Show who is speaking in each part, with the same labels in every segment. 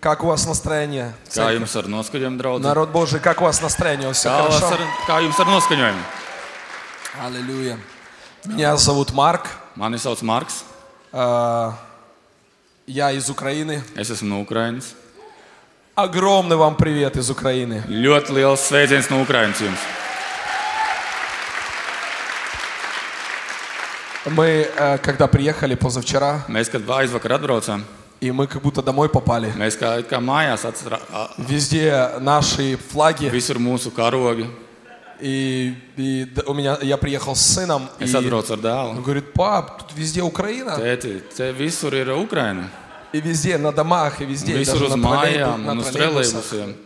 Speaker 1: Как у вас настроение?
Speaker 2: Kā
Speaker 1: церковь?
Speaker 2: jums ar noskaņojumu, draugi?
Speaker 1: Народ Божий, как у вас настроение? Все
Speaker 2: Kā, vas
Speaker 1: хорошо?
Speaker 2: ar, kā jums ar noskaņojumu?
Speaker 1: Аллилуйя. Меня зовут Марк.
Speaker 2: Mani sauc Marks,
Speaker 1: А, Я из Украины.
Speaker 2: es esmu no Ukrainas.
Speaker 1: Огромный вам привет из Украины.
Speaker 2: Ļoti liels sveiciens no Ukrainas jums.
Speaker 1: Мы, э, когда приехали позавчера,
Speaker 2: Mēs, kad aizvakar atbraucām,
Speaker 1: и мы как будто домой попали.
Speaker 2: mēs kā, it kā mājās atcerāmies
Speaker 1: Везде наши флаги.
Speaker 2: visur mūsu karogi.
Speaker 1: И, и д- у меня, я приехал с сыном. И
Speaker 2: Es atbraucu ar
Speaker 1: он
Speaker 2: dēlu.
Speaker 1: говорит, пап, тут везде Украина.
Speaker 2: Tēti, te visur ir Ukraina.
Speaker 1: И везде, на домах, и везде. и
Speaker 2: Visur
Speaker 1: даже
Speaker 2: uz
Speaker 1: на троллейбу-
Speaker 2: mājām
Speaker 1: на
Speaker 2: un uz
Speaker 1: троллейбусах.
Speaker 2: trelēbusiem.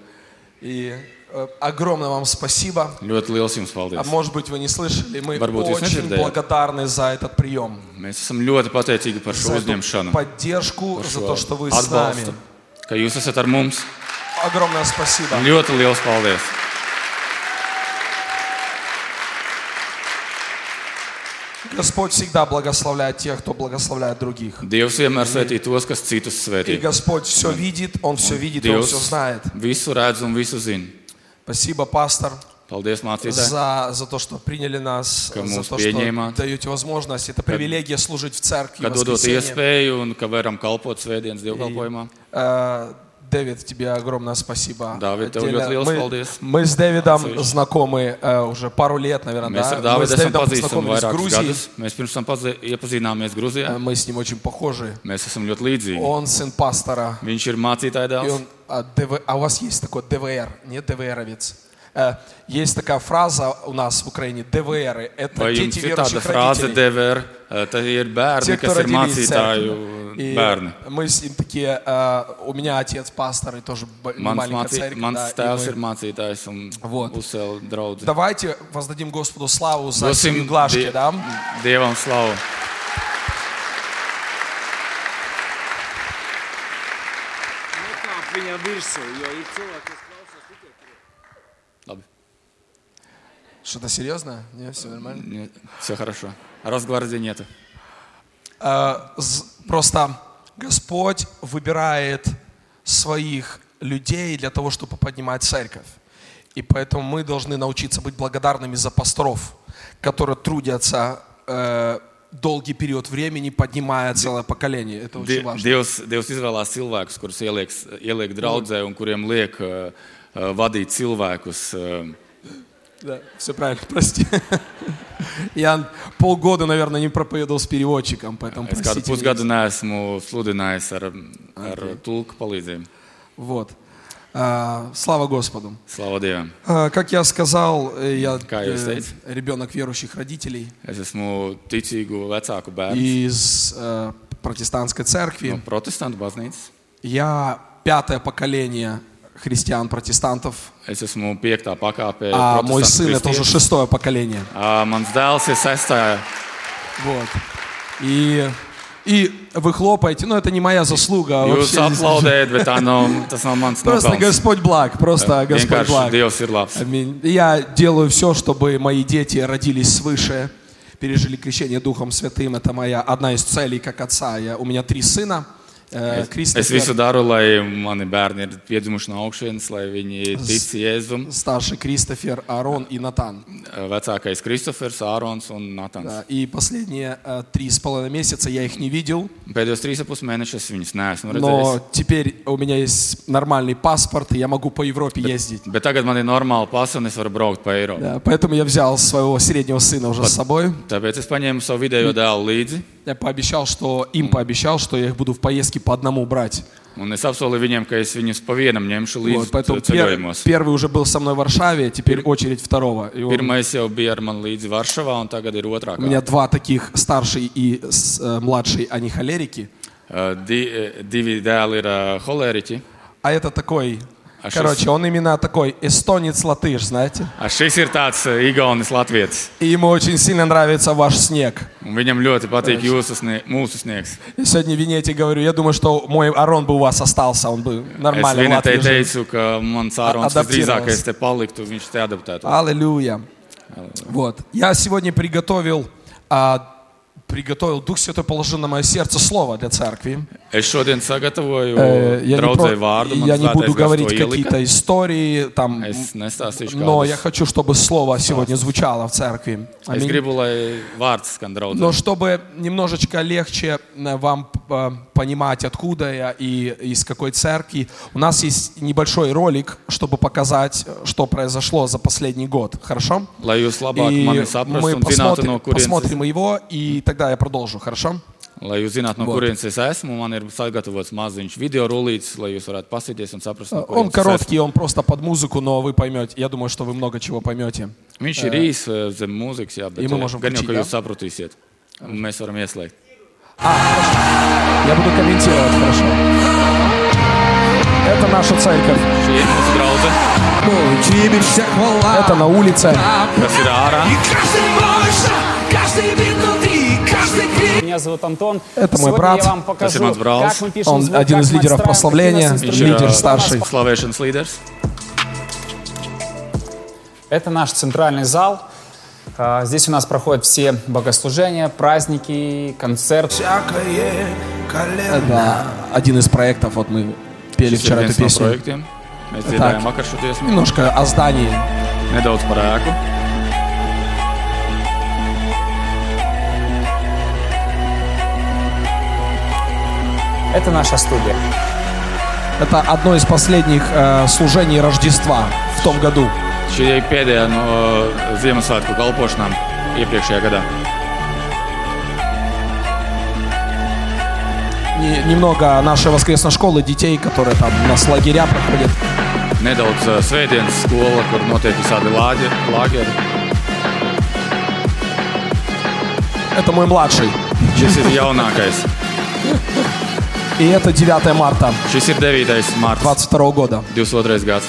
Speaker 1: И э, огромное вам спасибо.
Speaker 2: Ļoti liels jums
Speaker 1: А
Speaker 2: paldies.
Speaker 1: может быть, вы не слышали, мы
Speaker 2: Varbūt jūs
Speaker 1: очень
Speaker 2: nedzirdējāt.
Speaker 1: благодарны за этот прием.
Speaker 2: Mēs esam ļoti pateicīgi par
Speaker 1: За
Speaker 2: šo
Speaker 1: эту
Speaker 2: uzņemšanu,
Speaker 1: поддержку,
Speaker 2: par
Speaker 1: за
Speaker 2: šo
Speaker 1: то, что вы с
Speaker 2: atbalstu,
Speaker 1: нами.
Speaker 2: ka jūs esat ar mums.
Speaker 1: Огромное спасибо.
Speaker 2: Ļoti liels paldies!
Speaker 1: Господь всегда благословляет тех, кто благословляет других.
Speaker 2: Dievs vienmēr svētī tos, kas citus
Speaker 1: И
Speaker 2: svētī.
Speaker 1: Господь все видит, Он все видит, и Он
Speaker 2: Dievs
Speaker 1: все знает.
Speaker 2: visu redz un visu zina.
Speaker 1: Спасибо, пастор,
Speaker 2: Paldies, mācītāj,
Speaker 1: за, за то, что приняли нас,
Speaker 2: Кому
Speaker 1: за то,
Speaker 2: спение
Speaker 1: что
Speaker 2: мат.
Speaker 1: даете возможность. Это привилегия служить в церкви.
Speaker 2: ka
Speaker 1: в
Speaker 2: dodot
Speaker 1: воскресенье.
Speaker 2: iespēju un ka varam kalpot svētdienas dievkalpojumā.
Speaker 1: Э, Дэвид, тебе огромное спасибо.
Speaker 2: Давид, ты
Speaker 1: Отдельно.
Speaker 2: уйдет, Лилс,
Speaker 1: мы,
Speaker 2: молодец.
Speaker 1: мы с Дэвидом знакомы э, уже пару лет, наверное,
Speaker 2: Mēs
Speaker 1: да?
Speaker 2: ar
Speaker 1: мы с
Speaker 2: Dāvidu esam
Speaker 1: Дэвидом
Speaker 2: pazīstami
Speaker 1: познакомились в
Speaker 2: vairākus
Speaker 1: Грузии.
Speaker 2: gadus. Mēs pirms tam pazī- iepazināmies Gruzijā.
Speaker 1: Э, Мы с ним очень похожи.
Speaker 2: Mēs esam ļoti līdzīgi.
Speaker 1: Он сын пастора.
Speaker 2: Viņš ir mācītāja
Speaker 1: И
Speaker 2: dēls.
Speaker 1: он, а, ДВ а у вас есть такой ДВР, не ДВРовец? Э, Есть такая фраза у нас в Украине, ДВРы. Это
Speaker 2: Vai jums
Speaker 1: дети
Speaker 2: ir tāda
Speaker 1: верующих
Speaker 2: frāze,
Speaker 1: родителей.
Speaker 2: DVR, tad ir bērni,
Speaker 1: Те,
Speaker 2: kas
Speaker 1: кто
Speaker 2: ir
Speaker 1: родились в
Speaker 2: mācītāju
Speaker 1: церкви. И
Speaker 2: bērni?
Speaker 1: мы с ним такие, э, у меня отец пастор и тоже б-
Speaker 2: Mans,
Speaker 1: маленькая
Speaker 2: mācī,
Speaker 1: церковь. да,
Speaker 2: mans
Speaker 1: и
Speaker 2: tēvs
Speaker 1: мы-
Speaker 2: ir mācītājs un
Speaker 1: Vot.
Speaker 2: uzcēla draugu.
Speaker 1: Давайте воздадим Господу славу за семью
Speaker 2: Dosim
Speaker 1: глажки,
Speaker 2: die-
Speaker 1: да?
Speaker 2: Dievam slavu.
Speaker 3: Nekāp viņam virsū, jo ir cilvēki, kas klausās tikai tur.
Speaker 2: Labi.
Speaker 1: Что-то серьезное? Нет, все нормально.
Speaker 2: Нет, все хорошо. А Росгвардии нету.
Speaker 1: Э, з- Просто Господь выбирает своих людей для того, чтобы поднимать церковь. И поэтому мы должны научиться быть благодарными за пасторов, которые трудятся э, долгий период времени, поднимая целое поколение. Это
Speaker 2: Die-
Speaker 1: очень важно.
Speaker 2: Dievs, Dievs izvēlās cilvēkus, kurus ieliek, ieliek draudzē un kuriem liek uh, uh, vadīt cilvēkus. Uh,
Speaker 1: Да, все правильно, прости. Я полгода, наверное, не проповедовал с переводчиком, поэтому
Speaker 2: es kādu
Speaker 1: простите. меня.
Speaker 2: pusgadu neesmu sludinājis ar, ar tulku palīdzību.
Speaker 1: Вот. А, Слава Господу.
Speaker 2: Slavu Dievam!
Speaker 1: А, Как я сказал, э, я
Speaker 2: Как я
Speaker 1: э,
Speaker 2: сказать?
Speaker 1: ребенок верующих родителей
Speaker 2: Es esmu ticīgu vecāku bērnu
Speaker 1: из э, протестантской
Speaker 2: no
Speaker 1: церкви.
Speaker 2: protestantu baznīcas.
Speaker 1: Я пятое поколение христиан-протестантов,
Speaker 2: Es esmu piektā pakāpē.
Speaker 1: а мой
Speaker 2: protestantu
Speaker 1: сын это уже
Speaker 2: kristietis.
Speaker 1: шестое поколение.
Speaker 2: Ā, Mans dēls ir sestā
Speaker 1: Вот. И, и вы хлопаете, но это не моя заслуга. а
Speaker 2: Jūs
Speaker 1: вообще.
Speaker 2: aplaudējat, bet tā nav, tas nav mans
Speaker 1: Просто
Speaker 2: nopelns.
Speaker 1: Господь благ,
Speaker 2: Э,
Speaker 1: просто Господь
Speaker 2: Vienkārši
Speaker 1: благ.
Speaker 2: Dievs ir labs.
Speaker 1: Аминь. Я делаю все, чтобы мои дети родились свыше, пережили крещение Духом Святым. Это моя одна из целей как отца. Я, у меня три сына. Э,
Speaker 2: Es visu
Speaker 1: Кристофер,
Speaker 2: daru, lai mani bērni ir piedzimuši no augšas, lai viņi tic Jēzum.
Speaker 1: старший Кристофер, Арон и Натан.
Speaker 2: Vecākais Kristofers, Ārons un Natāns.
Speaker 1: Да, И последние э, три с половиной месяца я их не видел,
Speaker 2: Pēdējos trīs apus mēnešus viņus neesmu
Speaker 1: но
Speaker 2: redzējis.
Speaker 1: теперь у меня есть нормальный паспорт, и я могу по Европе ездить.
Speaker 2: Bet tagad man ir normāla pasa un es varu braukt pa Eiropu.
Speaker 1: Да, поэтому я взял своего среднего сына уже с собой.
Speaker 2: Tāpēc es paņēmu savu vidējo dēlu līdzi
Speaker 1: Я пообещал, что им пообещал, что я их буду в поездке по одному брать.
Speaker 2: un es apsolu viņiem, ka es viņus pa vienam ņemšu
Speaker 1: Вот,
Speaker 2: līdzi
Speaker 1: поэтому
Speaker 2: ce-
Speaker 1: пер-
Speaker 2: ceļojumos.
Speaker 1: первый уже был со мной в Варшаве, теперь очередь второго. И он-
Speaker 2: Pirmais jau bija ar mani līdzi Varšavā un tagad ir otrā.
Speaker 1: у меня два таких, старший и с- э, младший, они холерики.
Speaker 2: Uh, di, uh, divi dēli ir uh, holēriķi.
Speaker 1: А это такой,
Speaker 2: А что
Speaker 1: короче, он именно такой эстонец-латыш, знаете.
Speaker 2: Uh, Šis ir tāds uh, Igaunis Latvijas.
Speaker 1: И ему очень сильно нравится ваш снег.
Speaker 2: Viņam ļoti patīk jūsu snie mūsu sniegs.
Speaker 1: Я сегодня Винете говорю, я думаю, что мой Арон бы у вас остался, он бы
Speaker 2: Es
Speaker 1: нормально в
Speaker 2: vienai
Speaker 1: Латвии жил.
Speaker 2: teicu, ka mans ārons
Speaker 1: Adaptīvās.
Speaker 2: visdrīzākais te paliktu, viņš te adaptētu.
Speaker 1: Аллилуйя. Вот. Я сегодня приготовил а, при- приготовил, Дух Святой положил на мое сердце слово для церкви.
Speaker 2: Es šodien sagatavoju
Speaker 1: Э, Я не,
Speaker 2: draudzēju
Speaker 1: про-
Speaker 2: vārdu,
Speaker 1: я
Speaker 2: man
Speaker 1: не
Speaker 2: svētais
Speaker 1: буду
Speaker 2: gars to
Speaker 1: говорить
Speaker 2: ielika.
Speaker 1: какие-то истории, там,
Speaker 2: Es nestāstīšu
Speaker 1: но я
Speaker 2: kādus.
Speaker 1: хочу, чтобы слово сегодня звучало в церкви.
Speaker 2: Es
Speaker 1: Аминь.
Speaker 2: gribu, lai vārds skan draudzē.
Speaker 1: Но чтобы немножечко легче э, вам э, понимать, откуда я и из какой церкви, у нас есть небольшой ролик, чтобы показать, э, что произошло за последний год. Хорошо?
Speaker 2: Lai jūs labāk
Speaker 1: И
Speaker 2: mani saprastu
Speaker 1: мы
Speaker 2: un zinātu, no
Speaker 1: посмотрим,
Speaker 2: kurienes es,
Speaker 1: посмотрим его, и тогда я продолжу. Хорошо?
Speaker 2: lai jūs zinātu, no
Speaker 1: Вот.
Speaker 2: kurienes es esmu. Man ir sagatavots maziņš video rullītis, lai jūs varētu pasīties un saprast, no
Speaker 1: Он
Speaker 2: kurienes es esmu.
Speaker 1: короткий, он просто под музыку, но вы поймете. Я думаю, что вы много чего поймете.
Speaker 2: Viņš ir īs eh, zem mūzikas, jā, bet
Speaker 1: Ja
Speaker 2: eh,
Speaker 1: mēs varam
Speaker 2: gan jau,
Speaker 1: включīt,
Speaker 2: ka jūs
Speaker 1: jā?
Speaker 2: sapratīsiet. Un Mēs varam ieslēgt.
Speaker 1: Я буду комментировать, хорошо? Это наша церковь.
Speaker 2: Šī ir mūsu draudze,
Speaker 1: Ну,
Speaker 4: Тебе вся хвала.
Speaker 1: Это на улице.
Speaker 2: kas ir ārā.
Speaker 4: И каждый молится, каждый бит внутри, каждый крик.
Speaker 5: Меня зовут Антон.
Speaker 1: Это мой
Speaker 5: Сегодня
Speaker 1: брат.
Speaker 5: я вам покажу,
Speaker 2: Спасибо, Браунс.
Speaker 5: как мы пишем
Speaker 1: Он
Speaker 5: звук,
Speaker 1: один
Speaker 5: как
Speaker 1: из
Speaker 5: мы
Speaker 1: лидеров
Speaker 5: отстраиваем,
Speaker 1: прославления.
Speaker 5: какие у
Speaker 2: Viņš
Speaker 5: нас
Speaker 2: ir
Speaker 5: инструменты.
Speaker 1: Лидер
Speaker 2: eh,
Speaker 1: старший.
Speaker 2: slavēšanas līderis.
Speaker 5: Это наш центральный зал. А, Здесь у нас проходят все богослужения, праздники, концерты.
Speaker 4: Всякое колено.
Speaker 1: Да, один из проектов, вот мы пели
Speaker 2: Šis ir
Speaker 1: вчера эту
Speaker 2: viens no
Speaker 1: песню.
Speaker 2: projektiem. Mēs dziedājām vakar šo dziesmu,
Speaker 1: Немножко о здании.
Speaker 2: nedaudz par ēku.
Speaker 5: Это наша студия.
Speaker 1: Это одно из последних э, служений Рождества в том году.
Speaker 2: Šī ir pēdējā no Ziemassvētku kalpošanām iepriekšējā gadā.
Speaker 1: Не- немного нашей воскресной школы, детей, которые там у нас лагеря проходят.
Speaker 2: Nedaudz eh, svētdienas skola, kur notiek visādi lāģeri. lāģeri.
Speaker 1: Это мой младший.
Speaker 2: Šis ir jaunākais.
Speaker 1: И это 9 марта
Speaker 2: Šis ir 9. mārciņa,
Speaker 1: 22 года.
Speaker 2: 22. gads.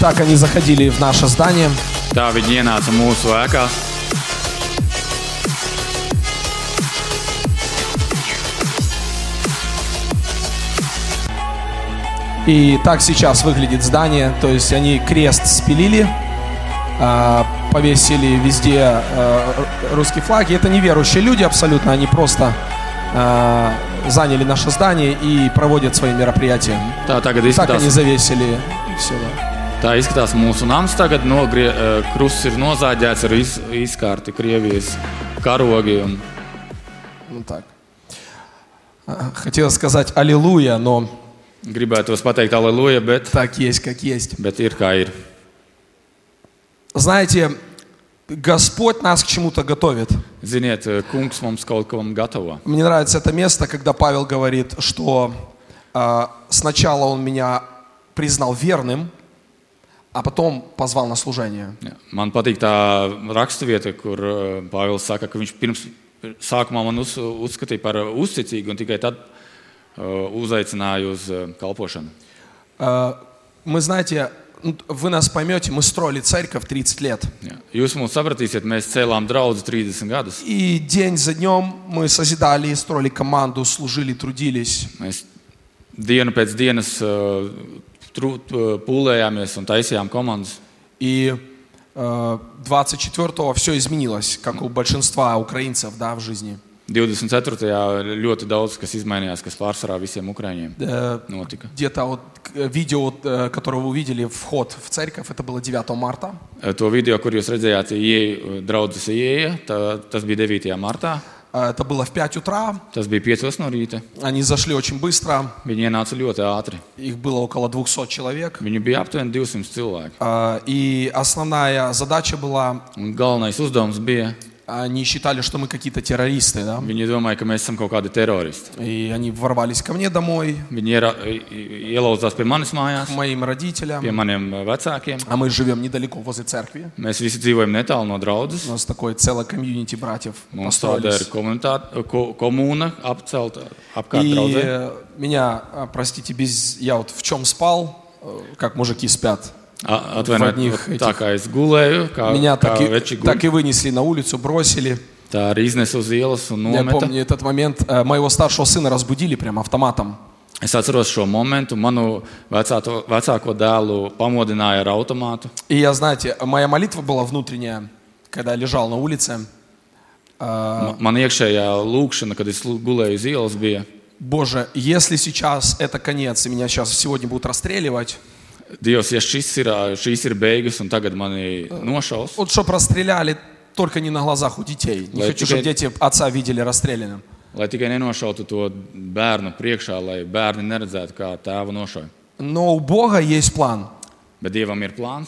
Speaker 1: Так они заходили в наше здание.
Speaker 2: Tā viņi ienāca mūsu ēkā.
Speaker 1: И так сейчас выглядит здание. То есть они крест спилили, а, повесили везде а, ру- русские флаги. Это неверующие люди абсолютно. Они просто а, заняли наше здание и проводят свои мероприятия.
Speaker 2: Tā tagad
Speaker 1: Так они
Speaker 2: izskatās,
Speaker 1: завесили все. да.
Speaker 2: tā izskatās mūsu nams. Tagad nogrie, eh, krusts ir nozāģēts ar iz, izkārti Krievijas karogi. Un...
Speaker 1: Вот Ну так. А, Хотела сказать аллилуйя, но
Speaker 2: Gribētu tos pateikt, aleluja, bet,
Speaker 1: так есть, как есть.
Speaker 2: bet ir kā ir.
Speaker 1: Знаете, Господь нас к чему-то готовит.
Speaker 2: Ziniet, eh, kungs mums kaut kam gatavo.
Speaker 1: Мне нравится это место, когда Павел говорит, что э, сначала он меня признал верным, а потом позвал на служение.
Speaker 2: Jā. Man patīk tā raksturvieta, kur ā, Pāvils saka, ka viņš pirms sākumā man uz, uzskatīja par uzticīgu un tikai tad ā, uzaicināja uz ā, kalpošanu.
Speaker 1: Э, мы, знаете, ну, вы нас поймете, мы строили церковь 30 лет.
Speaker 2: Jā. Jūs mūs sapratīsiet, mēs cēlām draugu 30 gadus.
Speaker 1: И день за днем мы созидали, строили команду, служили, трудились.
Speaker 2: Mēs dienu pēc dienas ā, tru- ā, pūlējāmies un taisījām komandas.
Speaker 1: И э, 24-го все изменилось, как у большинства украинцев да, в жизни.
Speaker 2: 24. ļoti daudz kas izmainījās, kas pārsvarā visiem ukrāņiem
Speaker 1: Э,
Speaker 2: notika.
Speaker 1: Где-то вот к- видео, э, которое вы увидели, вход в церковь, это было 9 марта.
Speaker 2: Eh, To video, kur jūs redzējāt, ieeja, draudzes ieeja, tā- tas bija 9. martā.
Speaker 1: Э, Это было в 5 утра.
Speaker 2: Tas bija 5 no rīta.
Speaker 1: Они зашли очень быстро.
Speaker 2: Viņi ienāca ļoti ātri.
Speaker 1: Их было около 200 человек.
Speaker 2: Viņu bija aptuveni 200 cilvēki.
Speaker 1: Э, И основная задача была,
Speaker 2: Un galvenais uzdevums bija,
Speaker 1: они считали, что мы какие-то террористы, да?
Speaker 2: viņi domāja, ka mēs esam kaut kādi teroristi.
Speaker 1: И они ворвались ко мне домой,
Speaker 2: Viņi iera, i- ielauzās pie manis
Speaker 1: к
Speaker 2: mājās,
Speaker 1: моим
Speaker 2: pie
Speaker 1: родителям.
Speaker 2: maniem eh, vecākiem.
Speaker 1: А мы живем недалеко, возле церкви.
Speaker 2: Mēs visi dzīvojam netālu no
Speaker 1: У
Speaker 2: draudzes.
Speaker 1: нас такое целое комьюнити братьев
Speaker 2: Mums tāda ir
Speaker 1: построились.
Speaker 2: komunitāte- ko, komūna apcelta apkārt
Speaker 1: И
Speaker 2: draudzē.
Speaker 1: э, меня, а, простите, без... я вот в чем спал, э, как мужики спят. vadņih
Speaker 2: A- Atvainojiet, tā
Speaker 1: этих-
Speaker 2: kā es gulēju, kā,
Speaker 1: Меня
Speaker 2: kā
Speaker 1: так и,
Speaker 2: veči
Speaker 1: так
Speaker 2: gulēju.
Speaker 1: и вынесли на улицу, бросили.
Speaker 2: Tā arī iznes uz ielas un
Speaker 1: Я
Speaker 2: nometa.
Speaker 1: помню этот момент. Э, Моего старшего сына разбудили прям автоматом.
Speaker 2: Es atceros šo momentu. Manu vecāto, vecāko dēlu pamodināja ar automātu.
Speaker 1: И я, знаете, моя молитва была внутренняя, когда я лежал на улице. Э,
Speaker 2: Ma- Man iekšējā lūkšana, kad es lu- gulēju uz ielas, bija:
Speaker 1: Боже, если сейчас это конец, и меня сейчас сегодня будут расстреливать,
Speaker 2: Dievs, ja šis ir, ā, šīs ir beigas, un tagad mani nošaus,
Speaker 1: вот чтоб расстреляли только не на глазах у детей. Не
Speaker 2: Лай,
Speaker 1: хочу, чтобы
Speaker 2: теперь-
Speaker 1: дети отца видели расстрелянным.
Speaker 2: lai tikai nenošautu to bērnu priekšā, lai bērni neredzētu, kā tēva nošauja.
Speaker 1: Но у Бога есть план
Speaker 2: Bet Dievam ir plāns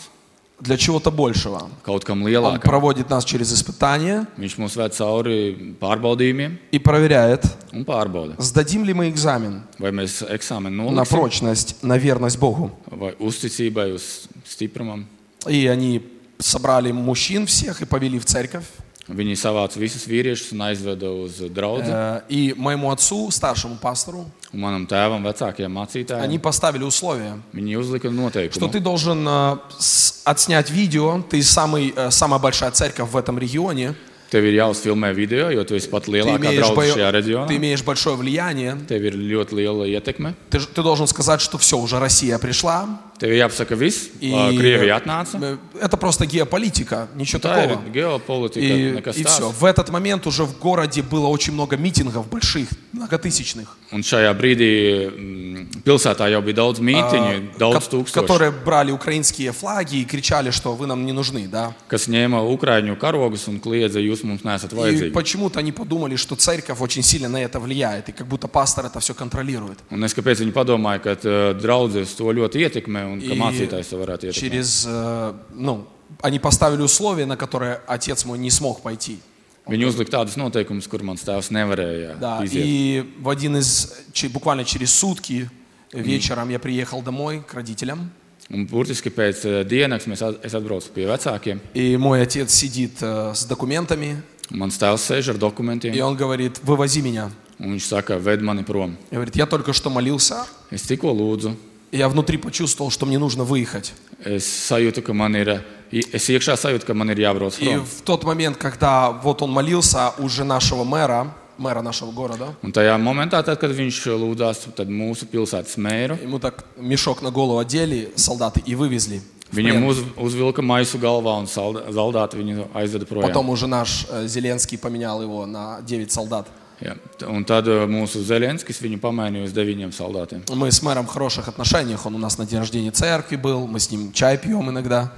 Speaker 1: для чего-то большего.
Speaker 2: kaut kam
Speaker 1: Он
Speaker 2: lielākam.
Speaker 1: проводит нас через испытания
Speaker 2: Viņš mūs ved cauri pārbaudījumiem
Speaker 1: и проверяет,
Speaker 2: un pārbauda,
Speaker 1: сдадим ли мы экзамен
Speaker 2: vai mēs eksāmenu
Speaker 1: на
Speaker 2: noliksim,
Speaker 1: прочность, на верность Богу.
Speaker 2: vai uzticībai, uz stiprumam.
Speaker 1: И они собрали мужчин всех и повели в церковь.
Speaker 2: Viņi savāca visus vīriešus un aizveda uz draugu.
Speaker 1: Э, И моему отцу, старшему пастору,
Speaker 2: Un manam tēvam, vecākajam
Speaker 1: они
Speaker 2: mācītājam,
Speaker 1: поставили условия,
Speaker 2: viņi uzlika
Speaker 1: что
Speaker 2: noteikumu,
Speaker 1: ты должен э, с- отснять видео, ты самый, э, самая большая церковь в этом регионе,
Speaker 2: Tev ir jāuzfilmē video, jo tu esi pat
Speaker 1: ты
Speaker 2: lielākā
Speaker 1: имеешь, бо-
Speaker 2: draudzene šajā
Speaker 1: ты
Speaker 2: reģionā.
Speaker 1: имеешь большое влияние,
Speaker 2: Tev ir ļoti liela ietekme.
Speaker 1: ты, ж- ты должен сказать, что все, уже Россия пришла.
Speaker 2: Tev ir jāpasaka viss,
Speaker 1: И,
Speaker 2: kā Krievija atnāca.
Speaker 1: э, Это просто геополитика, ничего
Speaker 2: Tā ir
Speaker 1: такого.
Speaker 2: ģeopolitika,
Speaker 1: И,
Speaker 2: nekas
Speaker 1: и все.
Speaker 2: tāds.
Speaker 1: В этот момент уже в городе было очень много митингов больших, многотысячных,
Speaker 2: Un šajā brīdī mm, pilsētā jau bija daudz mītīņu, daudz
Speaker 1: А, ко-
Speaker 2: tūkstošu,
Speaker 1: которые брали украинские флаги и кричали, что вы нам не нужны, да.
Speaker 2: kas ņēma ukrāņu karogus un kliedza, jūs mums nesat
Speaker 1: И
Speaker 2: vajadzīgi.
Speaker 1: почему-то они подумали, что церковь очень сильно на это влияет, и как будто пастор это все контролирует.
Speaker 2: Un es kāpēc viņi padomāja, ka uh, draudzes to ļoti ietekmē un ka
Speaker 1: I-
Speaker 2: mācītājs to varētu ietekmēt.
Speaker 1: Через, э, ну, они поставили условия, на которые отец мой не смог пойти.
Speaker 2: Viņi uzlika tādus noteikumus, kur mans tēvs nevarēja
Speaker 1: Да,
Speaker 2: iziet.
Speaker 1: и в один из, че- буквально через сутки вечером я приехал домой к родителям,
Speaker 2: Un burtiski pēc uh, dienas mēs at- es atbraucu pie vecākiem.
Speaker 1: и мой отец сидит э, с документами,
Speaker 2: Un Mans tēvs sēž ar
Speaker 1: и
Speaker 2: dokumentiem,
Speaker 1: он говорит, вывози меня.
Speaker 2: un viņš saka, ved mani prom.
Speaker 1: И говорит, я только что молился,
Speaker 2: Es tikko lūdzu,
Speaker 1: и я внутри почувствовал, что мне нужно выехать.
Speaker 2: es sajūtu, ka man ir, uh, i- es iekšā sajūtu, ka man ir jābrauc
Speaker 1: И
Speaker 2: prom.
Speaker 1: в тот момент, когда вот он молился, уже нашего мэра, мэра нашего города,
Speaker 2: Un tajā momentā, tad, kad viņš lūdzās tad mūsu pilsētas mēru,
Speaker 1: ему так мешок на голову одели солдаты и вывезли. в
Speaker 2: viņam
Speaker 1: плен.
Speaker 2: uz, uzvilka maisu galvā un salda- zaldāti viņu aizveda projām.
Speaker 1: Потом уже наш э, Зеленский поменял его на 9 солдат.
Speaker 2: Jā. t- Un tad uh, mūsu Zelenskis viņu pamainīja uz deviņiem soldātiem.
Speaker 1: Мы с мэром в хороших отношениях, он у нас на день рождения церкви был, мы с ним чай пьем иногда.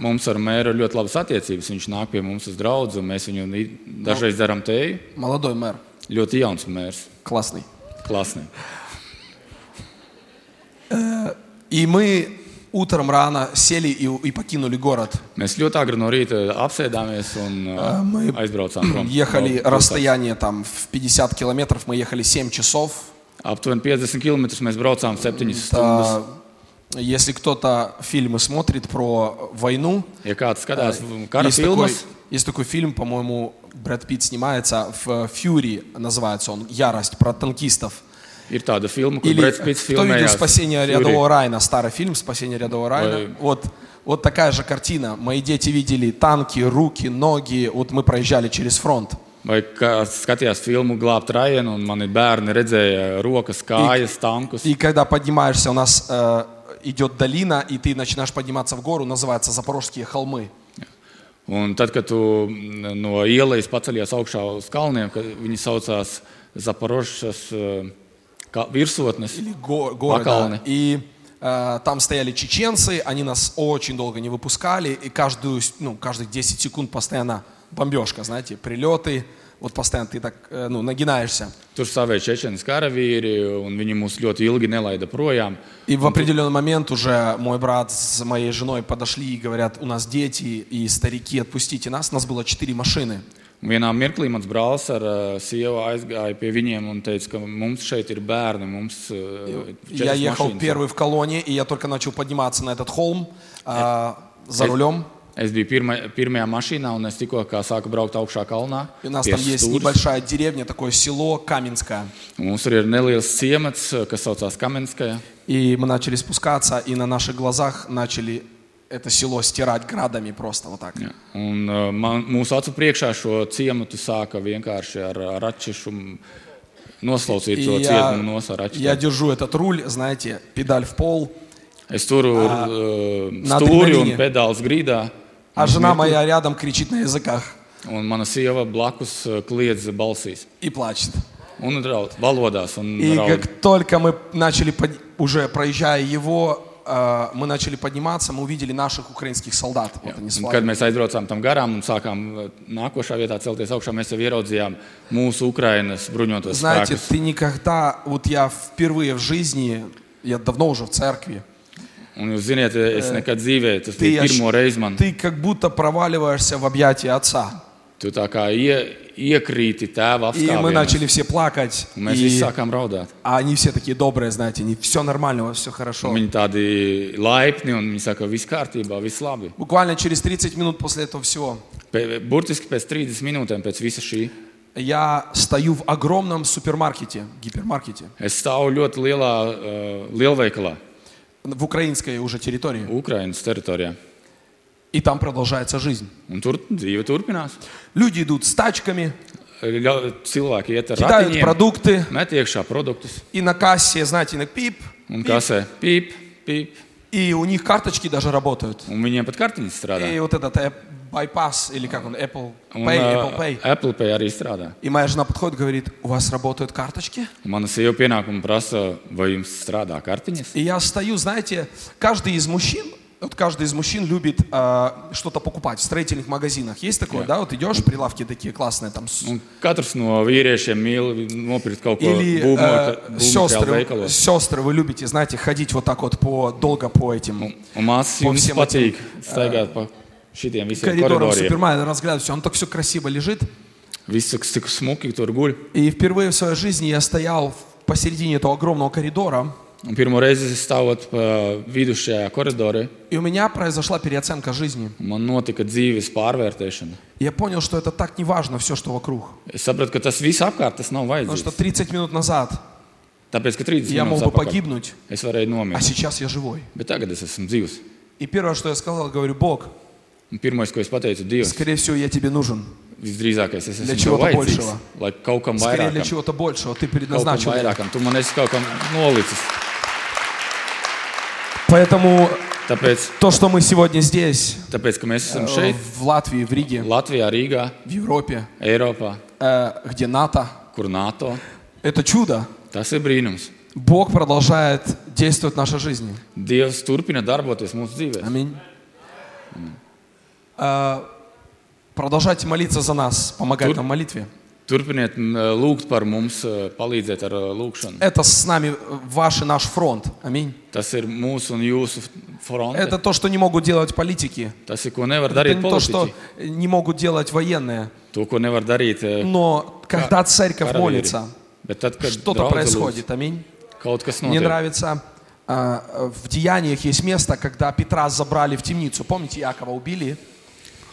Speaker 2: Mums ar mēru ir ļoti labas attiecības. Viņš nāk pie mums uz draugu, un mēs viņu i- dažreiz darām teju.
Speaker 1: Молодой мэр,
Speaker 2: Ļoti jauns mērs,
Speaker 1: классный.
Speaker 2: klasnī.
Speaker 1: И мы утром рано сели и, и покинули город.
Speaker 2: Mēs ļoti agri no rīta apsēdāmies un uh, aizbraucām prom.
Speaker 1: Ехали
Speaker 2: no pilsētas.
Speaker 1: расстояние там в 50 километров, мы ехали 7 часов.
Speaker 2: Aptuveni 50 km mēs braucām 7 stundas.
Speaker 1: А, Если кто-то фильмы смотрит про войну,
Speaker 2: Ja kāds skatās kara
Speaker 1: есть такой,
Speaker 2: filmas,
Speaker 1: есть такой фильм, по-моему, Брэд Питт снимается, в «Фьюри» называется он, «Ярость» про танкистов.
Speaker 2: ir tāda filma, kur
Speaker 1: Или
Speaker 2: Brad Pitts
Speaker 1: кто видел
Speaker 2: filmējās
Speaker 1: «Спасение
Speaker 2: Fury.
Speaker 1: рядового Райна», старый фильм «Спасение рядового Райна».
Speaker 2: Ой.
Speaker 1: Вот, вот такая же картина. Мои дети видели танки, руки, ноги. Вот мы проезжали через фронт.
Speaker 2: Vai kāds skatījās filmu Glābt Rajanu, un mani bērni redzēja rokas, kājas, tankus.
Speaker 1: И когда поднимаешься, у нас э, идет долина, и ты начинаешь подниматься в гору, называется «Запорожские холмы».
Speaker 2: Un tad, kad tu mm, no ielas paceļies augšā uz kalniem, kad viņi saucās Zaporožas eh, virsotnes,
Speaker 1: Или го- горы, да.
Speaker 2: Бакалны.
Speaker 1: И э, там стояли чеченцы, они нас очень долго не выпускали, и каждую, с- ну, каждые 10 секунд постоянно бомбежка, знаете, прилеты, вот постоянно ты так, э, ну, нагинаешься.
Speaker 2: tur savēja čečenes karavīri, un viņi mūs ļoti ilgi nelaida projām.
Speaker 1: И в определенный момент уже мой брат с моей женой подошли и говорят, у нас дети и старики, отпустите нас. У нас было четыре машины.
Speaker 2: Un vienā mirklī mans brālis ar ā, sievu aizgāja pie viņiem un teica, ka mums šeit ir bērni. Mums, ā,
Speaker 1: Я
Speaker 2: četras
Speaker 1: ехал
Speaker 2: mašīnas.
Speaker 1: первый в колонне, и я только начал подниматься на этот холм а, за рулем.
Speaker 2: Es biju pirma, pirmajā mašīnā, un es tikko kā sāku braukt augšā kalnā.
Speaker 1: И у нас
Speaker 2: pie
Speaker 1: там есть
Speaker 2: stūres.
Speaker 1: небольшая деревня, такое село Каменское.
Speaker 2: Un Mums tur ir neliels ciemats, eh, kas saucās Kamenskajā.
Speaker 1: И мы начали спускаться, и на наших глазах начали это село стирать градами просто вот так.
Speaker 2: Un, uh, ā, man, mūsu acu priekšā šo ciematu sāka vienkārši ar ā, raķešu m, noslaucīt
Speaker 1: И
Speaker 2: to
Speaker 1: я,
Speaker 2: cietumu, nosākt.
Speaker 1: я держу этот руль, знаете, педаль в пол,
Speaker 2: Es turu uh, stūri un
Speaker 1: adrenalīnie.
Speaker 2: pedāli grīdā.
Speaker 1: а жена моя рядом кричит на языках
Speaker 2: Un mana sieva blakus uh, kliedz balsīs.
Speaker 1: и плачет.
Speaker 2: Un raud, valodās. Un
Speaker 1: И
Speaker 2: raud.
Speaker 1: как только мы начали, под- уже проезжая его, э, мы начали подниматься, мы увидели наших украинских солдат. Вот они с
Speaker 2: Un
Speaker 1: флагами.
Speaker 2: kad mēs aizbraucām tam garām un sākām uh, nākošā vietā celties augšā, mēs jau ieraudzījām mūsu Ukrainas bruņotos
Speaker 1: Знаете,
Speaker 2: spēkus.
Speaker 1: ты никогда, вот я впервые в жизни, я давно уже в церкви,
Speaker 2: Un jūs zināt, es nekad dzīvē, tas
Speaker 1: ты,
Speaker 2: bija
Speaker 1: аж-
Speaker 2: pirmo reizi man.
Speaker 1: ты как будто проваливаешься в объятия отца.
Speaker 2: Tu tā kā ie, iekrīti tēva
Speaker 1: И мы
Speaker 2: apgājienā.
Speaker 1: начали все плакать.
Speaker 2: Mēs
Speaker 1: и-
Speaker 2: visi sākām raudāt.
Speaker 1: А они все такие добрые, знаете, они, все нормально, у вас все хорошо.
Speaker 2: Viņi tādi laipni un viņi saka, viss kārtībā, viss labi.
Speaker 1: Буквально через 30 минут после этого всего
Speaker 2: Pē- Burtiski pēc 30 minūtēm pēc visa šī
Speaker 1: я стою в огромном супермаркете, гипермаркете,
Speaker 2: es stāvu ļoti lielā uh, lielveikalā,
Speaker 1: в украинской уже территории.
Speaker 2: Ukraiņas teritorijā.
Speaker 1: И там продолжается жизнь.
Speaker 2: Un tur dzīve turpinās.
Speaker 1: Люди идут с тачками,
Speaker 2: Ļau, cilvēki iet ar
Speaker 1: кидают
Speaker 2: ratiņiem,
Speaker 1: продукты,
Speaker 2: met иekšā produktus
Speaker 1: и на кассе, знаете, на пип,
Speaker 2: un
Speaker 1: пип,
Speaker 2: kasē pīp, pīp.
Speaker 1: и у них карточки даже работают.
Speaker 2: Un viņiem pat kartiņas strādā.
Speaker 1: И вот этот э, bypass, или как он, Apple
Speaker 2: Un,
Speaker 1: Pay,
Speaker 2: ā,
Speaker 1: Apple Pay.
Speaker 2: Apple Pay arī strādā.
Speaker 1: И моя жена подходит, говорит, у вас работают карточки?
Speaker 2: Un Mana sieva pienākuma prasa, vai jums strādā kartiņas.
Speaker 1: И я стою, знаете, каждый из мужчин, вот каждый из мужчин любит а, что-то покупать в строительных магазинах. Есть такое, да? Вот идешь, прилавки такие классные, там с-
Speaker 2: Un katrs no vīriešiem mīl nopirkt kaut ko
Speaker 1: Или
Speaker 2: būvmo-
Speaker 1: э,
Speaker 2: būvmateriālu
Speaker 1: сестры,
Speaker 2: veikalos.
Speaker 1: сестры, вы любите, знаете, ходить вот так вот по долго по
Speaker 2: Un,
Speaker 1: этим
Speaker 2: Nu, un māsas
Speaker 1: Po
Speaker 2: jums
Speaker 1: visiem
Speaker 2: patīk staigāt pa šitiem visiem
Speaker 1: коридорам
Speaker 2: koridoriem.
Speaker 1: супермаркета, разглядывать все, оно так все красиво лежит.
Speaker 2: Viss cik- cik smuki tur guļ.
Speaker 1: И впервые в своей жизни я стоял в- посередине этого огромного коридора,
Speaker 2: Un pirmo reizi es stāvot pa vidu šajā koridorā,
Speaker 1: и у меня произошла переоценка жизни.
Speaker 2: man notika dzīves pārvērtēšana.
Speaker 1: Я понял, что это так не важно, все, что вокруг.
Speaker 2: Es sapratu, ka tas viss apkārt tas nav
Speaker 1: Потому что
Speaker 2: vajadzīgs.
Speaker 1: 30 минут назад
Speaker 2: Tāpēc, ka 30
Speaker 1: я мог бы
Speaker 2: minūtes atpakaļ
Speaker 1: погибнуть,
Speaker 2: es varēju
Speaker 1: а
Speaker 2: nomirt,
Speaker 1: сейчас я живой.
Speaker 2: bet tagad es esmu dzīvs.
Speaker 1: И первое, что я сказал, говорю, Бог,
Speaker 2: Un pirmais, ko es pateicu, Dievs,
Speaker 1: скорее всего, я тебе нужен.
Speaker 2: visdrīzākais es
Speaker 1: Для
Speaker 2: esmu tev
Speaker 1: čего-то
Speaker 2: vajadzīgs,
Speaker 1: большего.
Speaker 2: lai kaut kam
Speaker 1: Скорее для
Speaker 2: vairāk.
Speaker 1: чего-то большего. Ты
Speaker 2: Kaut kam
Speaker 1: предназначил. меня».
Speaker 2: vairākam, tu man esi kaut kam nolicis.
Speaker 1: Поэтому
Speaker 2: Tāpēc,
Speaker 1: то, что мы сегодня здесь,
Speaker 2: tāpēc ka mēs esam
Speaker 1: э,
Speaker 2: šeit,
Speaker 1: в Латвии, в Риге,
Speaker 2: Latvijā, Rīgā,
Speaker 1: в Европе,
Speaker 2: Eiropā,
Speaker 1: э, где НАТО,
Speaker 2: kur NATO,
Speaker 1: это чудо.
Speaker 2: tas ir brīnums.
Speaker 1: Бог продолжает действовать в нашей жизни.
Speaker 2: Dievs turpina darboties mūsu dzīvē.
Speaker 1: Аминь. Э, Продолжайте молиться за нас, помогать
Speaker 2: Тут-
Speaker 1: нам в молитве.
Speaker 2: Turpiniet m, lūgt par mums, eh, palīdzēt ar eh, lūgšanu.
Speaker 1: Это с нами э, ваш и наш фронт. Аминь.
Speaker 2: Tas ir mūsu un jūsu
Speaker 1: Это
Speaker 2: fronte.
Speaker 1: то, что не могут делать политики.
Speaker 2: Tas ir, ko nevar
Speaker 1: Это
Speaker 2: darīt
Speaker 1: не то, что
Speaker 2: politiķi.
Speaker 1: не могут делать военные.
Speaker 2: To, ko nevar darīt eh,
Speaker 1: Но когда церковь
Speaker 2: karavīri.
Speaker 1: молится,
Speaker 2: Bet tad, kad
Speaker 1: что-то
Speaker 2: draudze lūdz,
Speaker 1: происходит. Аминь.
Speaker 2: kaut kas
Speaker 1: Мне
Speaker 2: notiek.
Speaker 1: нравится, а, в Деяниях есть место, когда Петра забрали в темницу. Помните, Якова убили?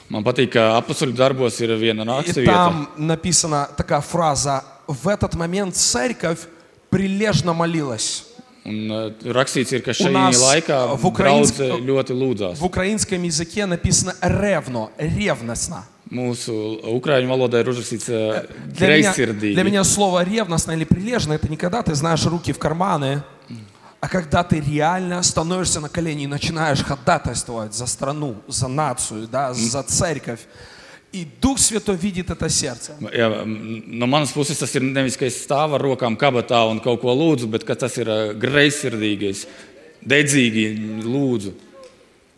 Speaker 2: Man patīk, ka apakšu darbos ir viena
Speaker 1: И
Speaker 2: raksturvieta.
Speaker 1: там написана такая фраза. В этот момент церковь прилежно молилась.
Speaker 2: Un eh, rakstīts ir, ka šajā
Speaker 1: nas,
Speaker 2: laikā
Speaker 1: eh, v Ukrainsk-
Speaker 2: draudze ļoti lūdzās.
Speaker 1: В украинском языке написано «ревно», «ревностно».
Speaker 2: Mūsu ukrāņu valodā ir uzrakstīts eh,
Speaker 1: Для меня, для
Speaker 2: greizsirdīgi.
Speaker 1: меня слово «ревностно» или «прилежно» — это не когда ты знаешь руки в карманы, а когда ты реально становишься на колени и начинаешь ходатайствовать за страну, за нацию, да, за церковь. И Дух Святой видит это сердце.
Speaker 2: Jā, m, no manas puses tas ir nevis, ka es stāvu ar rokām kabatā un kaut ko lūdzu, bet ka tas ir eh, greizsirdīgais, dedzīgi lūdzu.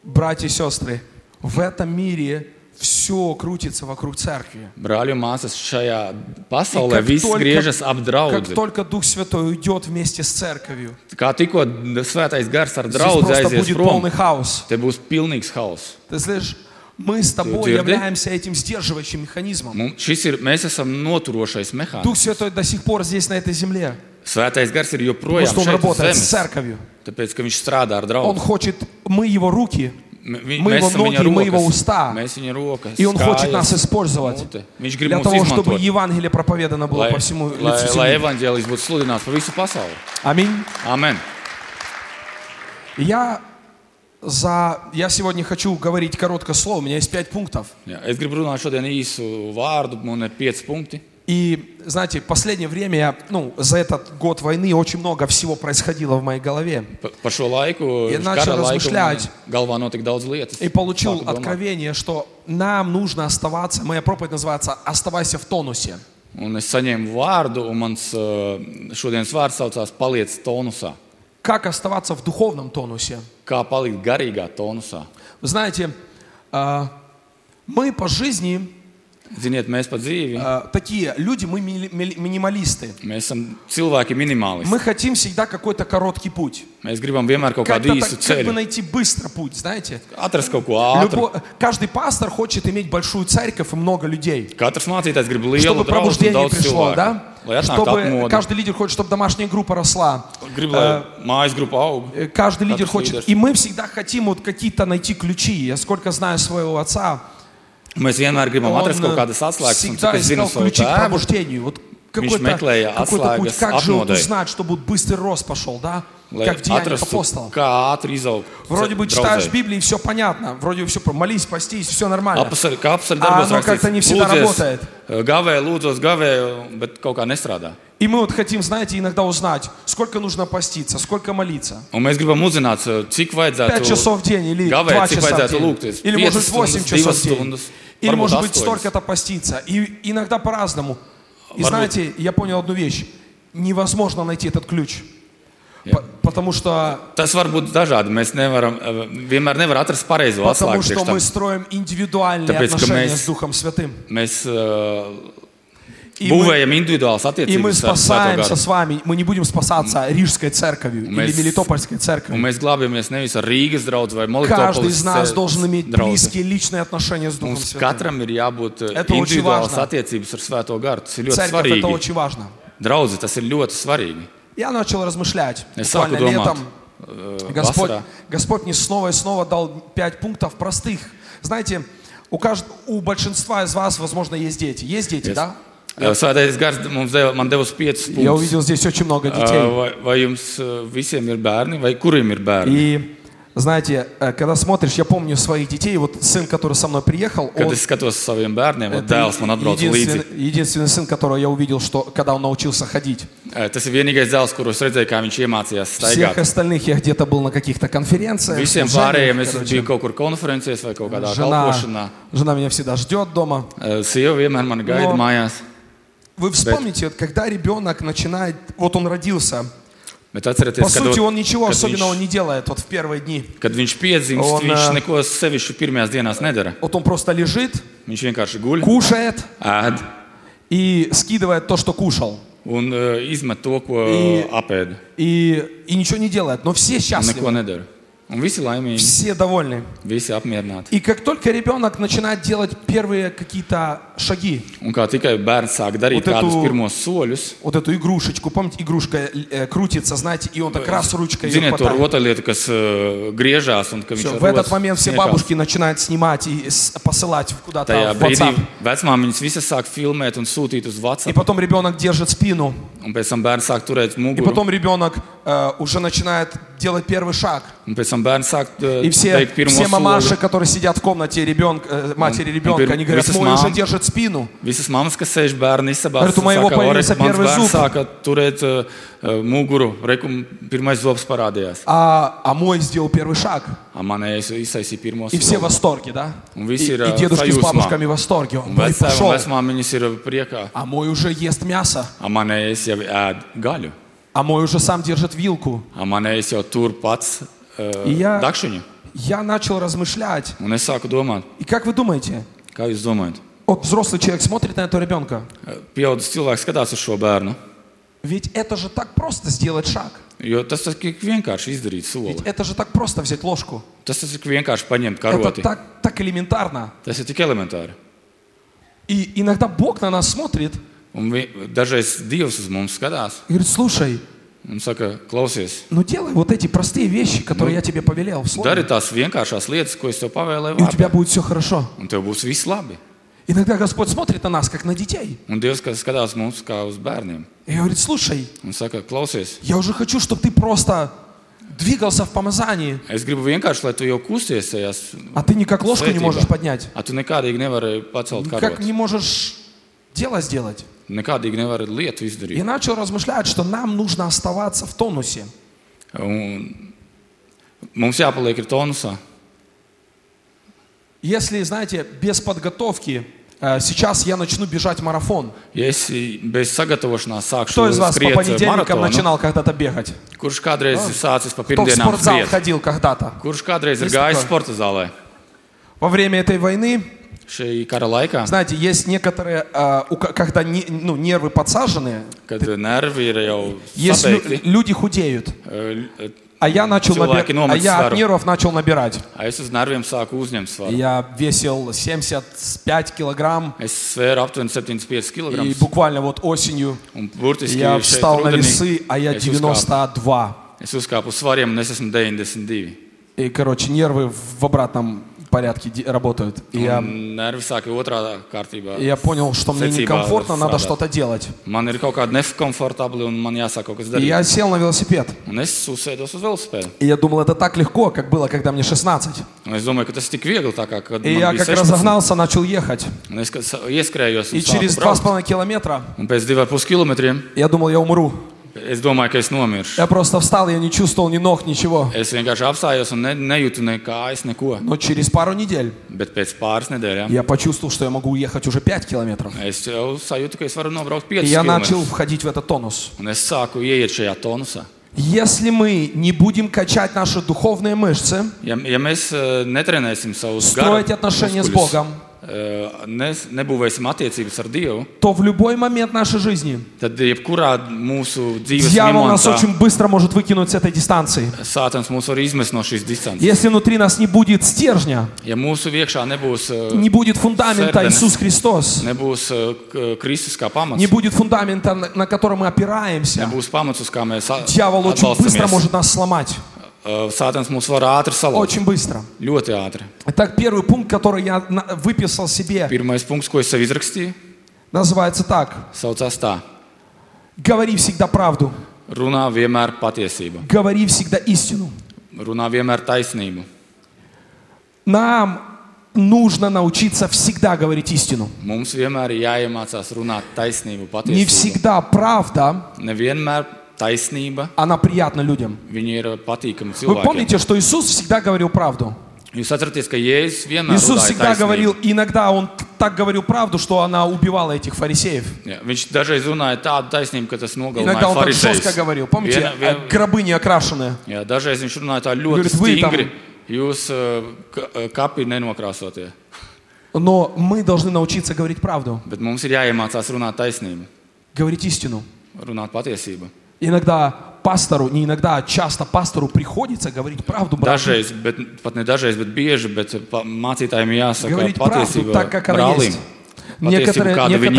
Speaker 1: Братья и сестры, в этом мире все крутится вokруг церкви.
Speaker 2: Brāļi un māsas šajā
Speaker 1: И
Speaker 2: pasaulē viss griežas ap
Speaker 1: как
Speaker 2: draugu.
Speaker 1: только Дух Святой уйдет вместе с церковью,
Speaker 2: Kā tikko svētais gars ar
Speaker 1: здесь
Speaker 2: draugu
Speaker 1: просто
Speaker 2: aizies
Speaker 1: будет
Speaker 2: prom,
Speaker 1: полный хаос.
Speaker 2: te būs pilnīgs hauss.
Speaker 1: Ты слышишь? Мы с
Speaker 2: ты
Speaker 1: тобой
Speaker 2: рды?
Speaker 1: являемся этим сдерживающим механизмом.
Speaker 2: Mums- Šis ir, mēs esam noturošais
Speaker 1: Дух
Speaker 2: mehānisms.
Speaker 1: Святой до сих пор здесь, на этой земле.
Speaker 2: Svētais gars ir
Speaker 1: Потому
Speaker 2: joprojām
Speaker 1: что Он
Speaker 2: šeit uz
Speaker 1: работает с
Speaker 2: zemes,
Speaker 1: церковью.
Speaker 2: tāpēc, ka viņš strādā ar
Speaker 1: Он
Speaker 2: draugu.
Speaker 1: хочет, мы Его руки,
Speaker 2: M- vi-
Speaker 1: мы
Speaker 2: Mēs
Speaker 1: Его
Speaker 2: esam
Speaker 1: ноги,
Speaker 2: viņa
Speaker 1: мы Его
Speaker 2: rokas.
Speaker 1: уста.
Speaker 2: Mēs viņa rokas.
Speaker 1: И Он хочет
Speaker 2: kājas,
Speaker 1: нас использовать
Speaker 2: mute. Viņš grib
Speaker 1: для
Speaker 2: mums
Speaker 1: того, чтобы
Speaker 2: izmantot.
Speaker 1: Евангелие проповедано было
Speaker 2: lai,
Speaker 1: по всему
Speaker 2: lai,
Speaker 1: лицу
Speaker 2: lai
Speaker 1: земли.
Speaker 2: evanģēlis būtu sludināts pa visu pasauli.
Speaker 1: Аминь.
Speaker 2: Amen.
Speaker 1: Я за... Я сегодня хочу говорить короткое слово. У меня есть пять пунктов.
Speaker 2: Jā, es gribu runāt šodien īsu vārdu, man ir pieci punkti.
Speaker 1: И, знаете, в последнее время, я, ну, за этот год войны очень много всего происходило в моей голове.
Speaker 2: Pa- Par šo laiku,
Speaker 1: Ja
Speaker 2: uz
Speaker 1: nāc
Speaker 2: kara
Speaker 1: šeit
Speaker 2: laiku man
Speaker 1: razmišļāt.
Speaker 2: galvā notika daudz lietas.
Speaker 1: И получил
Speaker 2: Sāku domāt.
Speaker 1: откровение, что нам нужно оставаться, моя проповедь называется «Оставайся в тонусе».
Speaker 2: Un es saņēmu vārdu, un mans uh, šodienas vārds saucās Paliec tonusā.
Speaker 1: Как оставаться в духовном тонусе?
Speaker 2: Kā palikt garīgā tonusā?
Speaker 1: Вы знаете, э, мы по жизни
Speaker 2: Ziniet, mēs pa dzīvi,
Speaker 1: э, такие люди, мы мили- мили- минималисты.
Speaker 2: mēs esam cilvēki minimālisti.
Speaker 1: Мы хотим всегда какой-то короткий путь.
Speaker 2: Mēs gribam vienmēr kaut kādu
Speaker 1: Как-то
Speaker 2: īsu
Speaker 1: так, как бы
Speaker 2: ceļu,
Speaker 1: найти быстро путь, знаете?
Speaker 2: atrast kaut ko ātru.
Speaker 1: Любо- Каждый пастор хочет иметь большую церковь и много людей.
Speaker 2: Katrs mācītājs grib
Speaker 1: Чтобы
Speaker 2: lielu draugu, un
Speaker 1: пробуждение
Speaker 2: daudz
Speaker 1: пришло,
Speaker 2: cilvēku,
Speaker 1: да?
Speaker 2: lai atnāktu
Speaker 1: Чтобы
Speaker 2: atmodu.
Speaker 1: каждый лидер хочет, чтобы домашняя группа росла.
Speaker 2: Grib, lai mājas grupa aug.
Speaker 1: Э, Каждый лидер
Speaker 2: Каждый лидер.
Speaker 1: хочет. И мы всегда хотим вот какие-то найти ключи. Я сколько знаю своего отца,
Speaker 2: Mēs vienmēr gribam
Speaker 1: он
Speaker 2: atrast Ну, kaut
Speaker 1: э,
Speaker 2: kādas atslēgas, un
Speaker 1: всегда
Speaker 2: cik es zinu
Speaker 1: искал
Speaker 2: savu
Speaker 1: ключи к
Speaker 2: tēvu.
Speaker 1: пробуждению. Вот какой-то,
Speaker 2: Меклея,
Speaker 1: какой-то
Speaker 2: Аслага,
Speaker 1: путь, как же вот
Speaker 2: Апнодой.
Speaker 1: узнать, чтобы вот быстрый рост пошел, да?
Speaker 2: Lai
Speaker 1: Как в деяниях
Speaker 2: atrastu,
Speaker 1: апостола.
Speaker 2: kā ātri izaugt.
Speaker 1: Вроде бы читаешь
Speaker 2: draudzē.
Speaker 1: Библию, и все понятно. Вроде бы все, молись, постись, все нормально.
Speaker 2: Apsver- Kā
Speaker 1: Ā,
Speaker 2: apsver darbos
Speaker 1: nu, kāds viņi всегда работает.
Speaker 2: lūdzies gavēju, lūdzos gavēju, bet kaut kā nestrādā.
Speaker 1: И мы вот хотим, знаете, иногда узнать, сколько нужно поститься, сколько молиться.
Speaker 2: Un mēs gribam uzzināt, э, cik
Speaker 1: Пять
Speaker 2: vajadzētu
Speaker 1: часов в день или
Speaker 2: Гавайи,
Speaker 1: два
Speaker 2: ты
Speaker 1: часа в
Speaker 2: пойдёт,
Speaker 1: день.
Speaker 2: лук, то есть
Speaker 1: Или
Speaker 2: пьеса
Speaker 1: может быть, восемь
Speaker 2: стундус,
Speaker 1: часов в
Speaker 2: пиво
Speaker 1: день.
Speaker 2: стундус,
Speaker 1: Или
Speaker 2: барбос
Speaker 1: может быть
Speaker 2: стундус.
Speaker 1: столько-то поститься. И иногда по-разному. И
Speaker 2: Барбос.
Speaker 1: знаете, я понял одну вещь. Невозможно найти этот ключ. По- Потому что,
Speaker 2: Tas var būt dažādi. Mēs nevaram, eh, vienmēr nevaram atrast pareizo
Speaker 1: потому
Speaker 2: atslēgu.
Speaker 1: что
Speaker 2: priekš tam.
Speaker 1: мы строим индивидуальные
Speaker 2: Tāpēc, ka
Speaker 1: отношения
Speaker 2: mēs-
Speaker 1: с Духом Святым.
Speaker 2: Mēs eh,
Speaker 1: И мы,
Speaker 2: būvējam individuālas
Speaker 1: и мы
Speaker 2: attiecības ar Svēto
Speaker 1: спасаемся
Speaker 2: garu.
Speaker 1: с вами. Мы не будем спасаться Рижской церковью
Speaker 2: Мы
Speaker 1: или
Speaker 2: с-
Speaker 1: Мелитопольской
Speaker 2: Un
Speaker 1: церковью.
Speaker 2: mēs glābjamies nevis ar Rīgas draugu vai eh,
Speaker 1: Каждый из
Speaker 2: Melkāpijas
Speaker 1: нас должен иметь
Speaker 2: draugu.
Speaker 1: близкие личные отношения с Духом
Speaker 2: Mums
Speaker 1: Святым.
Speaker 2: katram ir jābūt eh,
Speaker 1: Это очень
Speaker 2: individuālas
Speaker 1: важно.
Speaker 2: attiecības ar Svēto garu. Tas ir ļoti
Speaker 1: Церковь это
Speaker 2: svarīgi.
Speaker 1: очень важно.
Speaker 2: Draudzi, tas ir ļoti svarīgi.
Speaker 1: Я начал размышлять.
Speaker 2: Es sāku
Speaker 1: Буквально
Speaker 2: domāt,
Speaker 1: летом
Speaker 2: eh,
Speaker 1: Господь,
Speaker 2: vasarā.
Speaker 1: Господь мне снова и снова дал пять пунктов простых. Знаете, у, кажд... у большинства из вас, возможно, есть дети. Есть дети,
Speaker 2: Есть.
Speaker 1: да?
Speaker 2: Eh, Svētais gars mums deva, man deva uz piecus
Speaker 1: Я
Speaker 2: punktus.
Speaker 1: увидел здесь очень много
Speaker 2: Eh,
Speaker 1: детей.
Speaker 2: Vai, vai jums eh, visiem ir bērni, vai kuriem ir bērni?
Speaker 1: И знаете, э, когда смотришь, я помню своих детей, вот сын, который со мной приехал,
Speaker 2: Kad
Speaker 1: он
Speaker 2: es skatos uz saviem bērniem, tad
Speaker 1: это
Speaker 2: dēls man atbrauc līdzi.
Speaker 1: единственный, единственный сын, которого я увидел, что когда он научился ходить.
Speaker 2: Eh, Tas ir vienīgais dēls, kurus redzēju, kā viņš iemācījās
Speaker 1: Всех
Speaker 2: staigāt.
Speaker 1: остальных я где-то был на каких-то конференциях.
Speaker 2: Visiem
Speaker 1: служениях,
Speaker 2: pārējiem es
Speaker 1: короче.
Speaker 2: biju kaut kur konferencēs vai kaut kādā kalpošanā.
Speaker 1: жена, жена меня всегда ждет дома.
Speaker 2: Eh, Sieva vienmēr man gaida
Speaker 1: No.
Speaker 2: mājās.
Speaker 1: Вы вспомните, вот когда ребенок начинает, вот он родился,
Speaker 2: Bet atcerieties,
Speaker 1: по
Speaker 2: kad,
Speaker 1: сути, он ничего
Speaker 2: kad,
Speaker 1: особенного
Speaker 2: viņš,
Speaker 1: не делает вот в первые дни.
Speaker 2: kad viņš piedzimst,
Speaker 1: Un, э,
Speaker 2: un, viņš
Speaker 1: ā,
Speaker 2: neko sevišķu pirmajās dienās nedara.
Speaker 1: Вот он просто лежит,
Speaker 2: Viņš vienkārši guļ,
Speaker 1: кушает
Speaker 2: ēd
Speaker 1: и скидывает то, что кушал.
Speaker 2: un uh, izmet to, ko
Speaker 1: I-
Speaker 2: apēda.
Speaker 1: И, и ничего не делает, но все
Speaker 2: Neko
Speaker 1: счастливы,
Speaker 2: nedara. Un visi laimīgi,
Speaker 1: все довольны.
Speaker 2: visi apmierināti.
Speaker 1: И как только ребенок начинает делать первые какие-то шаги,
Speaker 2: Un kā tikai bērns sāk darīt
Speaker 1: Un te tu-
Speaker 2: kādus pirmos soļus,
Speaker 1: вот эту игрушечку, помните, игрушка э, крутится, знаете, и он так раз ручкой ее
Speaker 2: ziniet, to
Speaker 1: хватает.
Speaker 2: rotaļlietu, kas uh, griežās un ka viņš
Speaker 1: Всё,
Speaker 2: ar
Speaker 1: в этот
Speaker 2: rotas
Speaker 1: момент все
Speaker 2: sniegās.
Speaker 1: бабушки начинают снимать и с- посылать
Speaker 2: Tajā
Speaker 1: куда-то в
Speaker 2: brīdī
Speaker 1: WhatsApp.
Speaker 2: vecmāmiņas visas sāk filmēt un sūtīt uz
Speaker 1: И
Speaker 2: WhatsApp.
Speaker 1: потом ребенок держит спину.
Speaker 2: Un pēc tam bērns sāk turēt
Speaker 1: И
Speaker 2: muguru.
Speaker 1: потом ребенок э, уже начинает делать первый шаг.
Speaker 2: Un pēc tam bērns sāk
Speaker 1: И все,
Speaker 2: teikt pirmo
Speaker 1: все мамаши,
Speaker 2: soli.
Speaker 1: которые сидят в комнате ребенка, э, матери
Speaker 2: Он-
Speaker 1: ребенка,
Speaker 2: он
Speaker 1: они говорят,
Speaker 2: говорит,
Speaker 1: мой
Speaker 2: «Мам».
Speaker 1: уже держит спину.
Speaker 2: Visas mammas, kas sēž bērnu istabās,
Speaker 1: Ar tu maivo
Speaker 2: saka, "Ore,
Speaker 1: paņēmis ar
Speaker 2: mans
Speaker 1: piervi
Speaker 2: bērns
Speaker 1: zupu."
Speaker 2: sāka turēt uh, uh, muguru. Rekum, pirmais zobs parādījās.
Speaker 1: А, а мой сделал первый шаг.
Speaker 2: A, Manējais izsaisīja pirmo
Speaker 1: И все в
Speaker 2: soli.
Speaker 1: восторге, да?
Speaker 2: Он
Speaker 1: И,
Speaker 2: весь ира-
Speaker 1: и дедушки с
Speaker 2: союз, мам.
Speaker 1: бабушками в восторге. Он
Speaker 2: Un
Speaker 1: мой
Speaker 2: vecā- un
Speaker 1: пошел.
Speaker 2: Vecmāmiņas ir priekā.
Speaker 1: А мой уже ест мясо.
Speaker 2: A, Manējais jau ēd gaļu.
Speaker 1: А мой уже сам держит вилку.
Speaker 2: A, Manējais jau tur pats uh,
Speaker 1: Jā.
Speaker 2: dakšiņu.
Speaker 1: Я начал размышлять.
Speaker 2: Un es sāku domāt,
Speaker 1: И как вы думаете,
Speaker 2: kā jūs domājat?
Speaker 1: вот взрослый человек смотрит на этого ребенка.
Speaker 2: Uh, Pieaugušs cilvēks skatās uz šo bērnu.
Speaker 1: Ведь это же так просто сделать шаг.
Speaker 2: Jo tas tas tik vienkārši izdarīt soli.
Speaker 1: Ведь это же так просто взять ложку.
Speaker 2: Tas tas ir vienkārši paņemt
Speaker 1: Это
Speaker 2: karoti.
Speaker 1: так, так элементарно.
Speaker 2: Tas ir tik elementāri.
Speaker 1: И иногда Бог на нас смотрит и
Speaker 2: Un vi, dažreiz Dievs uz mums skatās
Speaker 1: говорит, слушай,
Speaker 2: un saka, klausies,
Speaker 1: ну делай вот эти простые вещи, которые я тебе повелел в слове,
Speaker 2: dari tās vienkāršās lietas, ko es tev pavēlēju,
Speaker 1: и у тебя
Speaker 2: vārdā,
Speaker 1: будет все хорошо.
Speaker 2: un tev būs viss labi.
Speaker 1: Иногда Господь смотрит на нас, как на детей,
Speaker 2: Un Dievs kas skatās mums kā uz bērniem
Speaker 1: и говорит, слушай,
Speaker 2: un saka, klausies,
Speaker 1: я уже хочу, чтобы ты просто двигался в помазании,
Speaker 2: es gribu vienkārši, lai tu jau kusties tajās.
Speaker 1: а ты никак ложку не
Speaker 2: Святый
Speaker 1: можешь
Speaker 2: Бог.
Speaker 1: поднять,
Speaker 2: A, tu nekādīgi nevari pacelt
Speaker 1: никак
Speaker 2: karoti.
Speaker 1: не можешь дело сделать.
Speaker 2: nekādīgi nevar lietu izdarīt.
Speaker 1: И начал размышлять, что нам нужно оставаться в тонусе.
Speaker 2: Un mums jāpaliek ir tonusā.
Speaker 1: Если, знаете, без подготовки э, сейчас я начну бежать марафон.
Speaker 2: Ja es bez sagatavošanās
Speaker 1: Кто
Speaker 2: sākšu
Speaker 1: из вас по
Speaker 2: skriet eh,
Speaker 1: понедельникам
Speaker 2: maratonu,
Speaker 1: начинал когда-то бегать?
Speaker 2: kurš kādreiz ir sācis
Speaker 1: Кто
Speaker 2: pa
Speaker 1: в
Speaker 2: pirmdienām
Speaker 1: спортзал
Speaker 2: skriet?
Speaker 1: ходил когда-то?
Speaker 2: Kurš kādreiz ir
Speaker 1: Viss
Speaker 2: gājis
Speaker 1: tikai.
Speaker 2: sporta zālē?
Speaker 1: Во время этой войны,
Speaker 2: Šī kara laikā,
Speaker 1: знаете, есть некоторые, э, у ко- когда не- ну, нервы подсажены,
Speaker 2: kad nervi ir jau
Speaker 1: есть лю-
Speaker 2: sabeigti,
Speaker 1: люди худеют.
Speaker 2: eh,
Speaker 1: А я начал
Speaker 2: Человек
Speaker 1: набир-
Speaker 2: ином
Speaker 1: а я от
Speaker 2: отстару.
Speaker 1: нервов начал набирать.
Speaker 2: es uz nerviem sāku uzņemt svaru.
Speaker 1: Я весил 75 килограмм.
Speaker 2: Es svēru aptuveni 75
Speaker 1: И
Speaker 2: kg.
Speaker 1: буквально вот осенью
Speaker 2: Un burtiski
Speaker 1: я
Speaker 2: šeit
Speaker 1: встал на
Speaker 2: rudenī
Speaker 1: весы, а я
Speaker 2: es uzkāpu,
Speaker 1: 92.
Speaker 2: es uzkāpu uz svariem un es esmu 92.
Speaker 1: И, короче, нервы в в обратном порядке де- работают. И я,
Speaker 2: Un nervi sāk otrā kārtībā.
Speaker 1: и я понял, что мне
Speaker 2: secībā
Speaker 1: некомфортно, надо
Speaker 2: strādāt.
Speaker 1: что-то делать.
Speaker 2: Man ir kaut kāda nekomfortabla un man jāsāk kaut kas
Speaker 1: И
Speaker 2: darīt.
Speaker 1: я сел на велосипед.
Speaker 2: Un es uzsēdos uz velospēdu.
Speaker 1: И я думал, это так легко, как было, когда мне 16.
Speaker 2: Un es domāju, ka tas ir tik viegli, tā kā kad
Speaker 1: И
Speaker 2: man
Speaker 1: я
Speaker 2: bija
Speaker 1: как разогнался, начал ехать.
Speaker 2: 16. Un es kad sa- ieskrējos un
Speaker 1: И через
Speaker 2: sāku
Speaker 1: 2,5
Speaker 2: braukt.
Speaker 1: километра
Speaker 2: Un pēc diviem pus kilometriem
Speaker 1: я думал, я умру.
Speaker 2: es domāju, ka es nomiršu.
Speaker 1: Я просто встал, я не чувствовал ни ног, ничего.
Speaker 2: Es vienkārši apstājos un ne, nejūtu ne kājas, neko.
Speaker 1: Но через пару недель
Speaker 2: Bet pēc pāris nedēļām
Speaker 1: я почувствовал, что я могу уехать уже 5 километров.
Speaker 2: es jau sajūtu, ka es varu nobraukt
Speaker 1: И
Speaker 2: 5
Speaker 1: я начал
Speaker 2: km.
Speaker 1: входить в этот тонус.
Speaker 2: Un es sāku ieiet šajā tonusā.
Speaker 1: Если мы не будем качать наши духовные мышцы,
Speaker 2: Ja, ja mēs eh, netrenēsim savus
Speaker 1: Stроить отношения с
Speaker 2: muskuļus,
Speaker 1: Богом.
Speaker 2: eh, nes- nebūvēsim attiecības ar Dievu,
Speaker 1: то в любой момент нашей жизни
Speaker 2: tad jebkurā mūsu dzīves
Speaker 1: дьявол нас
Speaker 2: momentā
Speaker 1: очень быстро может выкинуть с этой дистанции.
Speaker 2: Sātans mūs var izmest no šīs distances.
Speaker 1: Если внутри нас не будет стержня,
Speaker 2: Ja mūsu iekšā nebūs, eh,
Speaker 1: не будет фундамента
Speaker 2: Сэр, да.
Speaker 1: Иисус Христос,
Speaker 2: nebūs eh, k- Kristus kā pamats,
Speaker 1: не будет фундамента, на на который мы опираемся,
Speaker 2: nebūs pamats, uz kā mēs a-
Speaker 1: дьявол очень быстро
Speaker 2: atbalstamies.
Speaker 1: может нас сломать.
Speaker 2: Eh, Sātans mūs var ātri salauzt.
Speaker 1: Очень быстро.
Speaker 2: Ļoti ātri.
Speaker 1: Итак, первый пункт, который я на- выписал себе,
Speaker 2: Pirmais punkts, ko es sev izrakstīju,
Speaker 1: называется так.
Speaker 2: saucās tā:
Speaker 1: Говори всегда правду.
Speaker 2: runā vienmēr patiesību,
Speaker 1: Говори всегда истину.
Speaker 2: runā vienmēr taisnību.
Speaker 1: Нам нужно научиться всегда говорить истину.
Speaker 2: Mums vienmēr ir jāiemācās runāt taisnību,
Speaker 1: Не
Speaker 2: patiesību.
Speaker 1: всегда правда,
Speaker 2: Nevienmēr taisnība,
Speaker 1: она приятна людям.
Speaker 2: viņa ir
Speaker 1: Вы
Speaker 2: patīkama cilvēkiem.
Speaker 1: помните, что Иисус всегда говорил правду?
Speaker 2: Jūs atceraties, ka Jēzus vienmēr
Speaker 1: Иисус
Speaker 2: runāja
Speaker 1: всегда
Speaker 2: taisnību.
Speaker 1: говорил, иногда Он так говорил правду, что она убивала этих фарисеев.
Speaker 2: Jā, viņš dažreiz runāja tādu taisnību, ka tas nogalināja
Speaker 1: Иногда Он так жестко
Speaker 2: farizējus.
Speaker 1: говорил. Помните,
Speaker 2: Viena- vien-
Speaker 1: э, гробы не окрашенные.
Speaker 2: Jā, dažreiz viņš runāja tā ļoti
Speaker 1: Jūs esat
Speaker 2: stingri.
Speaker 1: tam-
Speaker 2: Jūs ā, ka- ā, kapi nenokrāsotie.
Speaker 1: Но мы должны научиться говорить правду,
Speaker 2: Bet mums ir jāiemācās runāt taisnību,
Speaker 1: говорить истину.
Speaker 2: runāt patiesību.
Speaker 1: Иногда пастору, не иногда, а часто пастору приходится говорить правду брату.
Speaker 2: Dažreiz, bet, pat ne dažreiz, bet bieži, bet eh, pa- mācītājiem jāsaka
Speaker 1: Говорить правду
Speaker 2: patiesība
Speaker 1: так, как она
Speaker 2: brālim.
Speaker 1: есть.
Speaker 2: Patiesību,
Speaker 1: Некоторые,
Speaker 2: kāda viņa ir.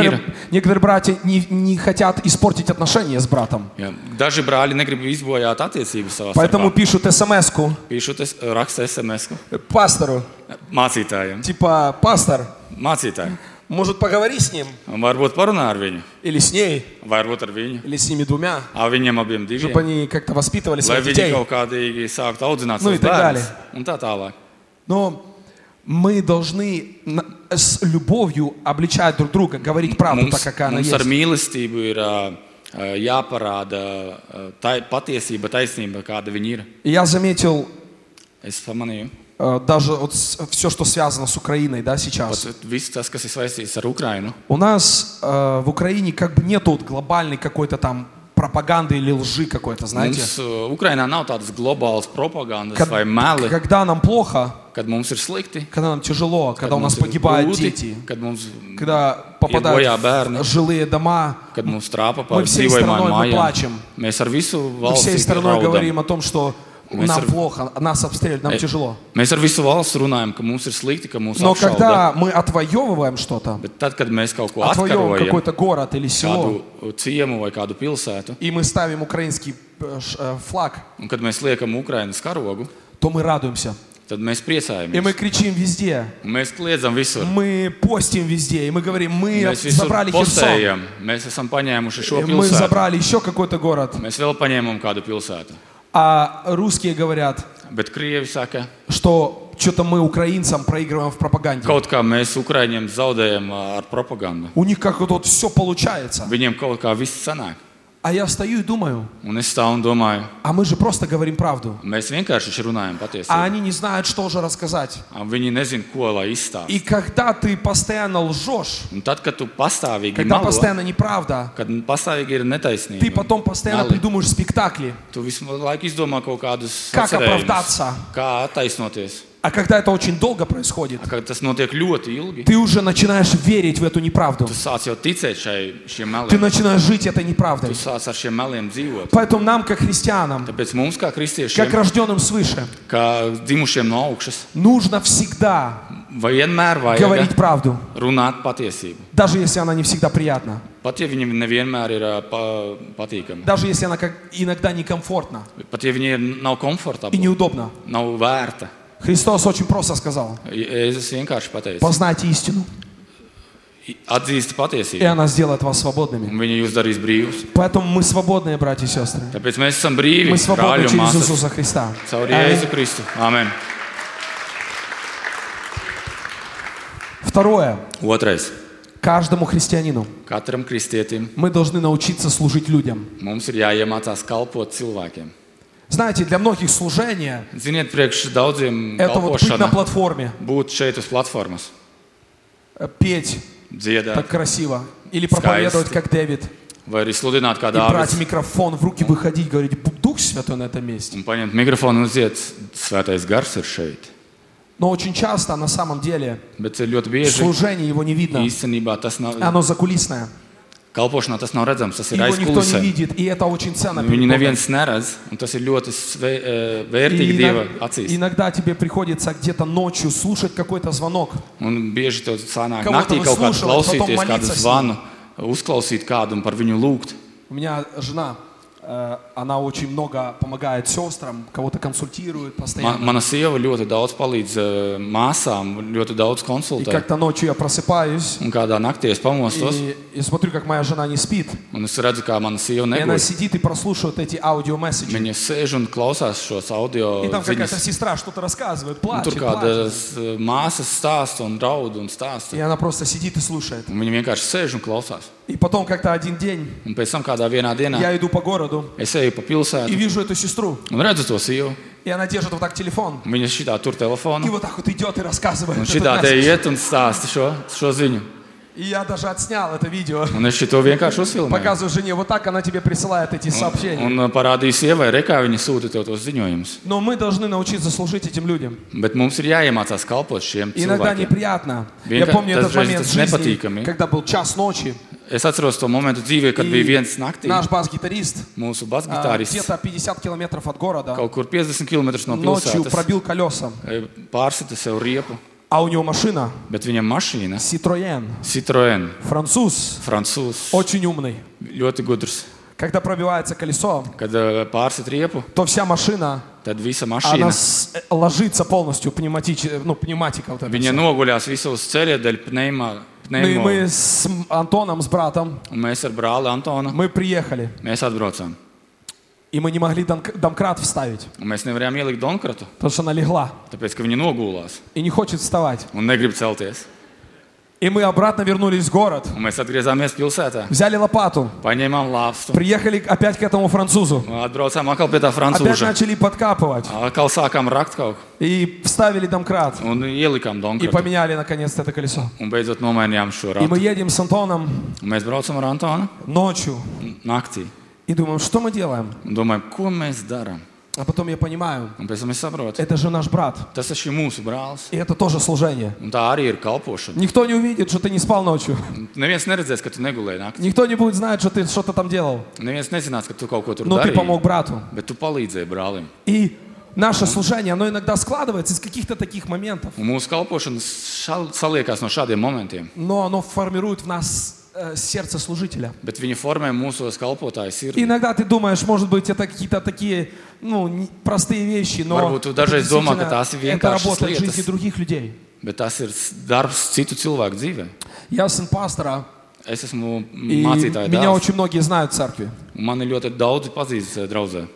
Speaker 1: некоторые, некоторые братья не, не хотят испортить отношения с братом.
Speaker 2: Jā. Daži brāļi negrib izbojāt attiecības savā
Speaker 1: Поэтому
Speaker 2: starpā.
Speaker 1: пишут смс
Speaker 2: Pīšu tas raksta SMS -ku.
Speaker 1: пастору.
Speaker 2: mācītājiem.
Speaker 1: Типа, пастор,
Speaker 2: Mācītājiem.
Speaker 1: может поговори с ним?
Speaker 2: Un Varbūt parunā ar viņu,
Speaker 1: Или с ней?
Speaker 2: varbūt ar viņu.
Speaker 1: Или с ними двумя?
Speaker 2: Ar viņiem abiem
Speaker 1: Чтобы
Speaker 2: diviem.
Speaker 1: они как-то воспитывали
Speaker 2: Lai
Speaker 1: своих
Speaker 2: viņi
Speaker 1: детей.
Speaker 2: kaut kādīgi sāktu audzināt
Speaker 1: Nu, i
Speaker 2: savus
Speaker 1: tā
Speaker 2: bērnus.
Speaker 1: tālāk.
Speaker 2: Un tā tālāk.
Speaker 1: Но мы должны на- с любовью обличать друг друга, говорить правду
Speaker 2: Mums,
Speaker 1: так, как она
Speaker 2: mums
Speaker 1: есть.
Speaker 2: ar mīlestību ir ā, ā, jāparāda ā, tai, patiesība, taisnība, kāda viņi ir.
Speaker 1: И Я заметил
Speaker 2: Es pamanīju,
Speaker 1: э, даже вот все, что связано с Украиной, да, сейчас.
Speaker 2: ka viss tas, kas ir saistīts ar Ukrajinu,
Speaker 1: У нас э, в Украине как бы нету вот глобальной какой-то там пропаганды или лжи какой-то, знаете.
Speaker 2: mums ā, Ukrajinā nav tādas globālas propagandas
Speaker 1: Kad-
Speaker 2: kad, vai meli, kad,
Speaker 1: Когда нам плохо,
Speaker 2: kad mums ir slikti,
Speaker 1: когда нам тяжело, когда у нас
Speaker 2: mums ir
Speaker 1: погибают
Speaker 2: grūti,
Speaker 1: дети,
Speaker 2: kad mums,
Speaker 1: когда
Speaker 2: боя,
Speaker 1: попадают
Speaker 2: bērni.
Speaker 1: в жилые дома,
Speaker 2: kad mums trāpa
Speaker 1: Мы
Speaker 2: par
Speaker 1: всей
Speaker 2: dzīvojamām
Speaker 1: страной, мы
Speaker 2: mājām.
Speaker 1: плачем.
Speaker 2: Mēs ar visu
Speaker 1: мы всей
Speaker 2: valsts
Speaker 1: страной
Speaker 2: raudam.
Speaker 1: говорим о том, что
Speaker 2: Мы
Speaker 1: нам
Speaker 2: сор-
Speaker 1: плохо, нас обстреливают, нам
Speaker 2: Э,
Speaker 1: тяжело.
Speaker 2: Mēs ar visu valsts runājam, ka mums ir slikti, Nu, ka mums ir
Speaker 1: Но
Speaker 2: apšauda.
Speaker 1: когда мы отвоевываем что-то,
Speaker 2: Bet tad, kad mēs kaut ko
Speaker 1: отвоевываем
Speaker 2: atkarojam,
Speaker 1: какой-то город или село,
Speaker 2: kādu ciemu vai kādu pilsētu,
Speaker 1: и мы ставим украинский э, ш- э, флаг,
Speaker 2: un kad mēs liekam Ukraiņas karogu,
Speaker 1: то мы радуемся.
Speaker 2: tad mēs
Speaker 1: И мы
Speaker 2: priecājamies.
Speaker 1: кричим везде,
Speaker 2: Un Mēs kliedzam visur.
Speaker 1: мы постим везде, и мы говорим, мы
Speaker 2: Mēs visur
Speaker 1: забрали Херсон,
Speaker 2: postējam. Mēs esam paņēmuši šo
Speaker 1: и мы
Speaker 2: pilsētu.
Speaker 1: забрали еще какой-то город.
Speaker 2: Mēs vēl paņēmām kādu pilsētu.
Speaker 1: А русские говорят,
Speaker 2: Bet krievi saka,
Speaker 1: что что-то мы украинцам проигрываем в пропаганде.
Speaker 2: Kaut kā mēs Ukraiņiem zaudējam ā, ar propagandu.
Speaker 1: У них как вот, вот все получается.
Speaker 2: Viņiem kaut kā viss sanāk.
Speaker 1: А я встаю и думаю,
Speaker 2: Un es stāvu un domāju,
Speaker 1: а мы же просто говорим правду.
Speaker 2: mēs vienkārši šeit runājam
Speaker 1: А
Speaker 2: patiesību.
Speaker 1: они не знают, что же рассказать.
Speaker 2: Viņi nezina, ko lai izstāsta.
Speaker 1: И когда ты постоянно лжешь,
Speaker 2: Un tad, kad tu pastāvīgi
Speaker 1: когда
Speaker 2: melo,
Speaker 1: постоянно неправда,
Speaker 2: kad pastāvīgi ir
Speaker 1: ты
Speaker 2: netaisnība,
Speaker 1: потом постоянно
Speaker 2: Мало.
Speaker 1: придумаешь спектакли.
Speaker 2: tu visu laiku izdomā kaut kādus
Speaker 1: Kā
Speaker 2: atcerējumus,
Speaker 1: apravdāts?
Speaker 2: kā attaisnoties.
Speaker 1: А когда это очень долго происходит,
Speaker 2: Kā tas notiek ļoti ilgi,
Speaker 1: ты уже начинаешь верить в эту неправду.
Speaker 2: tu sāc jau ticēt šai, šiem
Speaker 1: Ты
Speaker 2: meliem.
Speaker 1: начинаешь жить этой неправдой.
Speaker 2: Tu sāc ar šiem meliem dzīvot.
Speaker 1: Поэтому нам, как христианам,
Speaker 2: Tāpēc mums, kā kristiešiem,
Speaker 1: как рожденным свыше,
Speaker 2: kā dzimušiem no augšas,
Speaker 1: нужно всегда
Speaker 2: vienmēr
Speaker 1: говорить
Speaker 2: vajag
Speaker 1: правду,
Speaker 2: runāt patiesību.
Speaker 1: даже если она не всегда приятна,
Speaker 2: Pat ja viņiem nevienmēr ir ā, pa, patīkami,
Speaker 1: даже если она как иногда некомфортна
Speaker 2: pat ja viņiem nav
Speaker 1: и
Speaker 2: komfortabli,
Speaker 1: неудобна.
Speaker 2: nav vērta.
Speaker 1: Христос очень просто сказал,
Speaker 2: Es vienkārši pateicu,
Speaker 1: познайте истину,
Speaker 2: atzīst
Speaker 1: и
Speaker 2: patiesību,
Speaker 1: она сделает вас свободными.
Speaker 2: un viņa jūs darīs brīvus.
Speaker 1: Поэтому мы свободные, братья и сестры.
Speaker 2: Tāpēc mēs esam brīvi,
Speaker 1: Мы свободны
Speaker 2: brāļi un
Speaker 1: через
Speaker 2: māsas,
Speaker 1: Иисуса Христа.
Speaker 2: caur
Speaker 1: Аминь.
Speaker 2: Jēzu Kristu. Amen.
Speaker 1: Второе.
Speaker 2: Otrais.
Speaker 1: Каждому христианину
Speaker 2: Katram kristietim
Speaker 1: мы должны научиться служить людям.
Speaker 2: mums ir jāiemācās kalpot cilvēkiem.
Speaker 1: Знаете, для многих служение
Speaker 2: Ziniet, priekš daudziem
Speaker 1: это вот быть
Speaker 2: kalpošana
Speaker 1: на платформе,
Speaker 2: būt šeit uz platformas,
Speaker 1: э, pеть так
Speaker 2: dziedāt,
Speaker 1: красиво или проповедовать,
Speaker 2: Скайс.
Speaker 1: как Дэвид,
Speaker 2: vai arī sludināt kā
Speaker 1: и брать
Speaker 2: dāvāts.
Speaker 1: микрофон, в руки выходить, говорить, «Бу- Дух Святой на этом месте.
Speaker 2: Un paņemt mikrofonu un uziet, svētais gars ir šeit.
Speaker 1: Но очень часто на самом деле
Speaker 2: Bet ļoti
Speaker 1: в
Speaker 2: bieži
Speaker 1: служении его не видно.
Speaker 2: īstenībā tas nav,
Speaker 1: Оно закулисное.
Speaker 2: kalpošanā tas nav redzams, tas ir
Speaker 1: Его никто не
Speaker 2: aizkulisē.
Speaker 1: видит, и это очень ценно. перед
Speaker 2: Viņu
Speaker 1: Богом.
Speaker 2: neviens neredz, un tas ir ļoti sve, eh, vērtīgi
Speaker 1: И
Speaker 2: Dieva
Speaker 1: иногда-
Speaker 2: acīs.
Speaker 1: иногда тебе приходится где-то ночью слушать какой-то звонок.
Speaker 2: Un bieži tev sanāk
Speaker 1: Kaut
Speaker 2: naktī
Speaker 1: ko
Speaker 2: kaut kā
Speaker 1: slūšam,
Speaker 2: klausīties
Speaker 1: potom
Speaker 2: kādu
Speaker 1: malīties.
Speaker 2: zvanu, uzklausīt kādu un par viņu lūgt.
Speaker 1: У меня жена, э, она очень много помогает сестрам, кого-то консультирует
Speaker 2: Ma,
Speaker 1: постоянно.
Speaker 2: mana sieva ļoti daudz palīdz eh, māsām, ļoti daudz
Speaker 1: И
Speaker 2: konsultē.
Speaker 1: как-то ночью я просыпаюсь
Speaker 2: Un kādā naktī es pamostos,
Speaker 1: и, и смотрю, как моя жена не спит.
Speaker 2: un es redzu, kā mana sieva
Speaker 1: И она
Speaker 2: neguļ.
Speaker 1: сидит и прослушивает эти аудиомесседжи.
Speaker 2: Viņa sēž un klausās šos audio
Speaker 1: И там какая-то
Speaker 2: ziņas.
Speaker 1: сестра что-то рассказывает,
Speaker 2: Un
Speaker 1: плачет, плачет.
Speaker 2: Tur kādas eh, māsas stāsta un raud un
Speaker 1: И
Speaker 2: stāsta.
Speaker 1: она просто сидит и слушает.
Speaker 2: Un viņa vienkārši sēž un klausās.
Speaker 1: И потом как-то один день
Speaker 2: Un pēc tam kādā vienā dienā
Speaker 1: я иду по городу
Speaker 2: es eju pa
Speaker 1: и
Speaker 2: pilsētu
Speaker 1: вижу эту сестру.
Speaker 2: un redzu to sievu.
Speaker 1: И она держит вот так телефон.
Speaker 2: Un Viņa šitā tur
Speaker 1: И
Speaker 2: telefonu.
Speaker 1: вот так вот идет и рассказывает.
Speaker 2: Un
Speaker 1: этот
Speaker 2: šitā te
Speaker 1: месседж.
Speaker 2: iet un stāsta šo, šo ziņu.
Speaker 1: И я даже отснял это видео.
Speaker 2: Un es šito vienkārši uzfilmēju.
Speaker 1: Показываю жене, вот так она тебе присылает эти сообщения.
Speaker 2: Un uh, parādīju sievai, re, kā viņa sūta tev tos ziņojumus.
Speaker 1: Но мы должны научиться служить этим людям.
Speaker 2: Bet mums ir jāiemācās kalpot šiem
Speaker 1: Иногда
Speaker 2: cilvēkiem.
Speaker 1: неприятно. Я
Speaker 2: Венка-
Speaker 1: помню этот
Speaker 2: даже если
Speaker 1: момент
Speaker 2: с
Speaker 1: в жизни,
Speaker 2: непотиками.
Speaker 1: когда был час ночи,
Speaker 2: Es atceros to momentu dzīvē, kad bija
Speaker 1: и
Speaker 2: viens naktī.
Speaker 1: наш бас-гитарист
Speaker 2: Mūsu
Speaker 1: а,
Speaker 2: basgitārists
Speaker 1: где-то 50 километров от города
Speaker 2: kaut kur 50 km no
Speaker 1: ночью
Speaker 2: pilsētas
Speaker 1: пробил колеса,
Speaker 2: e, pārsita sev riepu,
Speaker 1: а у него машина
Speaker 2: bet viņam mašīna
Speaker 1: Citroën,
Speaker 2: Citroen,
Speaker 1: француз,
Speaker 2: francūzs,
Speaker 1: очень умный.
Speaker 2: ļoti gudrs.
Speaker 1: Когда пробивается колесо,
Speaker 2: Kad e, pārsita riepu,
Speaker 1: то вся машина,
Speaker 2: tad visa
Speaker 1: она
Speaker 2: mašīna.
Speaker 1: с- э, ложится полностью пневматич... ну, пневматика вот эта вся.
Speaker 2: Viņa noguļās visu uz ceļa daļu pneimā.
Speaker 1: Ну и
Speaker 2: pneimo.
Speaker 1: мы с м- Антоном, с братом,
Speaker 2: Un Mēs ar brāli Antonu
Speaker 1: мы приехали,
Speaker 2: mēs atbraucām.
Speaker 1: и мы не могли донк- домкрат вставить,
Speaker 2: Un Mēs nevarējām ielikt Donkratu,
Speaker 1: потому что она легла
Speaker 2: tāpēc ka viņa nogulās
Speaker 1: и не хочет вставать.
Speaker 2: un negrib celties.
Speaker 1: И мы обратно вернулись в город,
Speaker 2: Un mēs atgriezāmies pilsētā,
Speaker 1: взяли лопату,
Speaker 2: paņēmām lāpstu,
Speaker 1: приехали опять к этому французу,
Speaker 2: atbraucām atkal pie tā
Speaker 1: опять
Speaker 2: francūža.
Speaker 1: начали подкапывать
Speaker 2: Atkal sākām rakt kaut ko
Speaker 1: и вставили домкрат
Speaker 2: un ielikām
Speaker 1: и
Speaker 2: Donkratu.
Speaker 1: поменяли наконец-то это колесо.
Speaker 2: Un beidzot nomainījām šo
Speaker 1: И мы
Speaker 2: rādu.
Speaker 1: едем с Антоном
Speaker 2: Mēs braucam ar Antonu
Speaker 1: ночью
Speaker 2: naktī
Speaker 1: и думаем, что мы делаем?
Speaker 2: un domājam, ko mēs darām.
Speaker 1: А потом я понимаю,
Speaker 2: Un pēc tam es saprotu,
Speaker 1: это же наш брат,
Speaker 2: tas taču ir mūsu brālis.
Speaker 1: и это тоже служение.
Speaker 2: Un tā arī ir kalpošana.
Speaker 1: Никто не увидит, что ты не спал ночью.
Speaker 2: Neviens neredzēs, ka tu negulēji naktī.
Speaker 1: Никто не будет знать, что ты что-то там делал.
Speaker 2: Neviens nezinās, ka tu kaut ko tur
Speaker 1: Но ты помог
Speaker 2: dari.
Speaker 1: брату.
Speaker 2: Bet tu palīdzēji brālim.
Speaker 1: И наше служение, оно иногда складывается из каких-то таких моментов,
Speaker 2: Un mūsu kalpošana šal- saliekās no šādiem momentiem.
Speaker 1: но оно формирует в нас э, сердце служителя.
Speaker 2: Bet viņi formē mūsos kalpotāju sirdi.
Speaker 1: Иногда ты думаешь, может быть, это какие-то такие, ну, не- простые вещи, но
Speaker 2: Varbūt tu dažreiz
Speaker 1: действительно
Speaker 2: domā, ka tās ir
Speaker 1: это
Speaker 2: vienkāršas
Speaker 1: работает в
Speaker 2: lietas.
Speaker 1: жизни других людей.
Speaker 2: Bet tas ir s- darbs citu cilvēku dzīvē.
Speaker 1: Я сын пастора,
Speaker 2: Es esmu
Speaker 1: и
Speaker 2: mācītājs.
Speaker 1: меня очень многие знают в церкви.
Speaker 2: Mani ļoti daudzi pazīst eh, draudzē.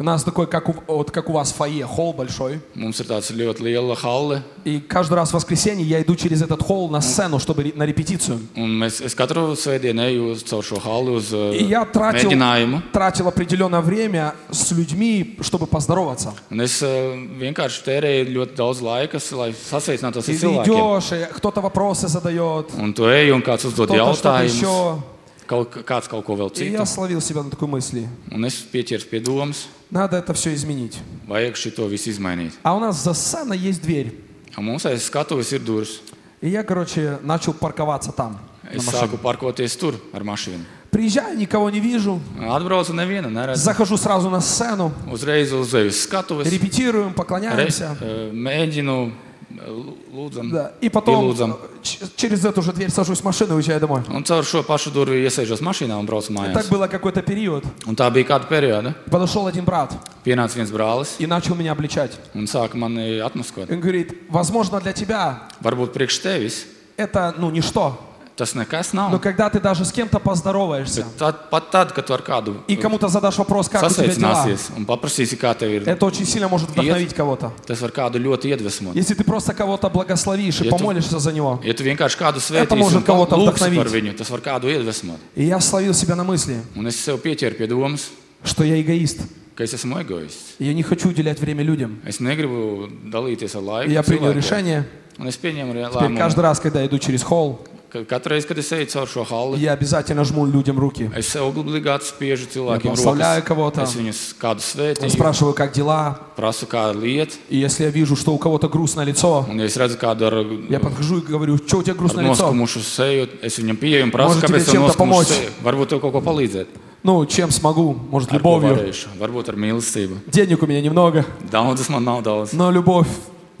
Speaker 1: У нас такой, как у, вот как у вас фойе, холл большой.
Speaker 2: Mums ir tāds ļoti liela halle,
Speaker 1: И каждый раз в воскресенье я иду через этот холл на сцену, чтобы ре- на репетицию.
Speaker 2: un mēs, es katru svētdienu eju uz- caur šo halli uz uh,
Speaker 1: И я тратил,
Speaker 2: mēģinājumu.
Speaker 1: тратил определенное время с людьми, чтобы поздороваться.
Speaker 2: Un es uh, vienkārši tērēju ļoti daudz laika, s- lai sasveicinātos
Speaker 1: И
Speaker 2: ar
Speaker 1: ты
Speaker 2: cilvēkiem.
Speaker 1: идешь, и кто-то вопросы задает,
Speaker 2: Un tu ej, un kāds uzdod
Speaker 1: кто-то что-то
Speaker 2: jautājumus,
Speaker 1: еще.
Speaker 2: kaut, kāds kaut ko vēl
Speaker 1: И
Speaker 2: citu.
Speaker 1: я словил себя на такой мысли.
Speaker 2: Un es pieķeros pie domas,
Speaker 1: Надо это все изменить.
Speaker 2: vajag šito visu izmainīt.
Speaker 1: А у нас за сценой есть дверь.
Speaker 2: Un mums aiz skatuves ir durvis.
Speaker 1: И я, короче, начал парковаться там.
Speaker 2: Es sāku parkoties tur ar mašīnu.
Speaker 1: Приезжаю, никого не вижу.
Speaker 2: Atbraucu nevienu, neredzu.
Speaker 1: Захожу сразу на сцену.
Speaker 2: Uzreiz uzēju uz skatuves,
Speaker 1: Репетируем,
Speaker 2: re,
Speaker 1: поклоняемся.
Speaker 2: uh, mēģinu, uh, lūdzam,
Speaker 1: Да. И потом
Speaker 2: ielūdzam.
Speaker 1: э, ч- через эту же дверь сажусь в машину и уезжаю домой.
Speaker 2: Un caur šo pašu durvju iesēžos mašīnā un braucu
Speaker 1: Так
Speaker 2: mājās.
Speaker 1: было какой-то период.
Speaker 2: Un tā bija kāda perioda.
Speaker 1: Подошел один брат
Speaker 2: Pienāca viens brālis
Speaker 1: и начал меня обличать.
Speaker 2: un sāka mani atmaskot.
Speaker 1: Он говорит, возможно, для тебя
Speaker 2: Varbūt priekš tevis
Speaker 1: это, ну, ничто.
Speaker 2: tas nekas
Speaker 1: Но
Speaker 2: nav.
Speaker 1: когда ты даже с кем-то поздороваешься
Speaker 2: Bet tad, pat tad, kad tu ar kādu
Speaker 1: и кому-то задашь вопрос, как у тебя дела,
Speaker 2: sasveicināsies un paprasīsi, kā tev ir,
Speaker 1: это очень sильно может вдохновить кого-то.
Speaker 2: tas var kādu ļoti iedvesmot.
Speaker 1: Если ты просто кого-то благословишь и
Speaker 2: Ja tu-
Speaker 1: помолишься за него.
Speaker 2: Ja tu vienkārši kādu
Speaker 1: может
Speaker 2: svētīsi un pa-
Speaker 1: kaut ko
Speaker 2: lūgsi par
Speaker 1: apdahnovīt.
Speaker 2: viņu, tas var kādu iedvesmot.
Speaker 1: И я словил себя на мысли,
Speaker 2: Un es sev pieķēru pie domas,
Speaker 1: что я эгоист.
Speaker 2: ka es esmu egoists.
Speaker 1: И я не хочу уделять время людям.
Speaker 2: Es negribu dalīties ar laiku.
Speaker 1: И я принял
Speaker 2: cilvēkiem.
Speaker 1: решение.
Speaker 2: Un es pieņemu
Speaker 1: Теперь каждый
Speaker 2: lēmumu,
Speaker 1: раз, когда я иду через холл,
Speaker 2: ka katru reizi, kad es eju caur šo halli,
Speaker 1: я обязательно жму людям руки.
Speaker 2: es sev obligāti spiežu cilvēkiem
Speaker 1: Благословляю кого-то.
Speaker 2: Es viņus kādu svētīju,
Speaker 1: Спрашиваю, как дела.
Speaker 2: prasu kādu lietu.
Speaker 1: И если я вижу, что у кого-то грустное лицо,
Speaker 2: Un, ja es redzu kādu ar,
Speaker 1: я подхожу и говорю, что у тебя
Speaker 2: ar
Speaker 1: грустное лицо?
Speaker 2: noskumušu seju, es viņam pieeju un prasu,
Speaker 1: Может, тебе
Speaker 2: kāpēc
Speaker 1: чем-то
Speaker 2: tev noskumušu
Speaker 1: помочь?
Speaker 2: seju. Varbūt tev kaut ko palīdzēt.
Speaker 1: Ну, чем smogу, может,
Speaker 2: Ar ko
Speaker 1: любовью.
Speaker 2: varēšu, varbūt ar mīlestību.
Speaker 1: Денег у меня немного,
Speaker 2: Daudzas man nav daudz,
Speaker 1: но любовь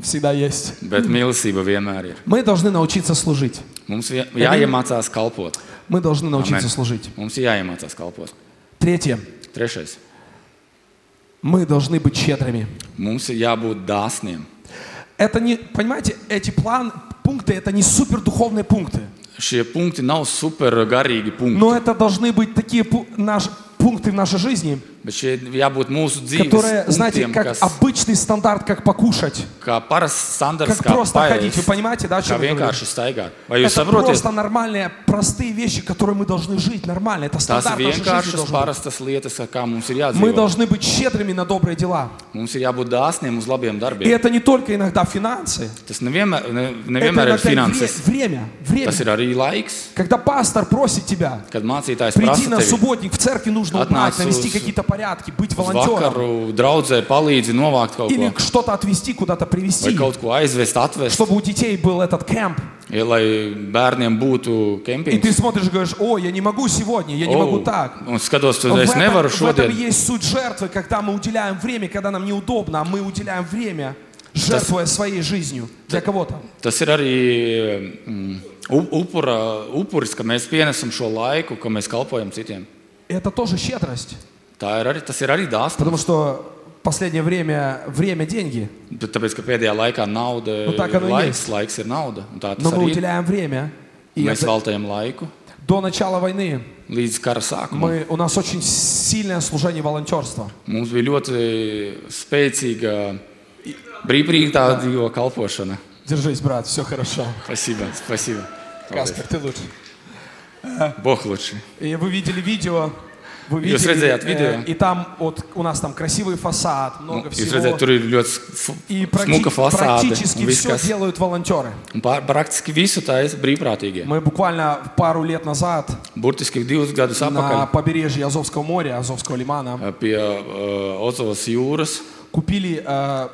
Speaker 1: всегда есть.
Speaker 2: bet mīlestība vienmēr ir.
Speaker 1: Мы должны научиться служить.
Speaker 2: Mums vien- jāiemācās kalpot.
Speaker 1: Мы должны научиться
Speaker 2: Amen.
Speaker 1: служить.
Speaker 2: Mums ir jāiemācās kalpot.
Speaker 1: Третье.
Speaker 2: Trešais.
Speaker 1: Мы должны быть щедрыми.
Speaker 2: Mums ir jābūt dāsniem.
Speaker 1: Это не, понимаете, эти план, пункты, это не супердуховные пункты.
Speaker 2: Šie punkti nav supergarīgi punkti,
Speaker 1: Но это должны быть такие пу- наш- пункты в нашей жизни,
Speaker 2: bet šie jābūt mūsu dzīves
Speaker 1: которые, знаете,
Speaker 2: punktiem,
Speaker 1: как
Speaker 2: kas,
Speaker 1: обычный стандарт, как покушать,
Speaker 2: kā parasts
Speaker 1: как
Speaker 2: standarts, kā
Speaker 1: просто ходить. Вы
Speaker 2: paēst,
Speaker 1: понимаете, да, о
Speaker 2: kā
Speaker 1: чем я говорю?
Speaker 2: vienkārši staigāt. Vai jūs
Speaker 1: Это
Speaker 2: saprotat?
Speaker 1: просто нормальные, простые вещи, которые мы должны жить нормально. Это
Speaker 2: Tās
Speaker 1: стандарт нашей жизни
Speaker 2: vienkāršas,
Speaker 1: должен быть.
Speaker 2: parastas lietas, ar kā mums ir
Speaker 1: Мы
Speaker 2: jādzīvo.
Speaker 1: должны быть щедрыми на добрые дела.
Speaker 2: Mums ir jābūt dāsniem uz labiem
Speaker 1: И
Speaker 2: darbiem.
Speaker 1: это не только иногда финансы,
Speaker 2: Tas nevienmēr, ne,
Speaker 1: это
Speaker 2: nevienmēr ir
Speaker 1: иногда и вре-
Speaker 2: finanses.
Speaker 1: время, время.
Speaker 2: Tas ir arī laiks,
Speaker 1: Когда пастор просит тебя
Speaker 2: kad mācītājs
Speaker 1: прийти
Speaker 2: prasa
Speaker 1: на
Speaker 2: tevi
Speaker 1: субботник, в церкви нужно
Speaker 2: От
Speaker 1: убрать,
Speaker 2: нас
Speaker 1: навести
Speaker 2: с-
Speaker 1: какие-то порядки, быть
Speaker 2: uz
Speaker 1: волонтером.
Speaker 2: vakaru, draudzē palīdzi novākt kaut
Speaker 1: Или
Speaker 2: ko.
Speaker 1: что-то отвезти, куда-то
Speaker 2: Vai
Speaker 1: привезти,
Speaker 2: kaut ko aizvest, atvest,
Speaker 1: чтобы у детей был этот кемп.
Speaker 2: ja, lai bērniem būtu
Speaker 1: И ты
Speaker 2: kempings.
Speaker 1: смотришь и говоришь, о, я не могу сегодня, я не
Speaker 2: O,
Speaker 1: могу так.
Speaker 2: Un skatos,
Speaker 1: В
Speaker 2: tad es
Speaker 1: этом,
Speaker 2: nevaru
Speaker 1: в этом и
Speaker 2: šodien.
Speaker 1: есть суть жертвы, когда мы уделяем время, когда нам неудобно, а мы уделяем время, жертвуя своей жизнью для кого-то.
Speaker 2: Tas ir arī mm, u- upura, upuris, ka mēs pienesam šo laiku, ka mēs kalpojam citiem.
Speaker 1: И Это тоже щедрость,
Speaker 2: Tā ir arī, tas ir arī dāsnums.
Speaker 1: потому что последнее время время деньги,
Speaker 2: Bet Tāpēc, ka pēdējā laikā nauda
Speaker 1: Nu, tā,
Speaker 2: ir
Speaker 1: ka nu ies.
Speaker 2: laiks,
Speaker 1: Nu,
Speaker 2: laiks ir nauda. Un Tā
Speaker 1: но
Speaker 2: tas
Speaker 1: мы
Speaker 2: arī ir.
Speaker 1: уделяем время. И
Speaker 2: Mēs
Speaker 1: это-
Speaker 2: veltējam laiku
Speaker 1: до начала войны
Speaker 2: līdz kara sākumam.
Speaker 1: мы, у нас очень сильное служение волонтерства.
Speaker 2: Mums bija ļoti spēcīga brīvprātīgo kalpošana.
Speaker 1: Держись, брат, все хорошо.
Speaker 2: Спасибо, спасибо.
Speaker 1: Каспер, ты лучше.
Speaker 2: Bohluči.
Speaker 1: И вы видели видео, вы
Speaker 2: Jūs
Speaker 1: видели, э,
Speaker 2: redzējāt video?
Speaker 1: и там вот у нас там красивый фасад, много
Speaker 2: Jūs
Speaker 1: всего.
Speaker 2: redzat, tur ir ļoti s-
Speaker 1: И
Speaker 2: f-
Speaker 1: практи-
Speaker 2: smuka fasāde.
Speaker 1: практически
Speaker 2: un viss,
Speaker 1: все
Speaker 2: kas-
Speaker 1: делают волонтеры.
Speaker 2: un pār- Praktiski visu tā ir brīvprātīgie.
Speaker 1: Мы буквально пару лет назад
Speaker 2: Burtiski divus gadus
Speaker 1: на
Speaker 2: atpakaļ
Speaker 1: побережье Азовского моря, Азовского лимана,
Speaker 2: pie uh, Ozovas jūras
Speaker 1: купили э,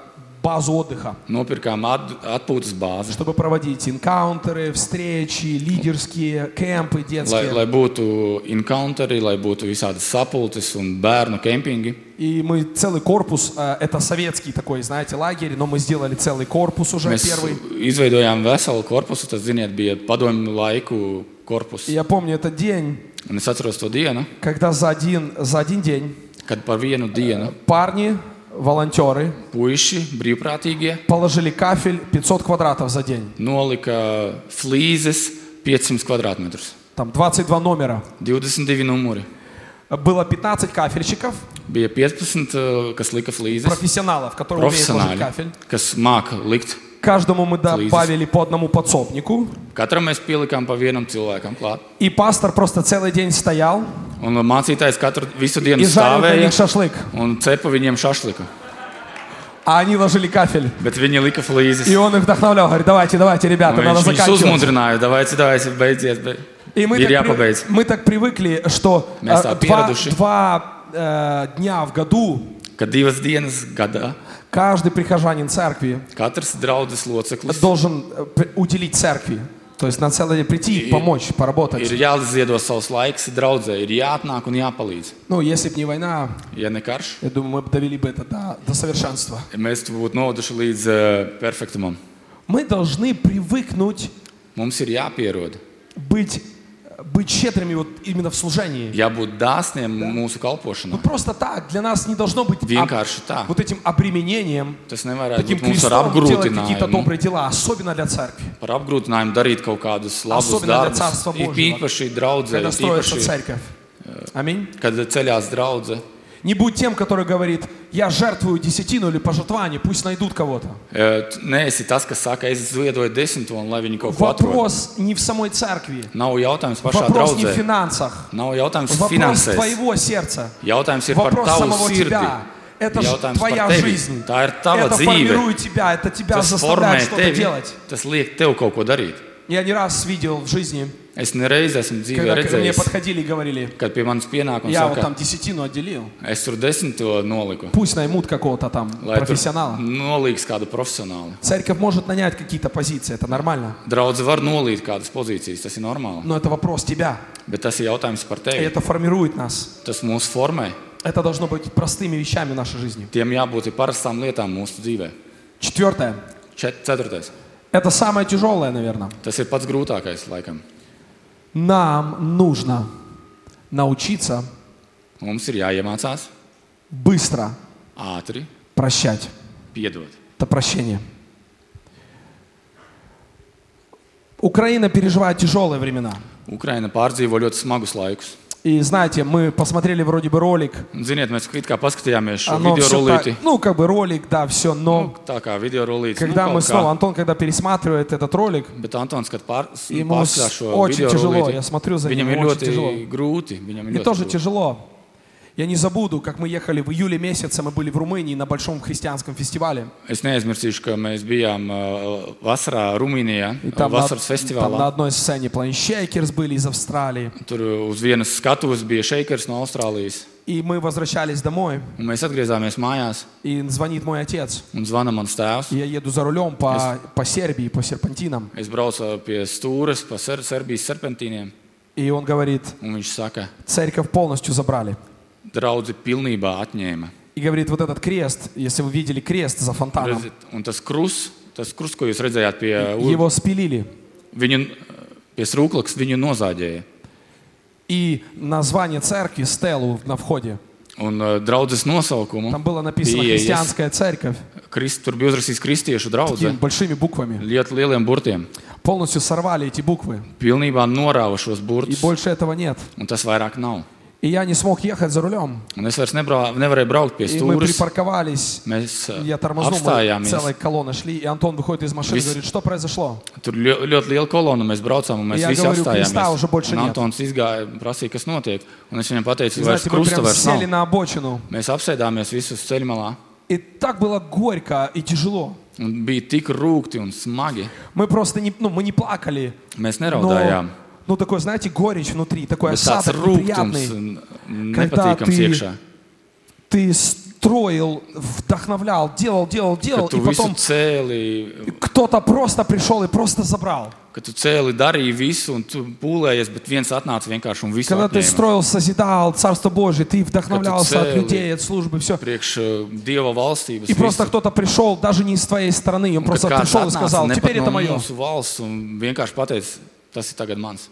Speaker 1: базу отдыха,
Speaker 2: nopirkām at, atpūtas bāzi,
Speaker 1: чтобы проводить инкаунтеры, встречи, лидерские кемпы
Speaker 2: lai,
Speaker 1: детские.
Speaker 2: lai būtu encounteri, lai būtu visādas sapulces un bērnu kempingi.
Speaker 1: И мы целый корпус, э, это советский такой, знаете, лагерь, но мы сделали целый корпус уже
Speaker 2: Mēs
Speaker 1: первый.
Speaker 2: izveidojām veselu korpusu, tas, ziniet, bija padomju laiku korpus.
Speaker 1: И Я помню этот день,
Speaker 2: Un es atceros to dienu,
Speaker 1: когда за один, за один день
Speaker 2: kad par vienu dienu
Speaker 1: парни, волонтеры,
Speaker 2: puiši, brīvprātīgie,
Speaker 1: положили кафель 500 квадратов за день.
Speaker 2: nolika flīzes 500 kvadrātmetrus.
Speaker 1: Там 22 номера.
Speaker 2: 22 numuri.
Speaker 1: Было 15 кафельщиков,
Speaker 2: bija 15, eh, kas lika flīzes.
Speaker 1: профессионалов, которые умеют ложить
Speaker 2: Profesionāļi,
Speaker 1: кафель.
Speaker 2: kas māca likt.
Speaker 1: Каждому мы
Speaker 2: Please.
Speaker 1: добавили по одному подсобнику.
Speaker 2: Katram mēs pielikām pa vienam cilvēkam klāt.
Speaker 1: И пастор просто целый день стоял
Speaker 2: Un mācītājs katru visu dienu
Speaker 1: и жарил для них
Speaker 2: stāvēja
Speaker 1: шашлык.
Speaker 2: un cepa viņiem šašliku.
Speaker 1: А они ложили кафель.
Speaker 2: Bet viņi lika flīzes.
Speaker 1: И он их вдохновлял, говорит, давайте, давайте,
Speaker 2: Un
Speaker 1: ребята, надо
Speaker 2: Viņš viņus
Speaker 1: заканчивать.
Speaker 2: uzmundrināja, davai, davai, beidziet, be...
Speaker 1: И мы
Speaker 2: ir
Speaker 1: так, при-
Speaker 2: jāpabeidz.
Speaker 1: мы так привыкли, что э,
Speaker 2: Место
Speaker 1: два,
Speaker 2: передуши.
Speaker 1: два, э, дня в году
Speaker 2: Kad divas dienas gadā
Speaker 1: каждый прихожанин церкви
Speaker 2: katrs draudzes loceklis
Speaker 1: должен э, п- уделить церкви. То есть на целый день прийти,
Speaker 2: И-
Speaker 1: помочь, поработать.
Speaker 2: ir jāziedo savs laiks draudzē, ir jāatnāk un jāpalīdz.
Speaker 1: Ну, если бы не война,
Speaker 2: Ja ne karš,
Speaker 1: я думаю, мы бы довели бы это до, до совершенства.
Speaker 2: mēs to būtu novaduši līdz uh, perfektumam.
Speaker 1: Мы должны привыкнуть
Speaker 2: Mums ir jāpierod,
Speaker 1: быть, быть щедрыми вот именно в служении.
Speaker 2: jābūt dāsniem mūsu
Speaker 1: Ну
Speaker 2: kalpošanā.
Speaker 1: просто так, для нас не должно быть об-
Speaker 2: Vienkārši tā.
Speaker 1: вот этим обременением,
Speaker 2: Tas nevarētu
Speaker 1: таким
Speaker 2: būt mums ar
Speaker 1: крестом делать какие-то
Speaker 2: apgrūtinājumu.
Speaker 1: добрые дела, особенно для церкви,
Speaker 2: Par apgrūtinājumu darīt kaut kādus labus
Speaker 1: Особенно для
Speaker 2: darbus.
Speaker 1: Царства
Speaker 2: Ir
Speaker 1: Божьего.
Speaker 2: īpaši draudzē,
Speaker 1: когда
Speaker 2: it
Speaker 1: строится
Speaker 2: īpaši,
Speaker 1: церковь. Amинь.
Speaker 2: kad ceļās draudzē.
Speaker 1: Не будь тем, который говорит, я жертвую десятину или пожертвование, pусть найдут кого-то.
Speaker 2: Nē, esi Eh, tas, kas saka, es ziedoju desmito, un lai viņi kaut ko atrod.
Speaker 1: Вопрос не в самой церкви,
Speaker 2: Nav jautājums pašā
Speaker 1: вопрос не в
Speaker 2: draudzē.
Speaker 1: финансах,
Speaker 2: Nav jautājums
Speaker 1: вопрос
Speaker 2: finansēs.
Speaker 1: твоего сердца,
Speaker 2: Jautājums ir par
Speaker 1: вопрос
Speaker 2: tavu
Speaker 1: самого
Speaker 2: sirdi.
Speaker 1: тебя. Это же
Speaker 2: Jautājums
Speaker 1: твоя
Speaker 2: par tevi.
Speaker 1: жизнь.
Speaker 2: Tā ir tava
Speaker 1: это
Speaker 2: dzīve.
Speaker 1: формирует тебя, это тебя
Speaker 2: Tas formē
Speaker 1: заставляет что-то
Speaker 2: tevi.
Speaker 1: делать.
Speaker 2: Tas liek tev kaut ko darīt.
Speaker 1: Я не раз видел в жизни,
Speaker 2: Es nereiz esmu dzīvē
Speaker 1: когда ко мне
Speaker 2: redzējis,
Speaker 1: подходили и говорили,
Speaker 2: kad pie manis pienāk un
Speaker 1: я вот там
Speaker 2: saka,
Speaker 1: десятину отделил,
Speaker 2: es tur desmito noliku.
Speaker 1: пусть наймут какого-то там
Speaker 2: Lai tur
Speaker 1: профессионала.
Speaker 2: nolīgs kādu profesionāli.
Speaker 1: Церковь может нанять какие-то позиции, это нормально.
Speaker 2: Draudz var nolīt kādas pozīcijas, tas ir normāli.
Speaker 1: Но это вопрос тебя,
Speaker 2: Bet tas ir jautājums par
Speaker 1: и
Speaker 2: tevi.
Speaker 1: это формирует нас.
Speaker 2: Tas mūs formē.
Speaker 1: Это должно быть простыми вещами в нашей жизни.
Speaker 2: Tiem jābūt ir parastām lietām mūsu dzīvē.
Speaker 1: Четвертое.
Speaker 2: Čet, ceturtais.
Speaker 1: Это самое тяжелое, наверное.
Speaker 2: Tas ir pats grūtākais laikam.
Speaker 1: Нам нужно научиться
Speaker 2: Mums ir jāiemācās
Speaker 1: быстро
Speaker 2: ātri
Speaker 1: прощать.
Speaker 2: piedot.
Speaker 1: Это прощение. Украина переживает тяжелые времена.
Speaker 2: Ukraina pārdzīvo ļoti smagus laikus.
Speaker 1: И знаете, мы посмотрели вроде бы ролик.
Speaker 2: Un, ziniet, mēs it kā paskatījāmies šo
Speaker 1: оно
Speaker 2: video
Speaker 1: всё так-
Speaker 2: rullīti.
Speaker 1: ну, как бы ролик, да, все, но
Speaker 2: Nu, tā kā video rullītis.
Speaker 1: когда
Speaker 2: nu,
Speaker 1: мы
Speaker 2: kaut kā.
Speaker 1: снова, Антон, когда пересматривает этот ролик,
Speaker 2: Bet Antons, kad pār,
Speaker 1: И
Speaker 2: pārskatās
Speaker 1: mums
Speaker 2: šo
Speaker 1: очень
Speaker 2: video
Speaker 1: тяжело,
Speaker 2: rullīti,
Speaker 1: я смотрю за
Speaker 2: viņam
Speaker 1: ним,
Speaker 2: ir
Speaker 1: очень
Speaker 2: ļoti
Speaker 1: тяжело.
Speaker 2: grūti. Viņam ir
Speaker 1: мне
Speaker 2: ļoti
Speaker 1: тоже
Speaker 2: grūti.
Speaker 1: тяжело. Я не забуду, как мы ехали в июле месяце, мы были в Румынии на большом христианском фестивале.
Speaker 2: Es neaizmirsīšu, ka mēs bijām ā, vasarā Rumānijā,
Speaker 1: И там, на, там
Speaker 2: vasaras
Speaker 1: на
Speaker 2: festivālā.
Speaker 1: одной сцене Planet Shakers были из Австралии.
Speaker 2: Tur uz vienas skatuves bija šeikers no Austrālijas.
Speaker 1: И мы возвращались домой,
Speaker 2: Un mēs atgriezāmies mājās
Speaker 1: и звонит мой отец.
Speaker 2: un zvana mans tēvs.
Speaker 1: Я еду за рулем по, по Сербии, по серпантинам.
Speaker 2: Es braucu pie stūres, pa ser Serbijas serpentīniem,
Speaker 1: И он говорит,
Speaker 2: un viņš saka,
Speaker 1: церковь полностью забрали.
Speaker 2: draugi pilnībā atņēma.
Speaker 1: И говорит, вот этот крест, если вы видели крест за фонтаном,
Speaker 2: Redziet, Un tas krusts, tas krusts, ko jūs redzējāt pie, u-
Speaker 1: его спилили.
Speaker 2: viņu, pie srūklakas, viņu nozāģēja.
Speaker 1: И название церкви, стелу на входе,
Speaker 2: Un uh, draudzes nosaukumu
Speaker 1: там было написано
Speaker 2: pieejas
Speaker 1: «Христианская церковь»
Speaker 2: krist, tur bija uzrakstīts kristiešu draugs.
Speaker 1: такими большими буквами.
Speaker 2: Ļoti lieliem burtiem.
Speaker 1: Полностью сорвали эти буквы.
Speaker 2: Pilnībā norāva šos
Speaker 1: И
Speaker 2: burtus,
Speaker 1: больше этого нет.
Speaker 2: un tas vairs nav.
Speaker 1: И я не смог ехать за рулем.
Speaker 2: Un es vairs nebrā, nevarēju braukt pie
Speaker 1: И мы
Speaker 2: stūres.
Speaker 1: припарковались.
Speaker 2: Mēs
Speaker 1: Я
Speaker 2: ā,
Speaker 1: тормознул, мы
Speaker 2: apstājāmies.
Speaker 1: целая колонна шли, и Антон выходит из машины и
Speaker 2: Вис-
Speaker 1: говорит, что произошло?
Speaker 2: Tur ļo, ļoti liela kolona, mēs braucām, un mēs
Speaker 1: Jā,
Speaker 2: visi
Speaker 1: gavarju, kristā už
Speaker 2: apstājāmies.
Speaker 1: больше
Speaker 2: Un
Speaker 1: нет.
Speaker 2: Antons izgāja un prasīja, kas notiek. Un es viņam
Speaker 1: И
Speaker 2: pateicu, ka vairs
Speaker 1: знаете, мы
Speaker 2: krusta
Speaker 1: прям
Speaker 2: vairs
Speaker 1: сели
Speaker 2: nav.
Speaker 1: на обочину.
Speaker 2: Mēs apsēdāmies visus ceļmalā,
Speaker 1: И так было горько и тяжело.
Speaker 2: un bija tik rūkti un smagi.
Speaker 1: Мы просто не, ну, мы не плакали,
Speaker 2: Mēs
Speaker 1: но,
Speaker 2: neraudājām.
Speaker 1: ну, такой, знаете, горечь внутри, такой
Speaker 2: Bet tāds
Speaker 1: осадок
Speaker 2: rūkums
Speaker 1: неприятный.
Speaker 2: un
Speaker 1: Kad tā
Speaker 2: nepatīkams
Speaker 1: tī-
Speaker 2: iekšā.
Speaker 1: Ты строил, вдохновлял, делал, делал, делал,
Speaker 2: Kad tu
Speaker 1: и
Speaker 2: visu
Speaker 1: потом
Speaker 2: cēli,
Speaker 1: кто-то просто пришел и просто забрал.
Speaker 2: kad tu cēli, darīji visu, un tu pūlējies, bet viens atnāca vienkārši un visu
Speaker 1: Когда ты
Speaker 2: atņēma.
Speaker 1: строил, созидал Царство Божие, ты вдохновлялся от
Speaker 2: целый.
Speaker 1: людей, от службы, все.
Speaker 2: Priekš uh, Dieva valstības.
Speaker 1: И просто
Speaker 2: visu.
Speaker 1: кто-то пришел, даже не из твоей страны, он
Speaker 2: Un kad
Speaker 1: просто
Speaker 2: kāds
Speaker 1: пришел и
Speaker 2: atnāca
Speaker 1: сказал,
Speaker 2: ne pat
Speaker 1: теперь это
Speaker 2: no
Speaker 1: мое.
Speaker 2: Mūsu valsts un vienkārši pateica, tas ir tagad mans.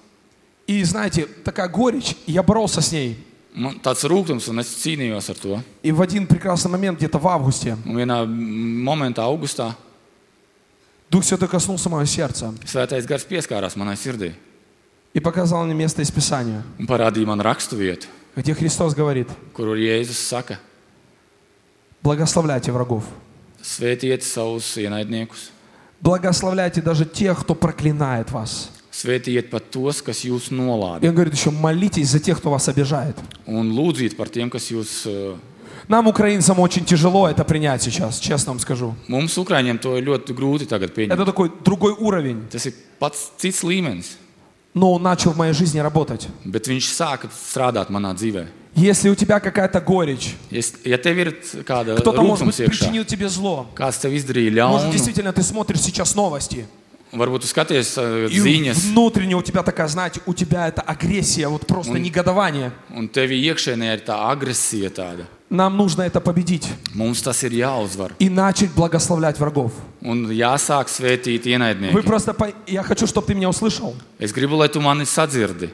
Speaker 1: И знаете, такая горечь, и я боролся с ней.
Speaker 2: Man tāds rūkums, un es cīnījos ar to.
Speaker 1: И в один прекрасный момент, где-то в августе,
Speaker 2: Un vienā momentā, augustā,
Speaker 1: Дух Святой коснулся моего сердца
Speaker 2: Svētais Gars pieskārās manai sirdī
Speaker 1: и показал мне место из Писания.
Speaker 2: un parādīja man rakstu vietu.
Speaker 1: где Христос говорит,
Speaker 2: kur Jēzus saka,
Speaker 1: благословляйте врагов,
Speaker 2: svētiet savus ienaidniekus,
Speaker 1: благословляйте даже тех, кто проклинает вас.
Speaker 2: svētiet pat tos, kas jūs
Speaker 1: И
Speaker 2: nolādē,
Speaker 1: он говорит еще, молитесь за тех, кто вас обижает.
Speaker 2: un lūdziet par tiem, kas jūs. uh,
Speaker 1: Нам, украинцам, очень тяжело это принять сейчас, честно вам скажу.
Speaker 2: Mums, Ukrāņiem, to ir ļoti grūti tagad
Speaker 1: Это
Speaker 2: pieņemt.
Speaker 1: такой другой уровень,
Speaker 2: Tas ir pats cits līmenis,
Speaker 1: но он начал в моей жизни работать.
Speaker 2: bet viņš sāka strādāt manā dzīvē.
Speaker 1: Если у тебя какая-то горечь,
Speaker 2: Es, ja tev ir kāda
Speaker 1: кто-то, может быть,
Speaker 2: rūkums iekšā,
Speaker 1: причинил тебе зло,
Speaker 2: kāds tev izdarīja
Speaker 1: может,
Speaker 2: ļaunu,
Speaker 1: действительно, ты смотришь сейчас новости,
Speaker 2: varbūt tu skaties uh,
Speaker 1: и
Speaker 2: ziņas,
Speaker 1: внутренне у тебя такая, знаете, у тебя это агрессия, вот просто негодование.
Speaker 2: un tev iekšēnē ir tā agresija tāda.
Speaker 1: Нам нужно это победить
Speaker 2: Mums tas ir jāuzvar
Speaker 1: и начать благословлять врагов.
Speaker 2: un jāsāk svētīt
Speaker 1: Вы
Speaker 2: ienaidnieku.
Speaker 1: просто, по- я хочу, чтобы ты меня услышал.
Speaker 2: Es gribu, lai tu mani sadzirdi.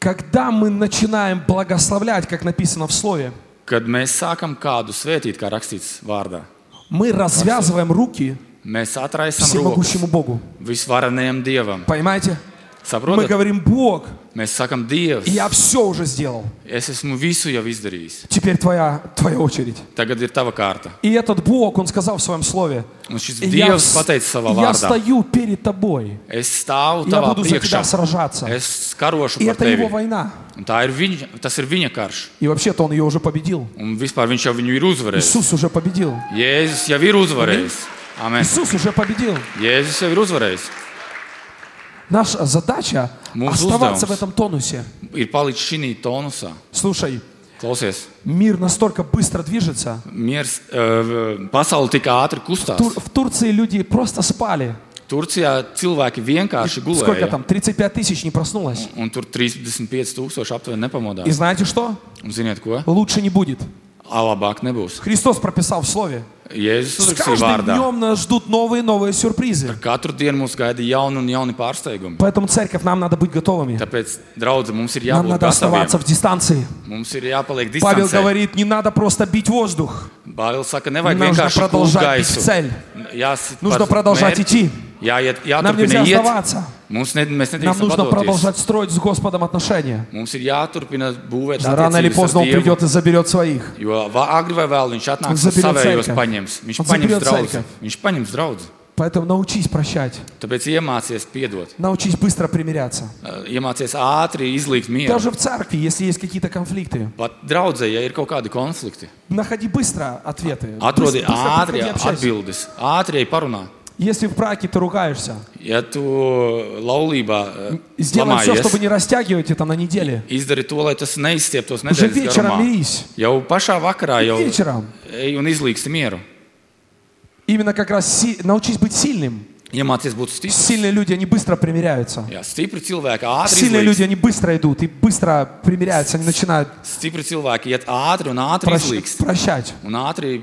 Speaker 1: Когда мы начинаем благословлять, как написано в Слове,
Speaker 2: Kad mēs sākam kādu svētīt, kā rakstīts vārdā,
Speaker 1: мы развязываем руки
Speaker 2: mēs atraisām rokas
Speaker 1: всемогущему Богу.
Speaker 2: visvarenajam dievam.
Speaker 1: Понимаете? Мы
Speaker 2: Saprotat,
Speaker 1: говорим, Бог,
Speaker 2: mēs sakam, Dievs,
Speaker 1: я все уже сделал.
Speaker 2: es esmu visu jau izdarījis.
Speaker 1: Теперь твоя, твоя очередь.
Speaker 2: Tagad ir tava kārta.
Speaker 1: И этот Бог, Он сказал в Своем Слове,
Speaker 2: Un šis
Speaker 1: я,
Speaker 2: Dievs pateica savā
Speaker 1: я
Speaker 2: vārdā:
Speaker 1: стою перед тобой,
Speaker 2: Es stāvu
Speaker 1: я
Speaker 2: tavā
Speaker 1: буду за тебя
Speaker 2: priekšā,
Speaker 1: сражаться.
Speaker 2: es karošu
Speaker 1: И
Speaker 2: par
Speaker 1: это
Speaker 2: tevi.
Speaker 1: его vojna.
Speaker 2: Un tā ir viņa, tas ir viņa karš.
Speaker 1: И вообще-то он ее уже победил.
Speaker 2: Un vispār viņš jau viņu ir uzvarējis.
Speaker 1: Иисус уже победил.
Speaker 2: Jēzus jau ir uzvarējis. Amen.
Speaker 1: Иисус уже победил.
Speaker 2: Jēzus jau ir uzvarējis.
Speaker 1: Наша задача
Speaker 2: Муж
Speaker 1: оставаться
Speaker 2: узнал.
Speaker 1: в этом тонусе.
Speaker 2: Ir palicis šī tonusā.
Speaker 1: Слушай,
Speaker 2: Klausies,
Speaker 1: мир настолько быстро движется.
Speaker 2: miers, uh, pasaule tik ātri kustās.
Speaker 1: Тур- в Турции люди просто спали.
Speaker 2: Turcijā cilvēki vienkārši
Speaker 1: Сколько
Speaker 2: gulēja.
Speaker 1: там? 35 tысяч не проснулось.
Speaker 2: Un tur 35,000 aptuveni
Speaker 1: И
Speaker 2: nepamodās.
Speaker 1: знаете что?
Speaker 2: Un ziniet, ko?
Speaker 1: Лучше не будет.
Speaker 2: Labāk nebūs.
Speaker 1: Христос прописал в Слове.
Speaker 2: Jēzus
Speaker 1: С
Speaker 2: uzrakstīja
Speaker 1: каждым
Speaker 2: vārdā.
Speaker 1: днем нас ждут новые и новые сюрпризы.
Speaker 2: Katru dienu mums gaida jauni un jauni pārsteigumi.
Speaker 1: Поэтому, церковь, нам надо быть готовыми.
Speaker 2: Tāpēc, draugi, mums ir
Speaker 1: Нам
Speaker 2: jābūt
Speaker 1: надо оставаться
Speaker 2: gataviem.
Speaker 1: в дистанции.
Speaker 2: Mums ir jāpaliek
Speaker 1: Павел
Speaker 2: distancē.
Speaker 1: говорит, не надо просто бить воздух.
Speaker 2: Bārilis saka, nevajag
Speaker 1: Нужно
Speaker 2: vienkārši
Speaker 1: продолжать
Speaker 2: plūkt gaisu.
Speaker 1: bīt ceļu.
Speaker 2: Jās-
Speaker 1: Нужно
Speaker 2: par
Speaker 1: продолжать
Speaker 2: mērķi.
Speaker 1: идти.
Speaker 2: Jāiet,
Speaker 1: Нам
Speaker 2: jāturpina
Speaker 1: нельзя
Speaker 2: iet.
Speaker 1: оставаться.
Speaker 2: Mums ne, mēs
Speaker 1: Нам
Speaker 2: nedrīkstam
Speaker 1: нужно
Speaker 2: padoties.
Speaker 1: продолжать строить с Господом отношения.
Speaker 2: Mums ir jāturpina būvēt
Speaker 1: Рано или
Speaker 2: attiecības
Speaker 1: поздно
Speaker 2: ar
Speaker 1: Он
Speaker 2: Dievu.
Speaker 1: придет и заберет своих.
Speaker 2: Jo va- agri vai vēl viņš atnāks
Speaker 1: Un
Speaker 2: un
Speaker 1: zabirot
Speaker 2: savējos
Speaker 1: cerkev.
Speaker 2: paņems. Viņš
Speaker 1: Un
Speaker 2: paņems
Speaker 1: zabirot
Speaker 2: draugu.
Speaker 1: cerkev.
Speaker 2: Viņš paņems draugu.
Speaker 1: Поэтому научись прощать.
Speaker 2: Tāpēc iemācies piedot.
Speaker 1: Научись быстро примиряться.
Speaker 2: Uh, Iemācies ātri izlīgt mieru.
Speaker 1: Даже в церкви, если есть какие-то конфликты,
Speaker 2: Pat draudzē, ja ir kaut kādi konflikti,
Speaker 1: находи быстро ответы.
Speaker 2: atrodi
Speaker 1: Быс- быстро
Speaker 2: ātri
Speaker 1: приходи общайся.
Speaker 2: atbildes, ātri parunā.
Speaker 1: Если в браке ты ругаешься,
Speaker 2: Ja tu laulībā uh,
Speaker 1: сделай все,
Speaker 2: lamājies,
Speaker 1: чтобы не растягивать это на неделе.
Speaker 2: Izdari to, lai tas neizstieptos
Speaker 1: Уже
Speaker 2: nedēļas
Speaker 1: вечером
Speaker 2: garumā.
Speaker 1: мирись.
Speaker 2: Jau pašā vakarā jau
Speaker 1: Вечером.
Speaker 2: ej un izlīgsti mieru.
Speaker 1: Именно как раз си- научись быть сильным.
Speaker 2: Iemācies būt stiprs.
Speaker 1: Сильные люди, они быстро примиряются.
Speaker 2: Jā, stipri cilvēki ātri
Speaker 1: Сильные люди,
Speaker 2: izlīgst.
Speaker 1: они быстро идут и быстро примиряются, они начинают
Speaker 2: Stipri cilvēki iet ātri un ātri
Speaker 1: прощ-
Speaker 2: izlīgst.
Speaker 1: прощать.
Speaker 2: Un ātri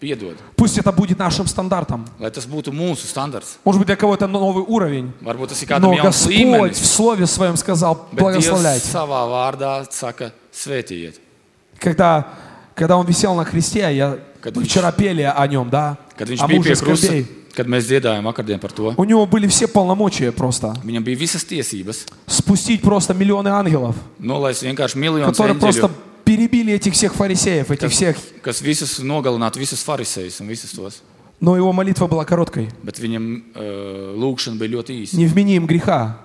Speaker 2: piedod.
Speaker 1: Пусть это будет нашим стандартом.
Speaker 2: Lai tas būtu mūsu standarts.
Speaker 1: Может быть, для кого-то новый уровень.
Speaker 2: Varbūt tas ir
Speaker 1: Но
Speaker 2: kādam jauns
Speaker 1: Господь в
Speaker 2: līmenis.
Speaker 1: Слове Своем сказал
Speaker 2: Bet Dievs
Speaker 1: благословлять.
Speaker 2: savā vārdā saka svētījiet.
Speaker 1: Когда, когда он висел на кресте, а я,
Speaker 2: Когда
Speaker 1: мы вчера пели о нем, да?
Speaker 2: Kad viņš
Speaker 1: О
Speaker 2: bija
Speaker 1: муже
Speaker 2: pie krusta,
Speaker 1: скорбей.
Speaker 2: kad mēs dziedājām vakardien par to,
Speaker 1: У него были все полномочия просто.
Speaker 2: viņam bija visas tiesības.
Speaker 1: Spустить просто миллионы ангелов,
Speaker 2: Nolaist vienkārši miljonus
Speaker 1: которые
Speaker 2: eņģeļu,
Speaker 1: просто перебили этих всех фарисеев, этих
Speaker 2: kas,
Speaker 1: всех.
Speaker 2: kas visus nogalinātu, visus farisejus un visus tos.
Speaker 1: Но его молитва была короткой.
Speaker 2: Bet viņam uh, lūkšana bija ļoti īsa.
Speaker 1: Не вмени им греха.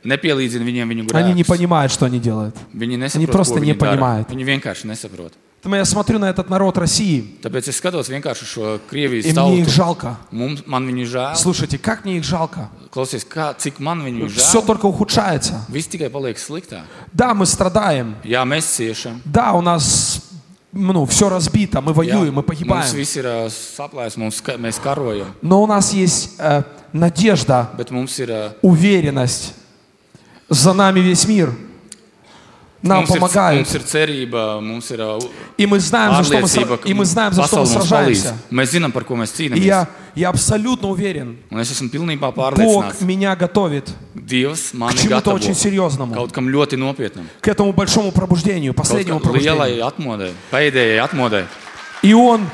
Speaker 2: Nepielīdzina viņiem viņu
Speaker 1: Они не
Speaker 2: grēkus.
Speaker 1: понимают, что они делают.
Speaker 2: Viņi
Speaker 1: Viņi
Speaker 2: nesaprot,
Speaker 1: prosti
Speaker 2: ko viņi dara.
Speaker 1: nepaņemāja.
Speaker 2: Viņi vienkārši nesaprot.
Speaker 1: Поэтому я смотрю на этот народ России,
Speaker 2: Tāpēc es skatos vienkārši uz šo Krievijas
Speaker 1: и мне их
Speaker 2: tautu.
Speaker 1: жалко.
Speaker 2: Mums, man viņu žēl.
Speaker 1: Слушайте, как мне их жалко?
Speaker 2: Klausies, kā, cik man viņu
Speaker 1: Все
Speaker 2: žēl.
Speaker 1: только ухудшается.
Speaker 2: Viss tikai paliek sliktāk.
Speaker 1: Да, мы страдаем.
Speaker 2: Jā, mēs ciešam.
Speaker 1: Да, у нас ну, все разбито, мы
Speaker 2: Jā,
Speaker 1: воюем, мы
Speaker 2: mums
Speaker 1: погибаем.
Speaker 2: viss ir uh, saplējis, mums ka, mēs karojam.
Speaker 1: Но у нас есть э, надежда,
Speaker 2: Bet mums ir, uh,
Speaker 1: уверенность. За нами весь мир. Нам
Speaker 2: mums, ir,
Speaker 1: помогают.
Speaker 2: mums ir cerība, mums ir uh,
Speaker 1: И мы знаем, за что мы,
Speaker 2: pārliecība,
Speaker 1: сра- и мы знаем, за что мы
Speaker 2: pasaule mums palīdz.
Speaker 1: сражаемся.
Speaker 2: Mēs zinām, par ko mēs
Speaker 1: И
Speaker 2: cīnāmies.
Speaker 1: я, я абсолютно уверен,
Speaker 2: Un es esmu pilnībā
Speaker 1: Бог
Speaker 2: pārliecināts.
Speaker 1: меня готовит
Speaker 2: Dievs man
Speaker 1: к
Speaker 2: ir
Speaker 1: чему-то очень
Speaker 2: gatavs
Speaker 1: серьезному,
Speaker 2: kaut kam ļoti nopietnam,
Speaker 1: к этому большому пробуждению,
Speaker 2: kaut
Speaker 1: последнему
Speaker 2: kam lielai
Speaker 1: пробуждению.
Speaker 2: atmodai, pēdējai atmodai.
Speaker 1: И Он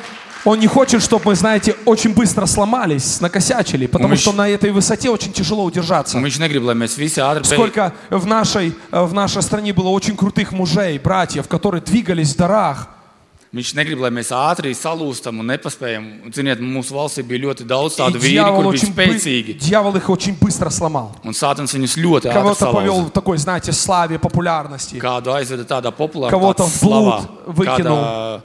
Speaker 1: Он не хочет, чтобы мы, знаете, очень быстро сломались, накосячили, потому
Speaker 2: Мы
Speaker 1: что
Speaker 2: щ-
Speaker 1: на этой высоте очень тяжело удержаться.
Speaker 2: Un viņš negrib, lai mēs visi ātri beig-
Speaker 1: Сколько в нашей, э, в нашей стране было очень крутых мужей, братьев, которые двигались в дарах,
Speaker 2: Viņš negrib, lai mēs ātri salūstam un nepaspējam. Un, Ziniet, mūsu valstī bija ļoti daudz
Speaker 1: и
Speaker 2: tādu vīru,
Speaker 1: дьявол,
Speaker 2: kuriem bija
Speaker 1: очень бы-
Speaker 2: spēcīgi.
Speaker 1: дьявол их очень быстро сломал.
Speaker 2: Un Sātans viņus ļoti ātri
Speaker 1: Кого-то повел
Speaker 2: salauza.
Speaker 1: в такой, знаете, славе, популярности,
Speaker 2: Kādu aizveda tādā populārā
Speaker 1: Кого-то
Speaker 2: tādā
Speaker 1: в блуд
Speaker 2: slavā,
Speaker 1: выкинул.
Speaker 2: kādā-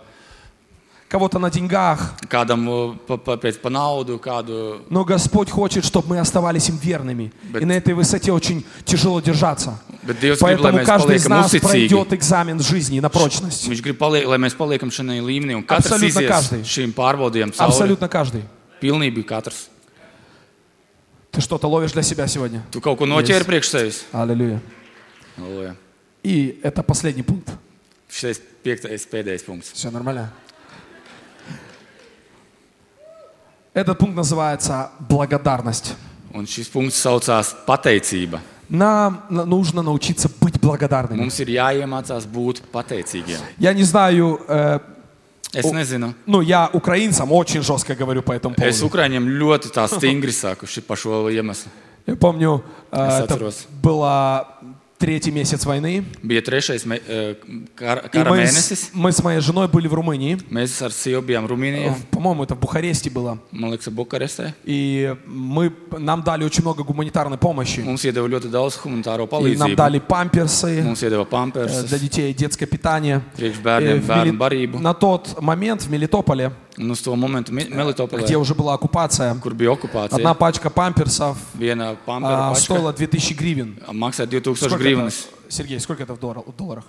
Speaker 1: кого-то на деньгах.
Speaker 2: kādam uh, pa, pa, pēc pa naudu, kādu.
Speaker 1: Но Господь хочет, чтобы мы оставались им верными.
Speaker 2: Бет-
Speaker 1: И на этой высоте очень тяжело держаться.
Speaker 2: Bet Dievs grib, lai
Speaker 1: Поэтому
Speaker 2: mēs
Speaker 1: каждый из
Speaker 2: paliekam
Speaker 1: нас
Speaker 2: uzticīgi.
Speaker 1: пройдет экзамен жизни на прочность.
Speaker 2: Viņš grib, palie lai mēs paliekam šajā līmenī. un Katrs
Speaker 1: Absolūtna
Speaker 2: izies
Speaker 1: každý.
Speaker 2: šīm pārbaudījumam, cauri
Speaker 1: Абсолютно каждый.
Speaker 2: pilnībā katrs.
Speaker 1: Ты что-то ловишь для себя сегодня?
Speaker 2: Tu kaut ko noķēri priekš sevis.
Speaker 1: Аллилуйя.
Speaker 2: Aleluja.
Speaker 1: И это последний пункт.
Speaker 2: Šis piektais, pēdējais punkts.
Speaker 1: Все нормально? Этот пункт называется благодарность.
Speaker 2: Un šis punkts saucās pateicība.
Speaker 1: Нам на- нужно научиться быть благодарными.
Speaker 2: Mums ir jāiemācās būt pateicīgiem.
Speaker 1: Я не знаю, э,
Speaker 2: Es
Speaker 1: O-
Speaker 2: nezinu.
Speaker 1: ну я украинцам очень жестко говорю по этому
Speaker 2: Es
Speaker 1: поводу.
Speaker 2: Ukrāņiem ļoti tā stingri saku ši- par šo iemeslu.
Speaker 1: Я помню, э,
Speaker 2: Я
Speaker 1: это
Speaker 2: сотрос.
Speaker 1: было третий месяц войны.
Speaker 2: Bija trešais me- eh, kara
Speaker 1: И
Speaker 2: kara
Speaker 1: мы с,
Speaker 2: mēnesis.
Speaker 1: мы с моей женой были в Румынии.
Speaker 2: Mēs ar sievu bijām Rumānijā,
Speaker 1: В- По-моему, это в Бухаресте было.
Speaker 2: man liekas, Bukarestē.
Speaker 1: И мы, нам дали очень много гуманитарной помощи.
Speaker 2: Mums iedeva ļoti daudz humanitāro
Speaker 1: И нам
Speaker 2: palīdzību.
Speaker 1: дали памперсы,
Speaker 2: Mums iedeva
Speaker 1: э,
Speaker 2: pampersus.
Speaker 1: для детей детское питание.
Speaker 2: Priekšbērniem,
Speaker 1: Э, в
Speaker 2: bērnu
Speaker 1: Мели-
Speaker 2: barību.
Speaker 1: На тот момент в Мелитополе,
Speaker 2: Un uz to momentu Mi-
Speaker 1: где
Speaker 2: Melitopolē,
Speaker 1: уже была оккупация,
Speaker 2: kur bija
Speaker 1: одна
Speaker 2: okupācija,
Speaker 1: пачка памперсов
Speaker 2: viena
Speaker 1: а,
Speaker 2: pampera paška
Speaker 1: стоила 2000 гривен.
Speaker 2: maksāja 2000
Speaker 1: Сколько это,
Speaker 2: grivnas.
Speaker 1: Сергей, сколько это в доллар- в долларах?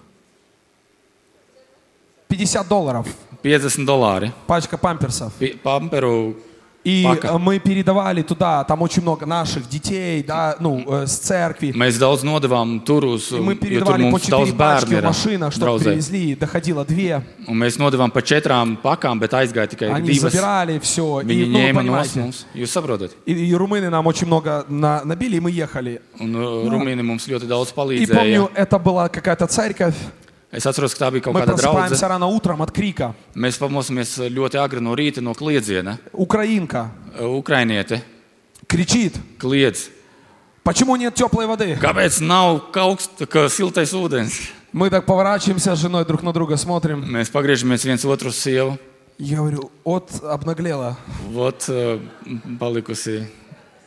Speaker 1: 50 долларов
Speaker 2: 50 dolāri.
Speaker 1: пачка памперсов.
Speaker 2: Pi- Pamperu
Speaker 1: И
Speaker 2: Пака.
Speaker 1: э, мы передавали туда, там очень много наших детей, да, ну, э, с церкви.
Speaker 2: Mēs daudz nodavām tur uz
Speaker 1: И мы
Speaker 2: jo tur
Speaker 1: передавали по
Speaker 2: mums daudz
Speaker 1: 4 пачки
Speaker 2: bērnu
Speaker 1: в
Speaker 2: ir
Speaker 1: машинах, чтобы
Speaker 2: draudzē.
Speaker 1: привезли, доходило 2.
Speaker 2: Un mēs nodavām pa četrām pakām, bet aizgāja tikai
Speaker 1: Они
Speaker 2: divas.
Speaker 1: забирали все. И,
Speaker 2: Viņi
Speaker 1: Э, ну, вы
Speaker 2: ņēma no
Speaker 1: понимаете,
Speaker 2: mums. Jūs saprotat?
Speaker 1: и, и румыны нам очень много на- набили, и мы ехали.
Speaker 2: Un uh, Rumīni mums ļoti daudz
Speaker 1: И
Speaker 2: palīdzēja.
Speaker 1: помню, это была какая-то церковь.
Speaker 2: Es atceros, ka tā bija kaut
Speaker 1: Мы
Speaker 2: kāda draudze.
Speaker 1: просыпаемся рано утром от крика.
Speaker 2: Mēs pamosimies ļoti agri no rīta no kliedziena.
Speaker 1: Украинка
Speaker 2: Uh, Ukrainiete
Speaker 1: кричит.
Speaker 2: kliedz.
Speaker 1: Почему нет теплой воды?
Speaker 2: Kāpēc nav augsts, ka siltais ūdens?
Speaker 1: Мы так поворачиваемся с женой друг на друга, смотрим.
Speaker 2: Mēs pagriežamies viens otru uz sievu.
Speaker 1: Я говорю, от обнаглела.
Speaker 2: Vot, uh, palikusi.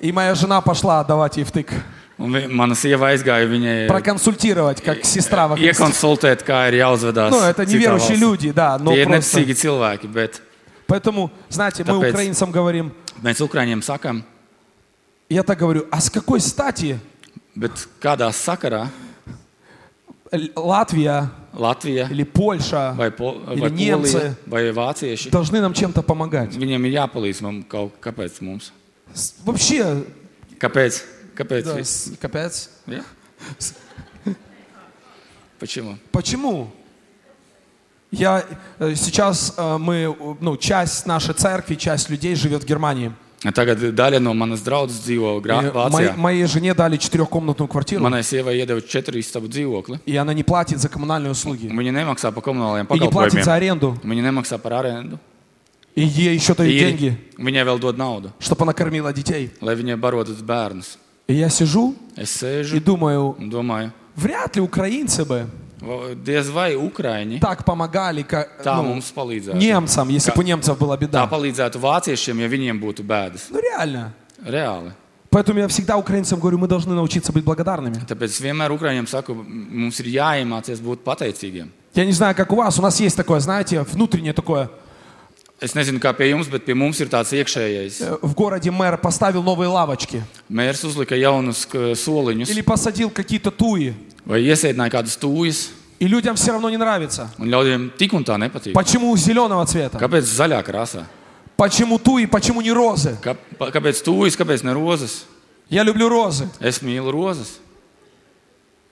Speaker 1: И моя жена пошла давать ей втык.
Speaker 2: Un vi, mana sieva aizgāja viņai. uh,
Speaker 1: Проконсультировать, как сестра
Speaker 2: э,
Speaker 1: во Христе.
Speaker 2: Iekonsultēt, kā ir jāuzvedās.
Speaker 1: Ну, это
Speaker 2: citā
Speaker 1: неверующие
Speaker 2: valstī.
Speaker 1: люди, да, но
Speaker 2: Tie ir
Speaker 1: просто...
Speaker 2: neticīgi cilvēki, bet
Speaker 1: Поэтому, знаете, мы
Speaker 2: Капец.
Speaker 1: украинцам говорим,
Speaker 2: mēs Ukrāņiem sakām,
Speaker 1: я так говорю, а с какой стати
Speaker 2: bet kādā sakarā
Speaker 1: Л- Латвия
Speaker 2: Latvija
Speaker 1: или Польша
Speaker 2: vai, po, vai
Speaker 1: Или немцы.
Speaker 2: Polija vai Vācieši,
Speaker 1: должны нам чем-то помогать?
Speaker 2: viņiem ir jāpalīdz mums kaut kāpēc mums.
Speaker 1: С- Вообще,
Speaker 2: Kāpēc? Kāpēc?
Speaker 1: да,
Speaker 2: vi-
Speaker 1: с- капец.
Speaker 2: Ja? Почему?
Speaker 1: Почему? Я э, сейчас э, мы, э, ну, часть нашей церкви, часть людей живет в Германии.
Speaker 2: Tagad daļa no manas draudzes dzīvo
Speaker 1: И
Speaker 2: Grā-
Speaker 1: моей-
Speaker 2: Vācijā.
Speaker 1: моей жене дали четырехкомнатную квартиру,
Speaker 2: Manai sievai iedeva četru istabu dzīvokli.
Speaker 1: и она не платит за коммунальные услуги,
Speaker 2: un Viņa nemaksā par komunālajiem
Speaker 1: и не платит за
Speaker 2: pakalpojumiem.
Speaker 1: аренду,
Speaker 2: Viņa nemaksā par arendu.
Speaker 1: и ей еще дают
Speaker 2: Īri.
Speaker 1: деньги,
Speaker 2: Viņai vēl dod naudu.
Speaker 1: чтобы она кормила детей.
Speaker 2: lai viņai barotas bērnus.
Speaker 1: И я сижу
Speaker 2: Es
Speaker 1: и
Speaker 2: sēžu
Speaker 1: думаю,
Speaker 2: un domāju,
Speaker 1: вряд ли украинцы бы
Speaker 2: va- diez vai Ukrāņi
Speaker 1: так помогали, как
Speaker 2: tā
Speaker 1: ну,
Speaker 2: mums palīdzētu.
Speaker 1: немцам, если
Speaker 2: Ка-
Speaker 1: бы у немцев была
Speaker 2: Tā
Speaker 1: беда.
Speaker 2: palīdzētu vāciešiem, ja viņiem būtu bēdas.
Speaker 1: Ну реально.
Speaker 2: Reāli.
Speaker 1: Поэтому я всегда украинцам говорю, мы должны научиться быть благодарными.
Speaker 2: Tāpēc es vienmēr Ukrāņiem saku, m- mums ir jāiemācās būt pateicīgiem.
Speaker 1: Я не знаю, как у вас, у нас есть такое, знаете, внутреннее такое.
Speaker 2: Es nezinu, kā pie jums, bet pie mums ir tāds iekšējais.
Speaker 1: Э, В городе мэр поставил новые лавочки
Speaker 2: Mērs uzlika jaunus
Speaker 1: или
Speaker 2: k- soliņus
Speaker 1: посадил какие-то туи,
Speaker 2: vai iesēdināja kādas tūjas,
Speaker 1: и людям все равно не нравится.
Speaker 2: un ļaudīm tik un tā nepatīk.
Speaker 1: Почему зеленого цвета?
Speaker 2: Kāpēc zaļā krāsā?
Speaker 1: Почему туи, почему не розы?
Speaker 2: Kā, pa- kāpēc tūjas, kāpēc ne rozes?
Speaker 1: Я люблю розы.
Speaker 2: Es mīlu rozes.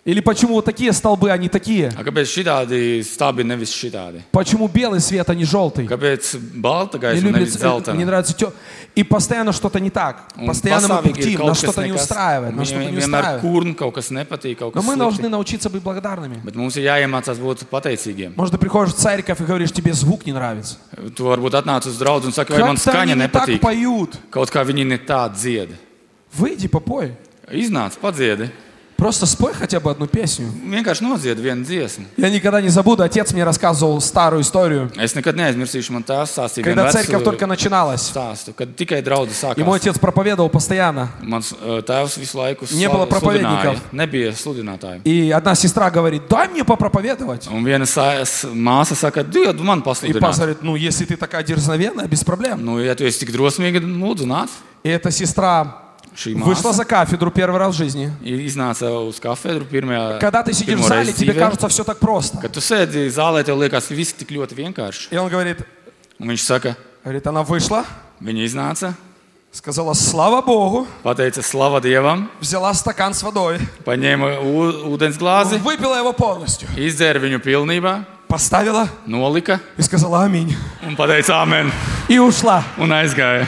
Speaker 1: Или почему вот такие столбы, а не такие?
Speaker 2: A Kāpēc šitādi stābi nevis šitādi?
Speaker 1: Почему белый свет, а не желтый?
Speaker 2: Kāpēc balta
Speaker 1: Не
Speaker 2: gaisma
Speaker 1: любит,
Speaker 2: nevis
Speaker 1: э, не
Speaker 2: zeltaina?
Speaker 1: нравится тё- И постоянно что-то не так.
Speaker 2: Un
Speaker 1: Постоянно мы
Speaker 2: pastāvīgi ir
Speaker 1: пыхтим,
Speaker 2: kaut
Speaker 1: нас
Speaker 2: kas
Speaker 1: что-то не
Speaker 2: nekas.
Speaker 1: устраивает, нас что-то
Speaker 2: Viņiem
Speaker 1: не
Speaker 2: vienmēr
Speaker 1: ustраивает.
Speaker 2: kurna kaut kas nepatīk, kaut
Speaker 1: Но
Speaker 2: kas
Speaker 1: мы должны
Speaker 2: slikti.
Speaker 1: научиться быть благодарными.
Speaker 2: Bet mums ir jāiemācās būt pateicīgiem.
Speaker 1: Может, ты приходишь в церковь и говоришь, тебе звук не нравится.
Speaker 2: Tu varbūt atnāc uz draugu un saki, vai man
Speaker 1: Как-то они
Speaker 2: skaņa
Speaker 1: не так
Speaker 2: nepatīk.
Speaker 1: поют.
Speaker 2: Kaut kā viņi ne tā dzied.
Speaker 1: Выйди, попой.
Speaker 2: Iznāc, padziedi.
Speaker 1: Просто спой хотя бы одну песню.
Speaker 2: Vienkārši nodzied vienu dziesmu.
Speaker 1: Я никогда не забуду, отец мне рассказывал старую историю.
Speaker 2: Es nekad neaizmirsīšu, man tās stāstīja.
Speaker 1: Когда
Speaker 2: vienmēr
Speaker 1: церковь
Speaker 2: su-
Speaker 1: только начиналась,
Speaker 2: stāstu, kad tikai draudzes
Speaker 1: и мой
Speaker 2: sākās.
Speaker 1: отец проповедовал постоянно.
Speaker 2: Mans uh, tēvs visu laiku
Speaker 1: Nebija
Speaker 2: slu-
Speaker 1: проповедников.
Speaker 2: sludināja. Nebija sludinātāji.
Speaker 1: И одна сестра говорит, дай мне попроповедовать.
Speaker 2: Un viena sā- s- māsa saka, Dievs, man
Speaker 1: И пастор
Speaker 2: pasludinās.
Speaker 1: говорит, ну, если ты такая дерзновенная, без проблем.
Speaker 2: Nu, ja tu esi tik drosmīga, tad lūdzu, nāc.
Speaker 1: И эта сестра
Speaker 2: Šī
Speaker 1: вышла
Speaker 2: māsa
Speaker 1: за кафеdraу первый раз в жизни.
Speaker 2: iznāca uz kafedru pirmajā.
Speaker 1: Когда ты сидишь в
Speaker 2: pirmo
Speaker 1: зале,
Speaker 2: reizi
Speaker 1: тебе
Speaker 2: dzīvē.
Speaker 1: кажется все так просто.
Speaker 2: Kad tu sēdi zālē, tev liekas, ka viss tik ļoti vienkārši.
Speaker 1: И он говорит,
Speaker 2: Un viņš saka,
Speaker 1: говорит, она вышла,
Speaker 2: viņa iznāca,
Speaker 1: сказала, slava Богу,
Speaker 2: pateica slavu Dievam,
Speaker 1: взяла стакан с водой,
Speaker 2: paņēma ū- ūdens glāzi,
Speaker 1: выпила его полностью,
Speaker 2: izdzēra viņu pilnībā,
Speaker 1: поставила
Speaker 2: nolika
Speaker 1: и сказала аминь.
Speaker 2: un pateica amen
Speaker 1: И ушла.
Speaker 2: un aizgāja.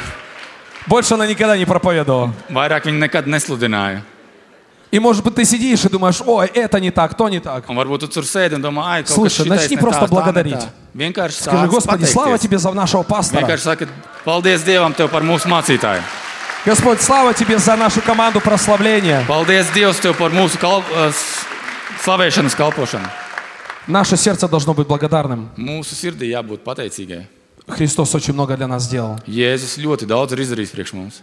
Speaker 1: Больше она никогда не проповедовала.
Speaker 2: Vairāk viņi nekad nesludināja.
Speaker 1: И может быть ты сидишь и думаешь, ой, это не так, то не так.
Speaker 2: Un varbūt tu tur sēdi un domā, ah, kaut
Speaker 1: Слушай,
Speaker 2: kas tāds
Speaker 1: начни просто благодарить.
Speaker 2: Vienkārši
Speaker 1: Скажи,
Speaker 2: sāc
Speaker 1: Господи, слава
Speaker 2: pateikties.
Speaker 1: Тебе за нашего пастора.
Speaker 2: Vienkārši saka, paldies Dievam tev par mūsu mācītāju.
Speaker 1: Господь, слава Тебе за нашу команду прославления.
Speaker 2: Paldies Dievam tev par mūsu kalp eh, s- slavēšanas kalpošanu.
Speaker 1: Наше сердце должно быть благодарным.
Speaker 2: Mūsu sirdī jābūt pateicīgai.
Speaker 1: Христос очень много для нас сделал.
Speaker 2: Jēzus ļoti daudz ir izdarījis priekš mums.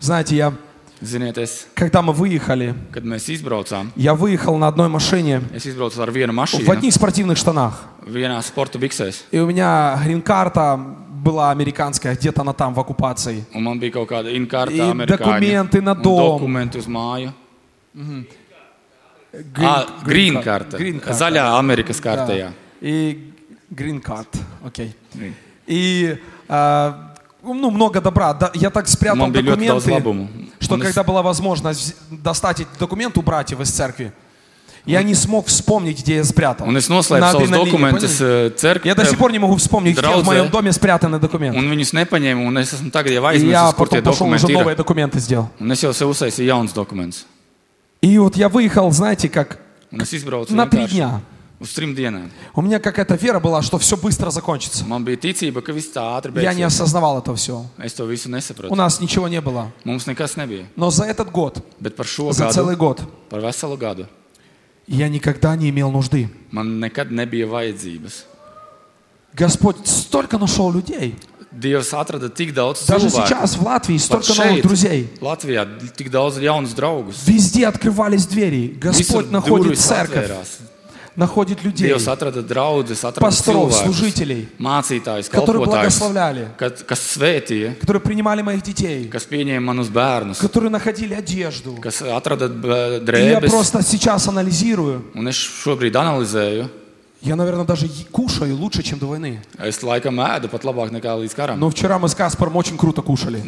Speaker 1: Знаете, я,
Speaker 2: Ziniet, es,
Speaker 1: когда мы выехали,
Speaker 2: kad mēs izbraucām,
Speaker 1: я выехал на одной машине
Speaker 2: es izbraucu ar vienu
Speaker 1: в
Speaker 2: mašīnu,
Speaker 1: одних спортивных штанах.
Speaker 2: vienā sporta biksēs.
Speaker 1: И у меня грин-карта была американская, где-то она там в оккупации.
Speaker 2: Un man bija kaut kāda
Speaker 1: Ir
Speaker 2: inkārta, amerikāņa.
Speaker 1: dokumenti na
Speaker 2: Un
Speaker 1: domu.
Speaker 2: Dokumenti uz māju.
Speaker 1: Грин-
Speaker 2: Green, green karta.
Speaker 1: Green card.
Speaker 2: Zaļā Amerikas
Speaker 1: Да.
Speaker 2: kartē. Jā.
Speaker 1: И грин-карт, окей.
Speaker 2: Green.
Speaker 1: И а, ну, много добра. Да, я так спрятал
Speaker 2: Man bija ļoti daudz
Speaker 1: документы,
Speaker 2: labumu.
Speaker 1: что
Speaker 2: Un es-
Speaker 1: когда была возможность вз- достать эти документы у братьев из церкви, я не смог вспомнить, где я спрятал.
Speaker 2: Un es noslēdzu savus
Speaker 1: адреналине,
Speaker 2: dokumentus
Speaker 1: поняли?
Speaker 2: eh,
Speaker 1: Я до сих
Speaker 2: cerkvē.
Speaker 1: пор не могу вспомнить, где в
Speaker 2: Драузе. а,
Speaker 1: моем доме спрятаны документы.
Speaker 2: Un viņus nepaņēmu, un es esmu tagad jau
Speaker 1: И я
Speaker 2: aizmirsis, kur tie
Speaker 1: потом пошел уже
Speaker 2: dokumenti
Speaker 1: новые
Speaker 2: ir.
Speaker 1: документы сделал.
Speaker 2: Un es jau sev uztaisīju jaunus dokumentus.
Speaker 1: И вот я выехал, знаете, как
Speaker 2: Un es izbraucu
Speaker 1: на три
Speaker 2: vienkārši
Speaker 1: дня.
Speaker 2: Uz trim dienām.
Speaker 1: У меня какая-то вера была, что все быстро закончится.
Speaker 2: Man bija ticība, ka viss tā ātri
Speaker 1: Я не
Speaker 2: beigsies.
Speaker 1: осознавал это все.
Speaker 2: Es to visu nesapratu.
Speaker 1: У нас ничего не было.
Speaker 2: Mums nekas nebija.
Speaker 1: Но за этот год,
Speaker 2: Bet par šo
Speaker 1: за целый
Speaker 2: gadu,
Speaker 1: год,
Speaker 2: par veselu gadu,
Speaker 1: я никогда не имел нужды.
Speaker 2: man nekad nebija vajadzības.
Speaker 1: Господь столько нашел людей.
Speaker 2: Dievs atrada tik daudz
Speaker 1: Даже
Speaker 2: cilvēku.
Speaker 1: сейчас в Латвии
Speaker 2: Pat
Speaker 1: столько новых
Speaker 2: šeit,
Speaker 1: друзей.
Speaker 2: Latvijā tik daudz jaunus draugus.
Speaker 1: Vезде открывались двери.
Speaker 2: Visur
Speaker 1: Господь находит
Speaker 2: durvis
Speaker 1: церковь,
Speaker 2: atvērās.
Speaker 1: находит людей,
Speaker 2: Dievs atrada draugus, atrada
Speaker 1: пасторов,
Speaker 2: cilvēkus,
Speaker 1: служителей,
Speaker 2: mācītājus,
Speaker 1: которые
Speaker 2: kalpotājus,
Speaker 1: благословляли,
Speaker 2: kad- kas svētīja,
Speaker 1: которые принимали моих детей,
Speaker 2: kas pieņēma manus bērnus,
Speaker 1: которые находили одежду.
Speaker 2: kas atrada b-
Speaker 1: И я
Speaker 2: drēbes.
Speaker 1: просто сейчас анализирую.
Speaker 2: Un es šobrīd analizēju.
Speaker 1: Я, наверное, даже е- кушаю лучше, чем до войны.
Speaker 2: Es laikam ēdu pat labāk nekā līdz karam. Nu.
Speaker 1: Но вчера мы с Каспаром очень круто кушали.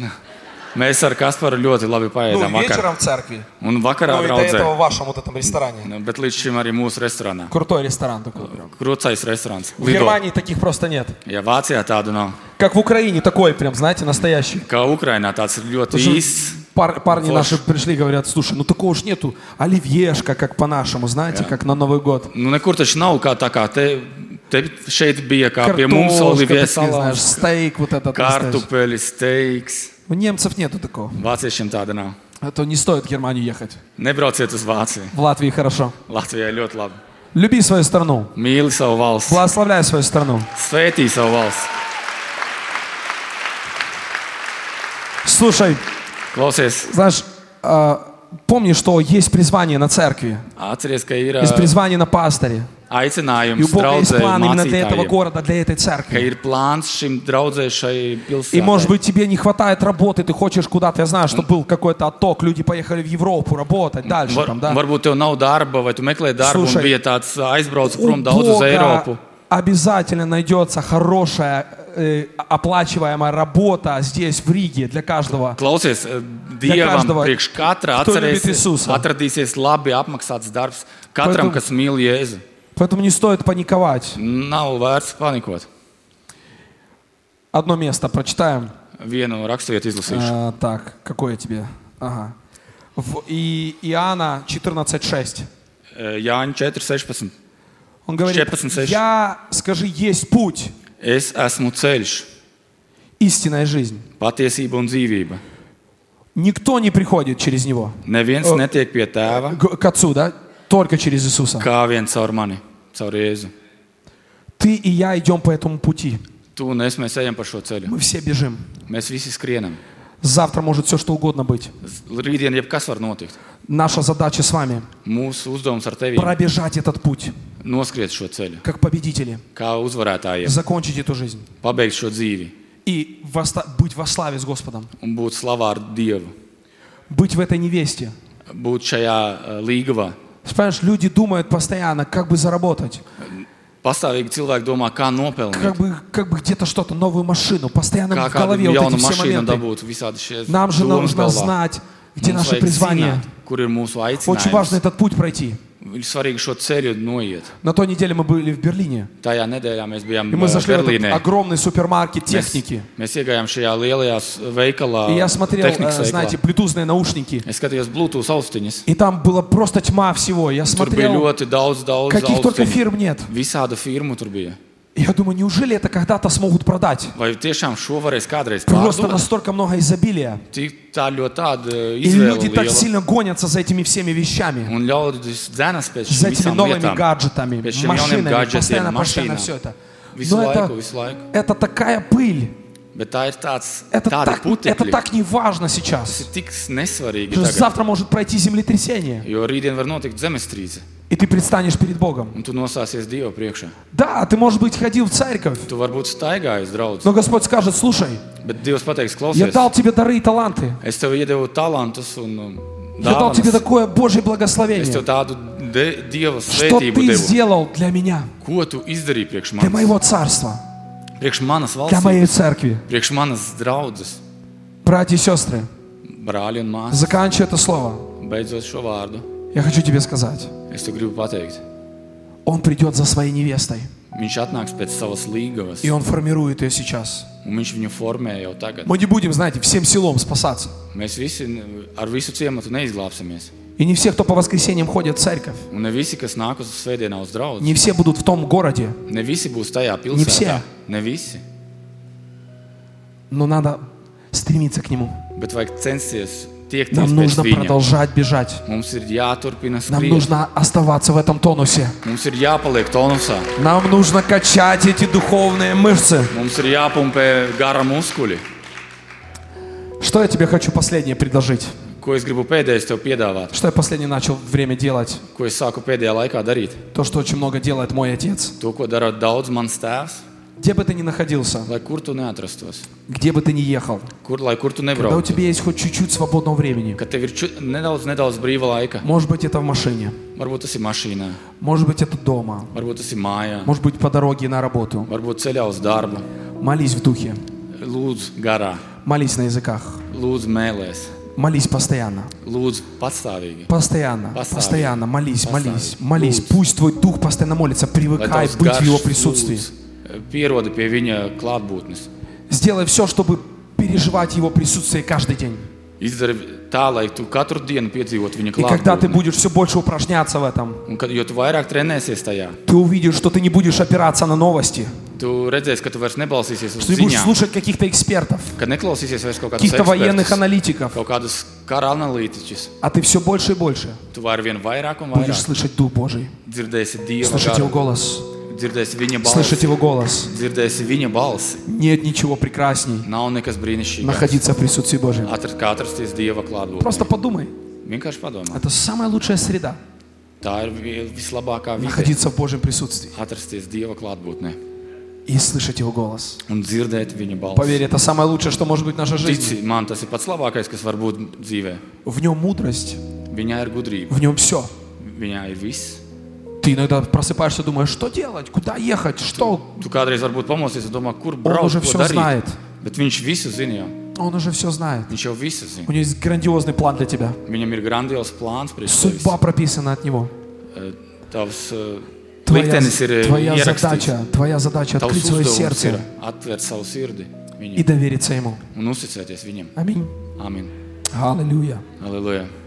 Speaker 2: Mēs ar Kasparu ļoti labi paēdām
Speaker 1: Nu,
Speaker 2: vakar.
Speaker 1: Ну, в церкви. Ну,
Speaker 2: Un
Speaker 1: Nu,
Speaker 2: vakarā draudzē.
Speaker 1: в вашем вот этом ресторане.
Speaker 2: Nu, Bet līdz šim arī mūsu restorānā.
Speaker 1: Крутой ресторан такой.
Speaker 2: Krūcais restorāns.
Speaker 1: В Германии таких просто нет.
Speaker 2: Ja Vācijā tādu nav.
Speaker 1: Как в Украине такой прям, знаете, настоящий.
Speaker 2: Kā Ukrainā tāds ir ļoti
Speaker 1: Потому
Speaker 2: īsts.
Speaker 1: что пар- парни
Speaker 2: Флэш.
Speaker 1: наши пришли, говорят, слушай, ну такого уж нету. Оливьешка, как по-нашему, знаете, как на Новый год.
Speaker 2: Nu, nekur taču nav kā tā, kā te, te šeit bija, kā pie mums
Speaker 1: ты
Speaker 2: olivijas
Speaker 1: знаешь,
Speaker 2: salāns,
Speaker 1: стейк вот этот. настоящий.
Speaker 2: kartupeļi, steiks.
Speaker 1: У немцев нету такого.
Speaker 2: Vāciešiem tāda nav.
Speaker 1: А то не стоит в Германию ехать.
Speaker 2: Nebrauciet uz Vāciju.
Speaker 1: В Латвии хорошо.
Speaker 2: Latvijai ļoti labi.
Speaker 1: Люби свою страну.
Speaker 2: Mīli savu valsts,
Speaker 1: Благословляй свою страну.
Speaker 2: svētī savu valsts.
Speaker 1: Слушай,
Speaker 2: Klausies,
Speaker 1: знаешь, а, помни, что есть призвание на церкви.
Speaker 2: atceries, ka ir
Speaker 1: Есть
Speaker 2: ā,
Speaker 1: призвание на пастыре. И у
Speaker 2: aicinājums
Speaker 1: Бога есть
Speaker 2: draudzē,
Speaker 1: план именно для этого
Speaker 2: mācītājiem,
Speaker 1: города, для этой
Speaker 2: ka
Speaker 1: церкви.
Speaker 2: ir plāns šim draudzē šai
Speaker 1: И, может
Speaker 2: pilsētai.
Speaker 1: быть, тебе не хватает работы, ты хочешь куда-то, я знаю, что был какой-то отток, люди поехали в Европу работать дальше
Speaker 2: Var,
Speaker 1: там, да?
Speaker 2: varbūt tev nav darba, vai tu meklē darbu,
Speaker 1: Слушай,
Speaker 2: un bija tāds aizbraucis
Speaker 1: У
Speaker 2: prom daudz uz
Speaker 1: Бога
Speaker 2: Eiropu.
Speaker 1: обязательно найдется хорошая э, оплачиваемая работа здесь, в Риге, для каждого.
Speaker 2: Klausies, eh, Dievam
Speaker 1: každava,
Speaker 2: priekš katra
Speaker 1: kto
Speaker 2: atcerēs,
Speaker 1: ļubit Isusa.
Speaker 2: atradīsies labi apmaksāts darbs katram,
Speaker 1: Поэтому-
Speaker 2: kas mīl Jēzu.
Speaker 1: Поэтому не стоит паниковать.
Speaker 2: Nav vērts panikot.
Speaker 1: Одно место прочитаем.
Speaker 2: Vienu raksturvietu izlasīšu.
Speaker 1: А, так, какое тебе? Ага. В И- Иоанна 14.6.
Speaker 2: Eh, Jāņa 4.16.
Speaker 1: Он говорит,
Speaker 2: 14:6.
Speaker 1: я, скажи, есть путь,
Speaker 2: Es esmu ceļš,
Speaker 1: истинная жизнь.
Speaker 2: patiesība un dzīvība.
Speaker 1: Никто не приходит через него.
Speaker 2: Neviens netiek pie tēva,
Speaker 1: К, к отцу, да? Только через Иисуса.
Speaker 2: kā vien caur mani, caur Jēzu.
Speaker 1: Ты и я идем по этому пути.
Speaker 2: Tu un es mēs ejam pa šo ceļu.
Speaker 1: Мы все бежим.
Speaker 2: Mēs visi skrienam.
Speaker 1: Завтра может все что угодно быть.
Speaker 2: Z- Rītdien jebkas var notikt.
Speaker 1: Наша задача с вами
Speaker 2: Mūsu uzdevums ar tevi ir
Speaker 1: пробежать этот путь,
Speaker 2: noskriet šo ceļu,
Speaker 1: как победители,
Speaker 2: kā uzvarētājiem,
Speaker 1: закончить эту жизнь
Speaker 2: pabeigt šo dzīvi
Speaker 1: и воста- быть во славе с Господом,
Speaker 2: un būt slavā ar Dievu,
Speaker 1: быть в этой невесте.
Speaker 2: būt šajā eh, līgavā.
Speaker 1: Понимаешь, люди думают постоянно, как бы заработать,
Speaker 2: Pastāvīgi cilvēki domā, kā
Speaker 1: как
Speaker 2: nopelnīt,
Speaker 1: бы, как бы где-то что-то, новую машину, постоянно
Speaker 2: kā
Speaker 1: в
Speaker 2: kādu
Speaker 1: голове вот
Speaker 2: jaunu
Speaker 1: эти все
Speaker 2: mašīnu
Speaker 1: моменты.
Speaker 2: dabūt, visādi šie
Speaker 1: Нам же
Speaker 2: domas
Speaker 1: нужно
Speaker 2: galvā.
Speaker 1: знать, где
Speaker 2: Mums
Speaker 1: наше
Speaker 2: vajag
Speaker 1: призвание.
Speaker 2: zināt, Kur ir mūsu
Speaker 1: Очень важно
Speaker 2: aicinājums?
Speaker 1: этот путь пройти.
Speaker 2: Ir svarīgi šo ceļu noiet.
Speaker 1: На той неделе мы были в Берлине,
Speaker 2: Tajā nedēļā mēs bijām eh,
Speaker 1: и мы зашли в этот
Speaker 2: Berlīnē.
Speaker 1: огромный супермаркет
Speaker 2: Mēs,
Speaker 1: техники.
Speaker 2: mēs iegājām šajā lielajā s- veikalā.
Speaker 1: И я смотрел, э,
Speaker 2: tehnikas veikalā.
Speaker 1: знаете, блютузные наушники.
Speaker 2: es skatījos Bluetooth austiņas.
Speaker 1: И там была просто тьма всего. Я
Speaker 2: Tur bija
Speaker 1: смотрел,
Speaker 2: ļoti daudz, daudz
Speaker 1: каких только
Speaker 2: austiņu.
Speaker 1: фирм нет.
Speaker 2: Visādu firmu tur bija.
Speaker 1: И Я думаю, неужели это когда-то смогут продать?
Speaker 2: Vai tiešām šo varēs kādreiz
Speaker 1: Просто
Speaker 2: pārdot?
Speaker 1: настолько много изобилия.
Speaker 2: Tik tā ļoti tāda
Speaker 1: И люди
Speaker 2: izvēle
Speaker 1: так
Speaker 2: liela.
Speaker 1: сильно гонятся за этими всеми вещами.
Speaker 2: Un ļaudis dzēnas pēc
Speaker 1: За
Speaker 2: šīm
Speaker 1: этими
Speaker 2: visām
Speaker 1: новыми
Speaker 2: lietām.
Speaker 1: гаджетами,
Speaker 2: Pēc šiem jauniem
Speaker 1: машинами.
Speaker 2: gadžetiem,
Speaker 1: Постоянно, постоянно все
Speaker 2: mašīnām.
Speaker 1: это.
Speaker 2: Visu
Speaker 1: Но
Speaker 2: laiku,
Speaker 1: это,
Speaker 2: visu laiku.
Speaker 1: это такая пыль.
Speaker 2: Bet tā ir tāds,
Speaker 1: Это
Speaker 2: tāda
Speaker 1: так, это
Speaker 2: putekļa.
Speaker 1: так не важно
Speaker 2: Tas
Speaker 1: сейчас.
Speaker 2: ir tik nesvarīgi.
Speaker 1: Потому что
Speaker 2: Tagad,
Speaker 1: завтра может пройти землетрясение,
Speaker 2: jo rītdien var notikt zemestrīce,
Speaker 1: и ты предстанешь перед Богом.
Speaker 2: un tu nostāsies Dieva priekšā.
Speaker 1: Да, ты, может быть, ходил в церковь,
Speaker 2: Tu varbūt staigājies, draugs,
Speaker 1: но Господь скажет, слушай,
Speaker 2: bet Dievs pateiks,
Speaker 1: я
Speaker 2: klausies,
Speaker 1: дал тебе дары и таланты.
Speaker 2: es tev iedevu talantus un um,
Speaker 1: Я дал тебе
Speaker 2: dāvanas.
Speaker 1: такое Божье
Speaker 2: Es tev
Speaker 1: благословение.
Speaker 2: tādu de, Dieva
Speaker 1: Что
Speaker 2: svētību
Speaker 1: ты
Speaker 2: devu.
Speaker 1: сделал для меня,
Speaker 2: Ko tu izdarīji priekš
Speaker 1: для
Speaker 2: manis?
Speaker 1: моего царства,
Speaker 2: Priekš manas
Speaker 1: для моей
Speaker 2: valsts,
Speaker 1: церкви?
Speaker 2: priekš manas draudzes,
Speaker 1: Братья и сестры,
Speaker 2: brāļi un māsas.
Speaker 1: заканчивая это слово,
Speaker 2: Beidzot šo vārdu,
Speaker 1: я хочу тебе сказать,
Speaker 2: es tev gribu pateikt.
Speaker 1: он придет за своей невестой,
Speaker 2: Viņš atnāks pēc savas līgavas,
Speaker 1: и он формирует ее сейчас.
Speaker 2: un viņš viņu formē jau tagad.
Speaker 1: Мы не будем, знаете, всем селом спасаться.
Speaker 2: Mēs visi n- ar visu ciematu neizglābsimies.
Speaker 1: И не все, кто по воскресеньям ходит в церковь,
Speaker 2: Un ne visi, kas nāk uz svētdienu, uz draugu,
Speaker 1: не все будут в том городе,
Speaker 2: ne visi būs tajā
Speaker 1: visi.
Speaker 2: pilsētā. Ne visi.
Speaker 1: но надо стремиться к нему.
Speaker 2: Bet vajag censties tiekties
Speaker 1: Нам
Speaker 2: pēc
Speaker 1: нужно
Speaker 2: viņa.
Speaker 1: продолжать бежать.
Speaker 2: Mums ir jāturpina
Speaker 1: Нам
Speaker 2: skriet.
Speaker 1: нужно оставаться в этом тонусе.
Speaker 2: Mums ir jāpaliek tonusā.
Speaker 1: Нам нужно качать эти духовные мышцы.
Speaker 2: Mums ir jāpumpē gara muskuļi.
Speaker 1: Что я тебе хочу последнее предложить?
Speaker 2: Ko es gribu pēdējais tev piedāvāt?
Speaker 1: Что я последнее начал время делать?
Speaker 2: Ko es sāku pēdējā laikā darīt?
Speaker 1: То, что очень много делает мой отец.
Speaker 2: To, ko dara daudz mans tēvs,
Speaker 1: Где бы ты ни находился,
Speaker 2: lai kur tu neatrastos,
Speaker 1: где бы ты ни ехал,
Speaker 2: kur, lai kur tu
Speaker 1: когда у
Speaker 2: nebrauktu.
Speaker 1: тебя есть хоть чуть-чуть свободного времени,
Speaker 2: Kad tev ir ču, nedaudz, nedaudz brīva laika,
Speaker 1: может быть, это в машине,
Speaker 2: varbūt tas ir mašīnā,
Speaker 1: может быть, это дома,
Speaker 2: varbūt tas ir mājā,
Speaker 1: может быть, по дороге на работу,
Speaker 2: varbūt ceļā uz darbu.
Speaker 1: молись в духе,
Speaker 2: Lūdzu, garā,
Speaker 1: молись на языках,
Speaker 2: lūdzu, mēlēs,
Speaker 1: молись постоянно,
Speaker 2: lūdzu, pastāvīgi.
Speaker 1: постоянно,
Speaker 2: Поставь.
Speaker 1: постоянно, молись,
Speaker 2: Поставь.
Speaker 1: молись, молись.
Speaker 2: Луз.
Speaker 1: Пусть твой дух постоянно молится, привыкай
Speaker 2: tavs
Speaker 1: быть в
Speaker 2: garš
Speaker 1: его присутствии.
Speaker 2: lūdz, Pierodi pie viņa klātbūtnes.
Speaker 1: Сделай все, чтобы переживать его присутствие каждый день.
Speaker 2: Izdari tā, lai tu katru dienu piedzīvotu viņa
Speaker 1: И когда ты
Speaker 2: klātbūtni.
Speaker 1: будешь все больше упражняться в этом,
Speaker 2: Un, kad, jo tu vairāk trenēsies tajā,
Speaker 1: ты увидишь, что ты не будешь опираться на новости,
Speaker 2: tu redzēsi, ka tu vairs nebalsīsies uz
Speaker 1: что ты будешь
Speaker 2: ziņām,
Speaker 1: слушать каких-то экспертов,
Speaker 2: ka neklausīsies vairs kaut kādus
Speaker 1: каких-то военных
Speaker 2: ekspertus,
Speaker 1: аналитиков,
Speaker 2: kaut kādus kara analītiķus.
Speaker 1: а ты все больше и больше
Speaker 2: Tu vari vien vairāk un
Speaker 1: будешь
Speaker 2: vairāk
Speaker 1: слышать Дух Божий,
Speaker 2: dzirdēsi Dieva
Speaker 1: слышать Его
Speaker 2: garu,
Speaker 1: голос,
Speaker 2: dzirdēsi viņa
Speaker 1: слышать
Speaker 2: balsi.
Speaker 1: Его голос.
Speaker 2: Dzirdēsi viņa balsi.
Speaker 1: Нет ничего прекрасней
Speaker 2: Nav nekas brīnišķīgs.
Speaker 1: находиться в присутствии Божьем.
Speaker 2: Atrast, kā atrasties Dieva klātbūtnē.
Speaker 1: Просто подумай,
Speaker 2: Vienkārši padomā.
Speaker 1: это самая лучшая среда
Speaker 2: Tā ir vi- vislabākā vide.
Speaker 1: находиться в Божьем присутствии
Speaker 2: Atrasties Dieva klātbūtnē
Speaker 1: и слышать Его голос.
Speaker 2: un dzirdēt viņa
Speaker 1: Поверь,
Speaker 2: balsi.
Speaker 1: это самое лучшее, что может быть в нашей жизни.
Speaker 2: Tici, man tas ir pats labākais, kas var būt dzīvē.
Speaker 1: В нем мудрость,
Speaker 2: Viņā ir gudrība,
Speaker 1: в нем все.
Speaker 2: viņā ir viss.
Speaker 1: Ты иногда просыпаешься, думаешь, что делать, куда ехать, что?
Speaker 2: Tu kādreiz varbūt pamosies un domā, kur
Speaker 1: Он
Speaker 2: braukt,
Speaker 1: уже
Speaker 2: ko
Speaker 1: все
Speaker 2: darīt.
Speaker 1: знает.
Speaker 2: Bet viņš visu zina. Jau.
Speaker 1: Он уже все знает.
Speaker 2: Viņš jau visu
Speaker 1: У
Speaker 2: zina.
Speaker 1: него есть грандиозный план для тебя.
Speaker 2: Viņam ir grandios plāns priekš tevis.
Speaker 1: Судьба прописана от него.
Speaker 2: Eh, Tavs eh,
Speaker 1: Твоя,
Speaker 2: liktenis ir eh,
Speaker 1: твоя
Speaker 2: ierakstīts.
Speaker 1: задача, твоя задача
Speaker 2: Tavs
Speaker 1: открыть свое
Speaker 2: uzdevums ir
Speaker 1: сердце
Speaker 2: atvērt savu sirdi
Speaker 1: и
Speaker 2: viņam
Speaker 1: довериться ему.
Speaker 2: un uzticēties viņam.
Speaker 1: Аминь.
Speaker 2: Amen.
Speaker 1: Аллилуйя.
Speaker 2: Halleluja.